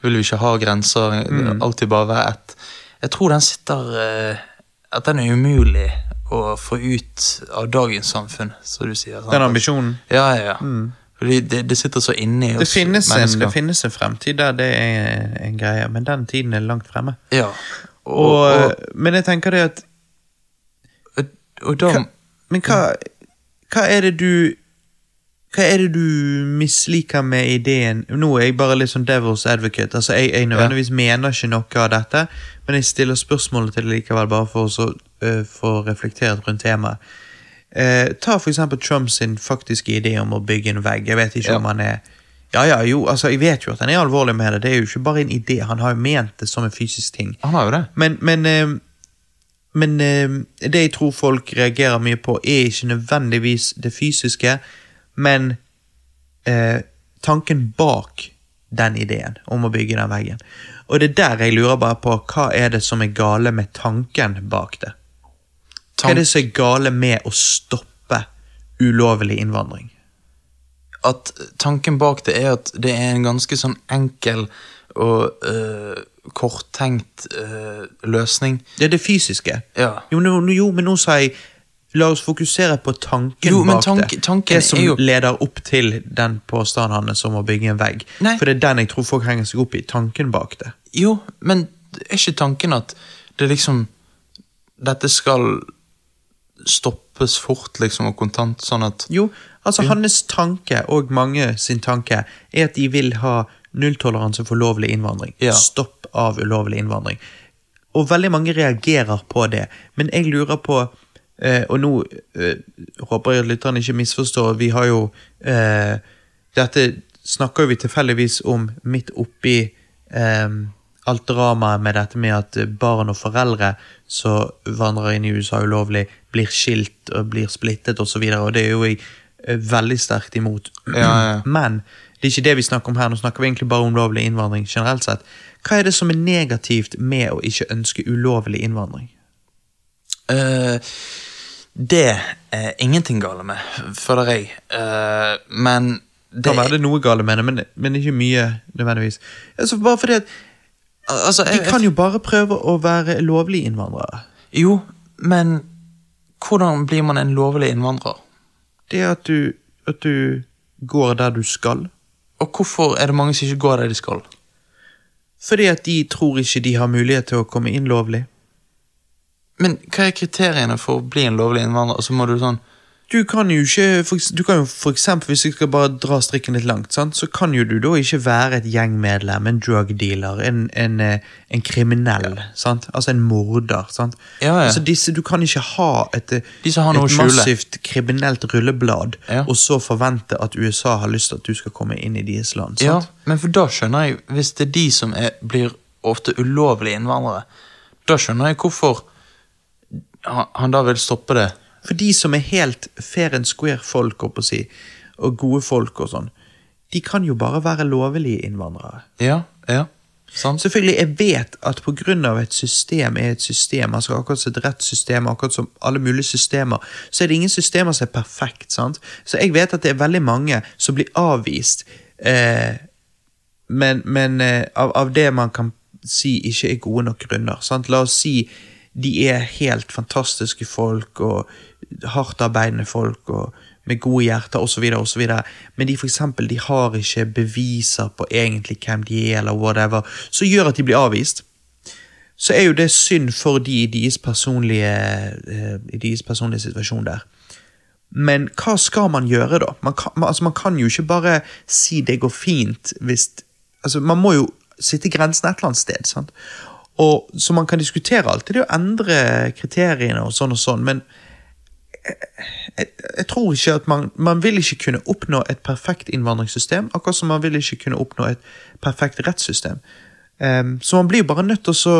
B: vil vi ikke ha grenser, det vil
A: Mm.
B: alltid bare være ett. Jeg tror den sitter, eh, at den er umulig å få ut av dagens samfunn, som du sier. sant?
A: Den ambisjonen.
B: Ja, ja, ja. Fordi det, det sitter så inni
A: Det
B: oss
A: finnes, en,
B: mennesker.
A: det finnes en fremtid der det er en greie, men den tiden er langt fremme.
B: ja. Og,
A: Og, eh,
B: og,
A: men jeg tenker det at
B: og, da
A: hva, Men hva, hva er det du Hva er det du misliker med ideen Nå er jeg bare litt sånn devil's advocate. Altså, jeg, jeg nødvendigvis mener ikke noe av dette, men jeg stiller spørsmålet til det likevel, bare for å så, øh, få reflektert rundt temaet. Eh, ta for eksempel Trump sin faktiske idé om å bygge en vegg. Jeg vet ikke om han er Ja, ja, jo, altså, jeg vet jo at han er alvorlig med det. Det er jo ikke bare en idé. Han har jo ment det som en fysisk ting.
B: Han har jo det.
A: Men, men, eh, men eh, det jeg tror folk reagerer mye på, er ikke nødvendigvis det fysiske, men eh, tanken bak den ideen om å bygge den veggen. Og det er der jeg lurer bare på hva er det som er gale med tanken bak det. Hva er det som er gale med å stoppe ulovlig innvandring?
B: at tanken bak det er at det er en ganske sånn enkel og eh, korttenkt eh, løsning.
A: Det er det fysiske.
B: Ja.
A: Jo, nå- nå- jo, men nå sa jeg La oss fokusere på tanken
B: Jo, men
A: bak
B: tank-
A: det.
B: tanken
A: det som
B: er jo-
A: leder opp til den påstanden hans om å bygge en vegg.
B: Nei.
A: For det er den jeg tror folk henger seg opp i. Tanken bak det.
B: Jo, men er ikke tanken at det liksom Dette skal stoppes fort, liksom, og kontant, sånn at
A: Jo, altså hans tanke, og mange sin tanke, er at de vil ha nulltoleranse for ulovlig innvandring.
B: Ja.
A: Stopp av ulovlig innvandring. Og veldig mange reagerer på det, men jeg lurer på eh, Og nå eh, håper jeg at lytterne ikke misforstår, vi har jo eh, Dette snakker jo vi tilfeldigvis om midt oppi eh, alt dramaet med dette med at barn og foreldre som vandrer inn i USA ulovlig, blir skilt og blir splittet osv., og det er jo jeg eh, veldig sterkt imot.
B: ja, ja.
A: Men det er ikke det vi snakker om her, nå snakker vi egentlig bare om ulovlig innvandring generelt sett. Hva er det som er negativt med å ikke ønske ulovlig innvandring?
B: Eh, det er ingenting gale med, føler jeg. Eh, men det
A: Det kan være det er noe gale med det, men, men ikke mye nødvendigvis. Altså, bare fordi at
B: altså,
A: De
B: jeg-
A: kan jo bare prøve å være lovlige innvandrere.
B: Jo, men hvordan blir man en lovlig innvandrer?
A: Det er at du, at du går der du skal.
B: Og hvorfor er det mange som ikke går der de skal?
A: Fordi at de tror ikke de har mulighet til å komme inn lovlig.
B: Men hva er kriteriene for å bli en lovlig innvandrer? Altså må du sånn
A: Du kan jo ikke for, eks- du kan jo for eksempel, Hvis jeg skal bare dra strikken litt langt, sant? så kan jo du da ikke være et gjengmedlem, en drug dealer, en, en, eh, en kriminell. Sant? Altså en morder. Sant?
B: Ja, ja.
A: Altså disse, du kan ikke ha et, eh,
B: De som har noe å
A: et
B: skjule.
A: massivt kriminelt rulleblad,
B: Ja.
A: og så forvente at USA har lyst til at du skal komme inn i deres land.
B: Ja,
A: Sant?
B: men for da skjønner jeg, hvis det er de som er, blir ofte ulovlige innvandrere, da skjønner jeg hvorfor han, han da vil stoppe det.
A: For de som er helt fair and square-folk, holdt på å si, og gode folk og sånn, de kan jo bare være lovlige innvandrere.
B: Ja, ja, sant?
A: sånn. Selvfølgelig, jeg vet at på grunn av et system er et system, altså akkurat som et rettssystem, akkurat som alle mulige systemer, så er det ingen systemer som er perfekt, sant? Så jeg vet at det er veldig mange som blir avvist, eh, men, men eh, av, av det man kan si ikke er gode nok grunner, sant? La oss si de er helt fantastiske folk, og hardt arbeidende folk, og med gode hjerter, osv., osv., men de for eksempel, de har ikke beviser på egentlig hvem de er, eller whatever, så gjør at de blir avvist så er jo det synd for de i deres personlige, eh, i deres personlige situasjon der. Men hva skal man gjøre, da? Man kan, man, altså, man kan jo ikke bare si det går fint hvis altså, Man må jo sitte grensen et eller annet sted. sant? Og, så man kan diskutere alltid det å endre kriteriene og sånn og sånn, men jeg tror ikke at man, man vil ikke kunne oppnå et perfekt innvandringssystem, akkurat som man vil ikke kunne oppnå et perfekt rettssystem. Ehm, så man blir jo bare nødt til å så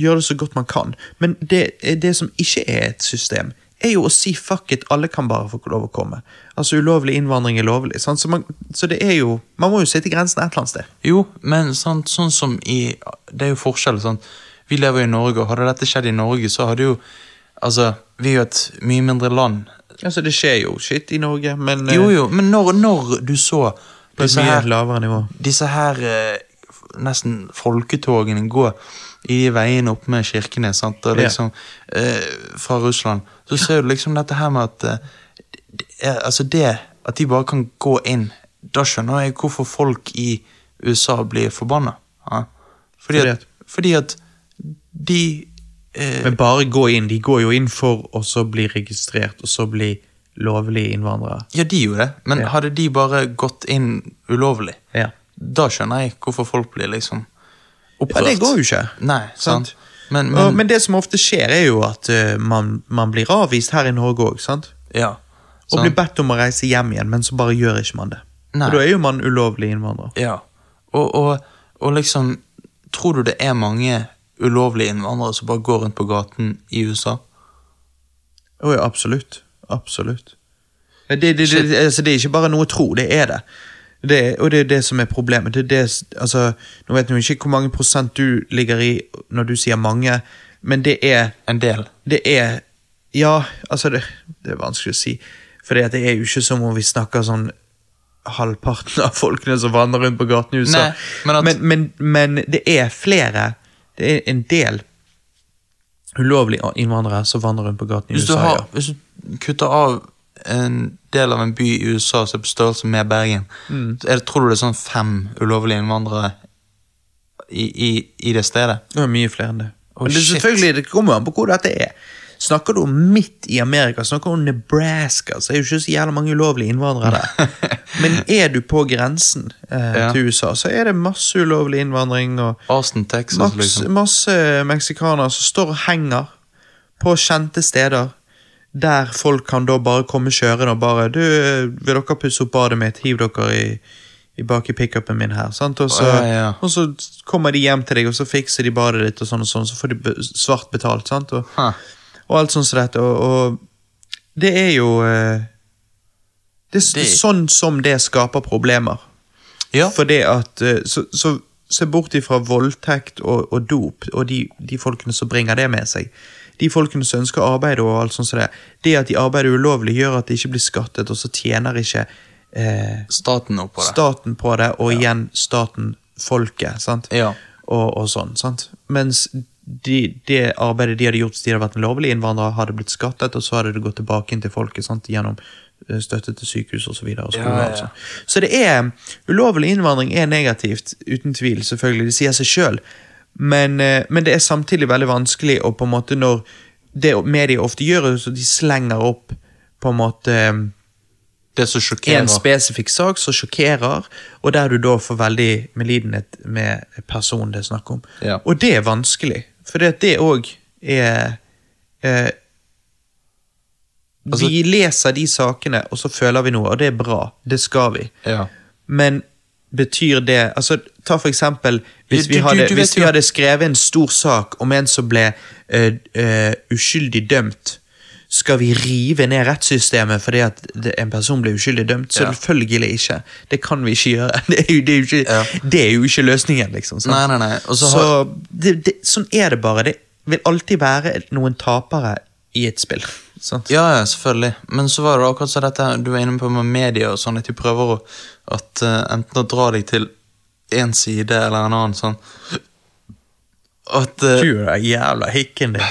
A: gjøre det så godt man kan. Men det, det som ikke er et system, er jo å si fuck it, alle kan bare få lov å komme. Altså ulovlig innvandring er lovlig. Sant? Så, man, så det er jo Man må jo sitte i grensen et eller annet sted.
B: Jo, men sant, sånn som i Det er jo forskjell. Sant? Vi lever jo i Norge, og hadde dette skjedd i Norge, så hadde jo Altså, vi er jo et mye mindre land.
A: Altså Det skjer jo shit i Norge, men eh,
B: Jo, jo, men når, når du så
A: på et
B: disse
A: mye
B: her,
A: lavere nivå.
B: disse her eh, f- nesten folketogene gå i de veiene opp med kirkene, sant, og
A: Ja.
B: liksom eh, fra Russland, så ser du liksom dette her med at eh, det, er- Altså, det at de bare kan gå inn Da skjønner jeg hvorfor folk i USA blir forbanna. Ja. Fordi,
A: Fordi
B: at, fordi at de eh,
A: Men bare gå inn. De går jo inn for å så bli registrert, og så bli lovlige innvandrere.
B: Ja, de gjorde det, men
A: Ja.
B: hadde de bare gått inn ulovlig,
A: Ja.
B: da skjønner jeg hvorfor folk blir liksom
A: Ja,
B: opprørt.
A: det går jo ikke.
B: Nei, sant.
A: Sant.
B: Men,
A: Men,
B: men,
A: men det som ofte skjer, er jo at eh, man, man blir avvist her i Norge òg.
B: ja.
A: Og
B: sant?
A: blir bedt om å reise hjem igjen, men så bare gjør ikke man det.
B: Nei.
A: Og da er jo man ulovlig innvandrer.
B: Ja. Og, og, og liksom Tror du det er mange ulovlige innvandrere som bare går rundt på gaten i USA?
A: Å ja, absolutt. Absolutt. Det, det, det, det, altså, det er ikke bare noe tro, det er det. det og det er det som er problemet. Det, er det, s- altså, nå vet jeg jo ikke hvor mange prosent du ligger i når du sier mange, men det er
B: En del.
A: det er Ja, altså det, det er vanskelig å si. For det er jo ikke som om vi snakker sånn halvparten av folkene som vandrer rundt på gaten i USA.
B: Nei, men at-
A: men, men, men det er flere. Det er en del ulovlige innvandrere som vandrer rundt på gaten i
B: Hvis du,
A: USA.
B: har,
A: ja.
B: hvis du kutter av en del av en by i USA som er på størrelse med Bergen,
A: Mm.
B: så er det, tror du det er sånn fem ulovlige innvandrere i, i, i det stedet?
A: Det er mye flere enn det. Men det, er
B: shit.
A: selvfølgelig, det kommer an på hvor dette er. Snakker du om midt i Amerika, snakker du om Nebraska, så er det jo ikke så jævla mange ulovlige innvandrere der. Men er du på grensen eh,
B: Ja.
A: til USA, så er det masse ulovlig innvandring og
B: Austin, Texas,
A: maks-
B: liksom.
A: masse meksikanere som står og henger på kjente steder. Der folk kan da bare komme kjørende og bare du, 'Vil dere pusse opp badet mitt? Hiv dere i, i bak i pickupen min her.' sant? Og så,
B: Ja, ja.
A: og så kommer de hjem til deg, og så fikser de badet ditt, og sånn og sånn, så får de be- svart betalt. sant? Og,
B: Hæ.
A: og alt sånt som dette. Og, og det er jo eh, det, er
B: Det-
A: s- sånn som det skaper problemer.
B: Ja.
A: Fordi at eh, Så, så se bort ifra voldtekt og, og dop og de, de folkene som bringer det med seg. De folkene som ønsker arbeid og alt sånt som det. Det at de arbeider ulovlig, gjør at de ikke blir skattet, og så tjener ikke eh,
B: Staten oppå det.
A: staten på det, og igjen staten folket. sant?
B: Ja.
A: Og, og sånn, sant? Mens de, det arbeidet de hadde gjort hvis de hadde vært en lovlig innvandrer, hadde blitt skattet, og så hadde det gått tilbake inn til folket sant? gjennom eh, støtte til sykehus osv. Så, videre, og skoler
B: Ja, ja, ja.
A: og sånn. så det er Ulovlig innvandring er negativt, uten tvil, selvfølgelig. Det sier seg sjøl. Men, eh, men det er samtidig veldig vanskelig å på en måte når det media ofte gjør, er jo så de slenger opp på en måte
B: Det som sjokkerer.
A: en spesifikk sak som sjokkerer, og der du da får veldig medlidenhet med personen det er snakk om.
B: Ja.
A: Og det er vanskelig, for det òg er eh,
B: Altså-
A: Vi leser de sakene, og så føler vi noe, og det er bra. Det skal vi.
B: Ja.
A: Men betyr det altså, Ta for eksempel hvis
B: Du-
A: vi
B: du-
A: hadde,
B: du vet
A: hvis vi
B: jo-
A: hadde skrevet en stor sak om en som ble eh, eh, uskyldig dømt. Skal vi rive ned rettssystemet fordi at det, en person ble uskyldig dømt?
B: Ja.
A: Selvfølgelig ikke. Det kan vi ikke gjøre. Det er jo, det er jo, ikke,
B: Ja.
A: det er jo ikke løsningen, liksom. sant?
B: Nei, nei, nei. Og så
A: så det, det, sånn er det bare. Det vil alltid være noen tapere i et spill. Sant?
B: Ja, ja, selvfølgelig. Men så var det akkurat som dette her, du var inne på med media og sånn, at de prøver å at, eh, enten å dra deg til én side eller en annen sånn. At eh,
A: Du er jævla hikken din.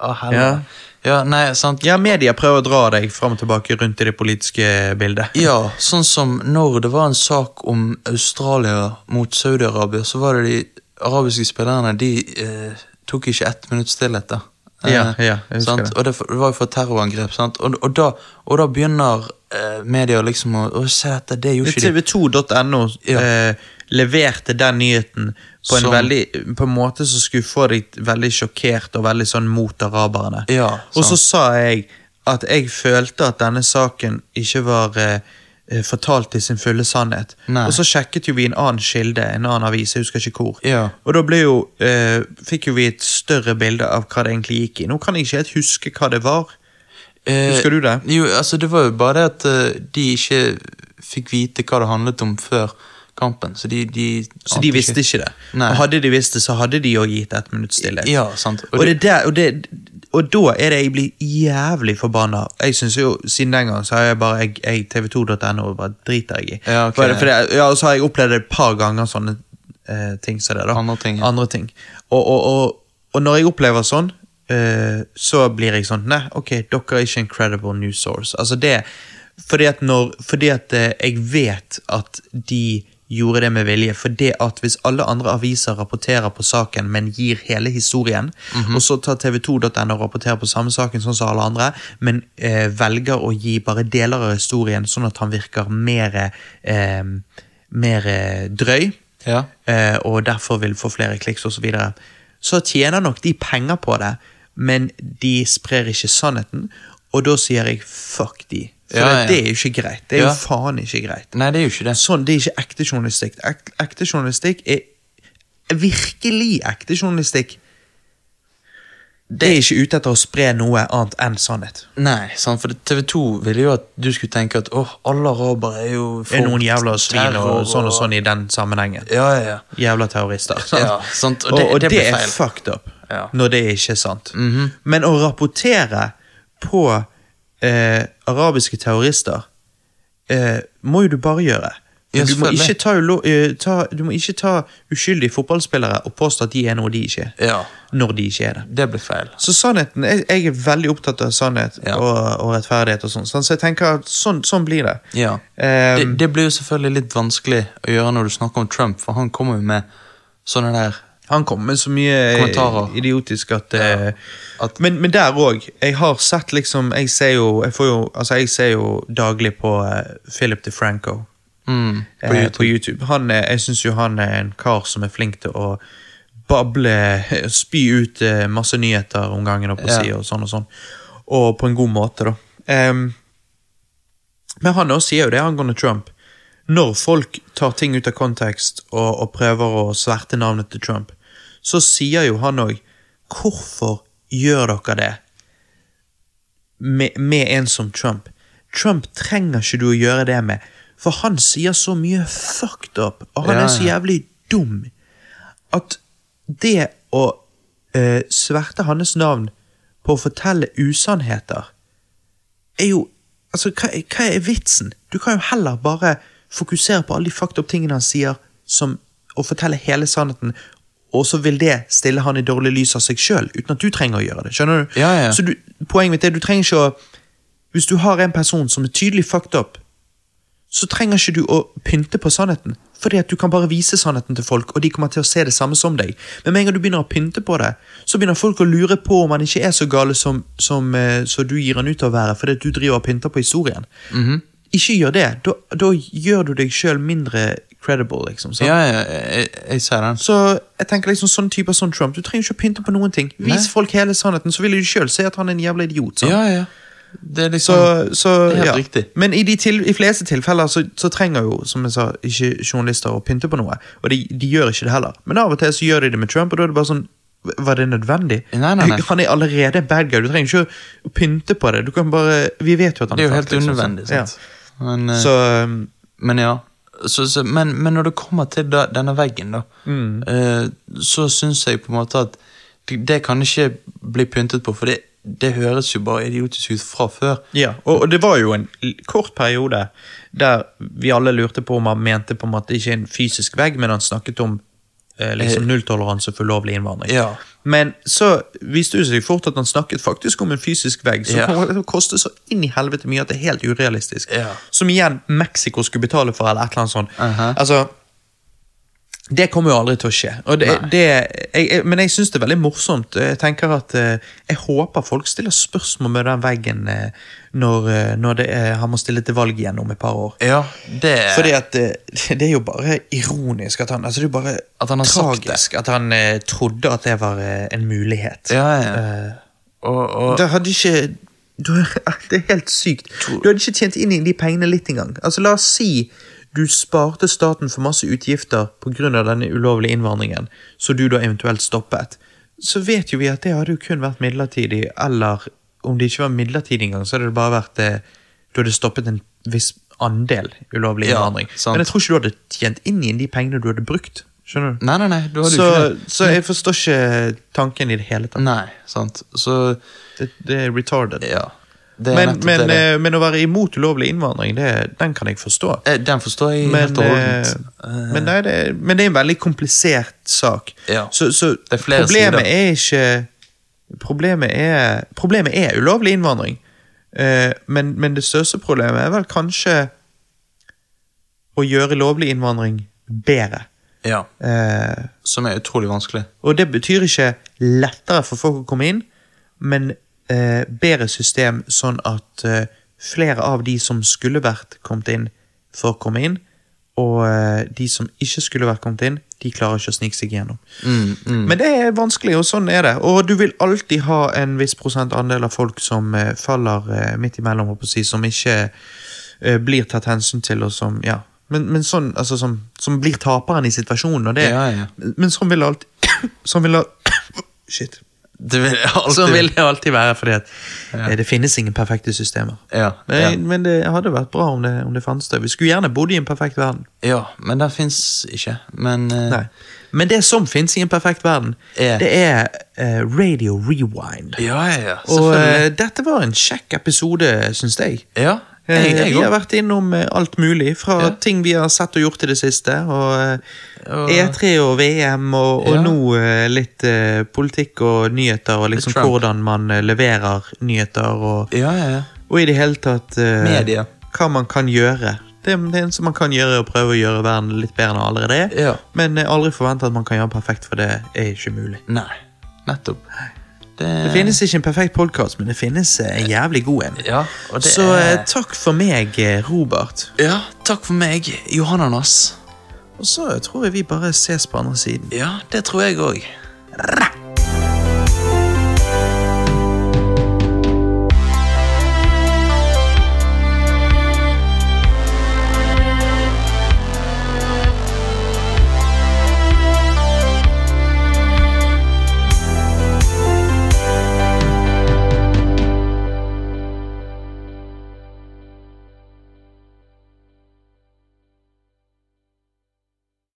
B: å, helvete. ja, nei, sant.
A: Ja, media prøver å dra deg fram og tilbake rundt i det politiske bildet.
B: Ja, sånn som når det var en sak om Australia mot Saudi-Arabia, så var det de arabiske spillerne, de eh, tok ikke ett minutts stillhet, da. Eh,
A: Ja, ja, jeg husker
B: sant?
A: det.
B: Og det, for- det var jo for terrorangrep, sant. Og, og, da, og da begynner eh, media liksom å, å se dette, det gjorde ikke de.
A: TV2.no
B: Ja.
A: eh, leverte den nyheten på en,
B: Som-
A: veldig, på en måte som skulle få deg veldig sjokkert og veldig sånn mot araberne.
B: Ja,
A: og så
B: sant.
A: sa jeg at jeg følte at denne saken ikke var eh, eh, fortalt i sin fulle sannhet.
B: Nei.
A: Og så sjekket jo vi en annen kilde, en annen avis, jeg husker ikke hvor.
B: Ja.
A: Og da ble jo, eh, fikk jo vi et større bilde av hva det egentlig gikk i. Nå kan jeg ikke helt huske hva det var.
B: Eh,
A: Husker du det?
B: Jo, altså det var jo bare det at eh, de ikke fikk vite hva det handlet om før kampen. Så de, de
A: Så de visste ikke det.
B: Nei.
A: Og hadde de visst det, så hadde de jo gitt ett minutt stillhet.
B: Ja, sant.
A: Og, det, er der, og, det, og da er det jeg blir jævlig forbanna. Jeg synes jo, Siden den gang så har jeg bare jeg, jeg tv2.no bare driter jeg i.
B: Ja, ok.
A: For- for det- ja, og så har jeg opplevd det et par ganger sånne eh, ting som det. da.
B: Andre ting, ja.
A: ting. Og, og, og, og når jeg opplever sånn, eh, så blir jeg sånn Nei, ok, dere er ikke en credible news source. Altså det, fordi at, når, fordi at eh, jeg vet at de gjorde det med vilje. For det at hvis alle andre aviser rapporterer på saken, men gir hele historien, og så tar tv2.no og rapporterer på samme saken sånn som alle andre, men eh, velger å gi bare deler av historien sånn at han virker mer, eh, mer eh, drøy,
B: Ja.
A: eh, og derfor vil få flere kliks osv., så, videre. så tjener nok de penger på det, men de sprer ikke sannheten, og da sier jeg fuck de. For
B: Ja, ja.
A: det er jo ikke greit. Det er
B: Ja.
A: jo faen ikke greit.
B: Nei, det er jo ikke det.
A: Sånn, Det er ikke ekte journalistikk. Ek, ekte journalistikk er virkelig ekte journalistikk. Det er ikke ute etter å spre noe annet enn sannhet.
B: Nei, sant, for TV 2 ville jo at du skulle tenke at åh, alle arabere er jo
A: Det er noen
B: folk,
A: jævla svin
B: terror
A: og sånn og sånn i den sammenhengen.
B: Ja, ja, ja.
A: Jævla terrorister.
B: Ja, sant, og det-
A: og, og
B: det
A: det,
B: blir
A: er
B: feil.
A: fucked up
B: Ja. Mhm.
A: når det ikke er sant. Men å rapportere på eh, arabiske terrorister eh, må jo du bare gjøre.
B: Ja,
A: du, må
B: selvfølgelig.
A: ikke ta, ulo- eh, ta, du må ikke ta uskyldige fotballspillere og påstå at de er noe de ikke er.
B: Ja.
A: Når de ikke er det.
B: Det ble feil.
A: Så sannheten, jeg, jeg er veldig opptatt av sannhet
B: Ja.
A: og, og rettferdighet, og sånn, sant? så jeg tenker at sånn, sånn blir det.
B: Ja. det,
A: Ehm,
B: det blir jo selvfølgelig litt vanskelig å gjøre når du snakker om Trump, for han kommer jo med sånne der
A: Han kom med så mye eh,
B: Kommentarer.
A: idiotisk at, eh,
B: At-
A: men, men der òg. Jeg har sett liksom Jeg ser jo, jeg får jo, altså, jeg ser jo daglig på eh, Philip DeFranco
B: mm,
A: eh, på, YouTube. Han, er- jeg syns jo han er en kar som er flink til å bable, spy ut eh, masse nyheter om gangen, og på
B: Ja.
A: si, og sånn og sånn. Og på en god måte, da. Em, men han også sier jo det angående Trump. Når folk tar ting ut av kontekst og, og prøver å sverte navnet til Trump, så sier jo han òg Hvorfor gjør dere det med, med en som Trump? Trump trenger ikke du å gjøre det med, for han sier så mye fucked up, og han
B: Ja,
A: er så
B: ja.
A: jævlig dum at det å eh, sverte hans navn på å fortelle usannheter, er jo Altså, hva, er- hva er vitsen? Du kan jo heller bare fokusere på alle de fucked up tingene han sier, som, og fortelle hele sannheten, og så vil det stille han i dårlig lys av seg sjøl, uten at du trenger å gjøre det. Skjønner du?
B: Ja, ja.
A: Så du, poenget mitt er, du trenger ikke å Hvis du har en person som er tydelig fucked up, så trenger ikke du å pynte på sannheten, Fordi at du kan bare vise sannheten til folk, og de kommer til å se det samme som deg. Men med en gang du begynner å pynte på det, så begynner folk å lure på om han ikke er så gale som, som, eh, som du gir han ut til å være, fordi at du driver og pynter på historien.
B: Mhm.
A: Ikke gjør det. Da, da gjør du deg sjøl mindre credible, liksom. sant?
B: Ja, ja, jeg, jeg ser den.
A: Så jeg tenker liksom sånn typer som Trump Du trenger ikke å pynte på noen ting. Vis
B: Nei.
A: folk hele sannheten, så vil de sjøl se at han er en jævla idiot. sant?
B: Ja, ja. Det er liksom
A: Så, så,
B: Det er helt
A: ja.
B: riktig.
A: Men i de til, i fleste tilfeller så, så trenger jo som jeg sa, ikke journalister å pynte på noe. Og de, de gjør ikke det heller. Men av og til så gjør de det med Trump, og da er det bare sånn Var det nødvendig?
B: Nei, nei, nei.
A: Han er allerede en bad guy. Du trenger ikke å pynte på det. Du kan bare, Vi vet jo at han
B: Det er jo
A: fælt,
B: helt
A: liksom,
B: unødvendig,
A: Ja.
B: sant. Men, eh,
A: Så um,
B: men ja. Så, så, men, men når det kommer til da, denne veggen, da,
A: Mm.
B: eh, så syns jeg på en måte at det, det kan ikke bli pyntet på, for det, det høres jo bare idiotisk ut fra før.
A: Ja, og, og det var jo en l- kort periode der vi alle lurte på om han mente på en måte ikke en fysisk vegg, men han snakket om eh, liksom nulltoleranse for ulovlig innvandring.
B: Ja.
A: Men så viste det seg fort at han snakket faktisk om en fysisk vegg, som
B: Ja.
A: kommer til å koste så inn i helvete mye at det er helt urealistisk.
B: Ja.
A: Som igjen Mexico skulle betale for, eller et eller annet sånt.
B: Aha.
A: Altså, det kommer jo aldri til å skje. Og det, det, jeg, jeg, men jeg syns det er veldig morsomt. Jeg tenker at eh, jeg håper folk stiller spørsmål med den veggen eh, når, eh, når det er, han må stille til valg igjen om et par år.
B: Ja, det
A: Fordi at eh, det er jo bare ironisk at han altså det er jo bare
B: At han har sagt
A: tragisk at han eh, trodde at det var eh, en mulighet.
B: Ja, ja.
A: Eh,
B: Og, og,
A: da hadde ikke du, Det er helt sykt. Du hadde ikke tjent inn i de pengene litt engang. Altså, la oss si du sparte staten for masse utgifter pga. denne ulovlige innvandringen, så du da eventuelt stoppet. Så vet jo vi at det hadde jo kun vært midlertidig, eller om det ikke var midlertidig engang, så hadde det bare vært eh, Du hadde stoppet en viss andel ulovlig
B: Ja,
A: innvandring.
B: sant.
A: Men jeg tror ikke du hadde tjent inn igjen de pengene du hadde brukt. Skjønner du?
B: Nei, nei, nei. Du hadde
A: Så,
B: jo ikke det.
A: så jeg forstår ikke tanken i det hele tatt.
B: Nei, sant. Så
A: Det, det er retarded.
B: ja. Det er
A: Men,
B: nettopp
A: men,
B: det. det.
A: eh, men å være imot ulovlig innvandring, det, den kan jeg forstå.
B: Eh, Den forstår jeg
A: Men,
B: helt og holdent.
A: eh,
B: Eh,
A: men, nei, det, men det er en veldig komplisert sak.
B: Ja.
A: Så, så
B: er flere
A: problemet
B: sider.
A: er ikke Problemet er, problemet er ulovlig innvandring. Eh, men, men det største problemet er vel kanskje å gjøre lovlig innvandring bedre.
B: Ja,
A: Eh,
B: Som er utrolig vanskelig.
A: og det betyr ikke lettere for folk å komme inn, men eh, bedre system sånn at eh, flere av de som skulle vært kommet inn, får komme inn, og eh, de som ikke skulle vært kommet inn, de klarer ikke å snike seg gjennom.
B: Mm,
A: Men det er vanskelig, og sånn er det. Og du vil alltid ha en viss prosent andel av folk som eh, faller eh, midt imellom, holdt på å si, som ikke eh, blir tatt hensyn til, og som ja. Men, men sånn, altså, som, som blir taperen i situasjonen, og det
B: Ja, ja.
A: Men, men sånn vil det alltid Sånn vil det al- Shit.
B: Det vil jeg alltid
A: Sånn vil det alltid være, fordi at eh, det finnes ingen perfekte systemer.
B: Ja,
A: Men,
B: ja.
A: men det hadde vært bra om det, om det fantes det. Vi skulle gjerne bodd i en perfekt verden.
B: ja, men den fins ikke. Men eh,
A: Nei. Men det som finnes i en perfekt verden,
B: Er-
A: det er eh, Radio Rewind.
B: Ja, ja, ja.
A: Og
B: Selvfølgelig.
A: eh, dette var en kjekk episode, syns jeg.
B: ja,
A: Eh,
B: jeg, jeg
A: vi har
B: òg.
A: vært innom eh, alt mulig, fra
B: Ja.
A: ting vi har sett og gjort i det siste, og eh,
B: Og-
A: E3 og VM, og, og
B: Ja.
A: nå eh, litt eh, politikk og nyheter, og liksom
B: Trump.
A: hvordan man eh, leverer nyheter, og,
B: Ja, ja, ja.
A: og i det hele tatt eh,
B: Media.
A: Hva man kan gjøre. Det, det eneste man kan gjøre, er å prøve å gjøre verden litt bedre enn den allerede er,
B: Ja.
A: men eh, aldri forvente at man kan gjøre perfekt, for det er ikke mulig.
B: Nei, nettopp. Det,
A: Det finnes ikke en perfekt podkast, men det finnes eh, en jævlig god en.
B: Ja, og det
A: Så eh,
B: er
A: takk for meg, eh, Robert.
B: Ja, takk for meg, Johananas.
A: Og så tror jeg vi bare ses på andre siden.
B: Ja, det tror jeg òg.
A: Ra!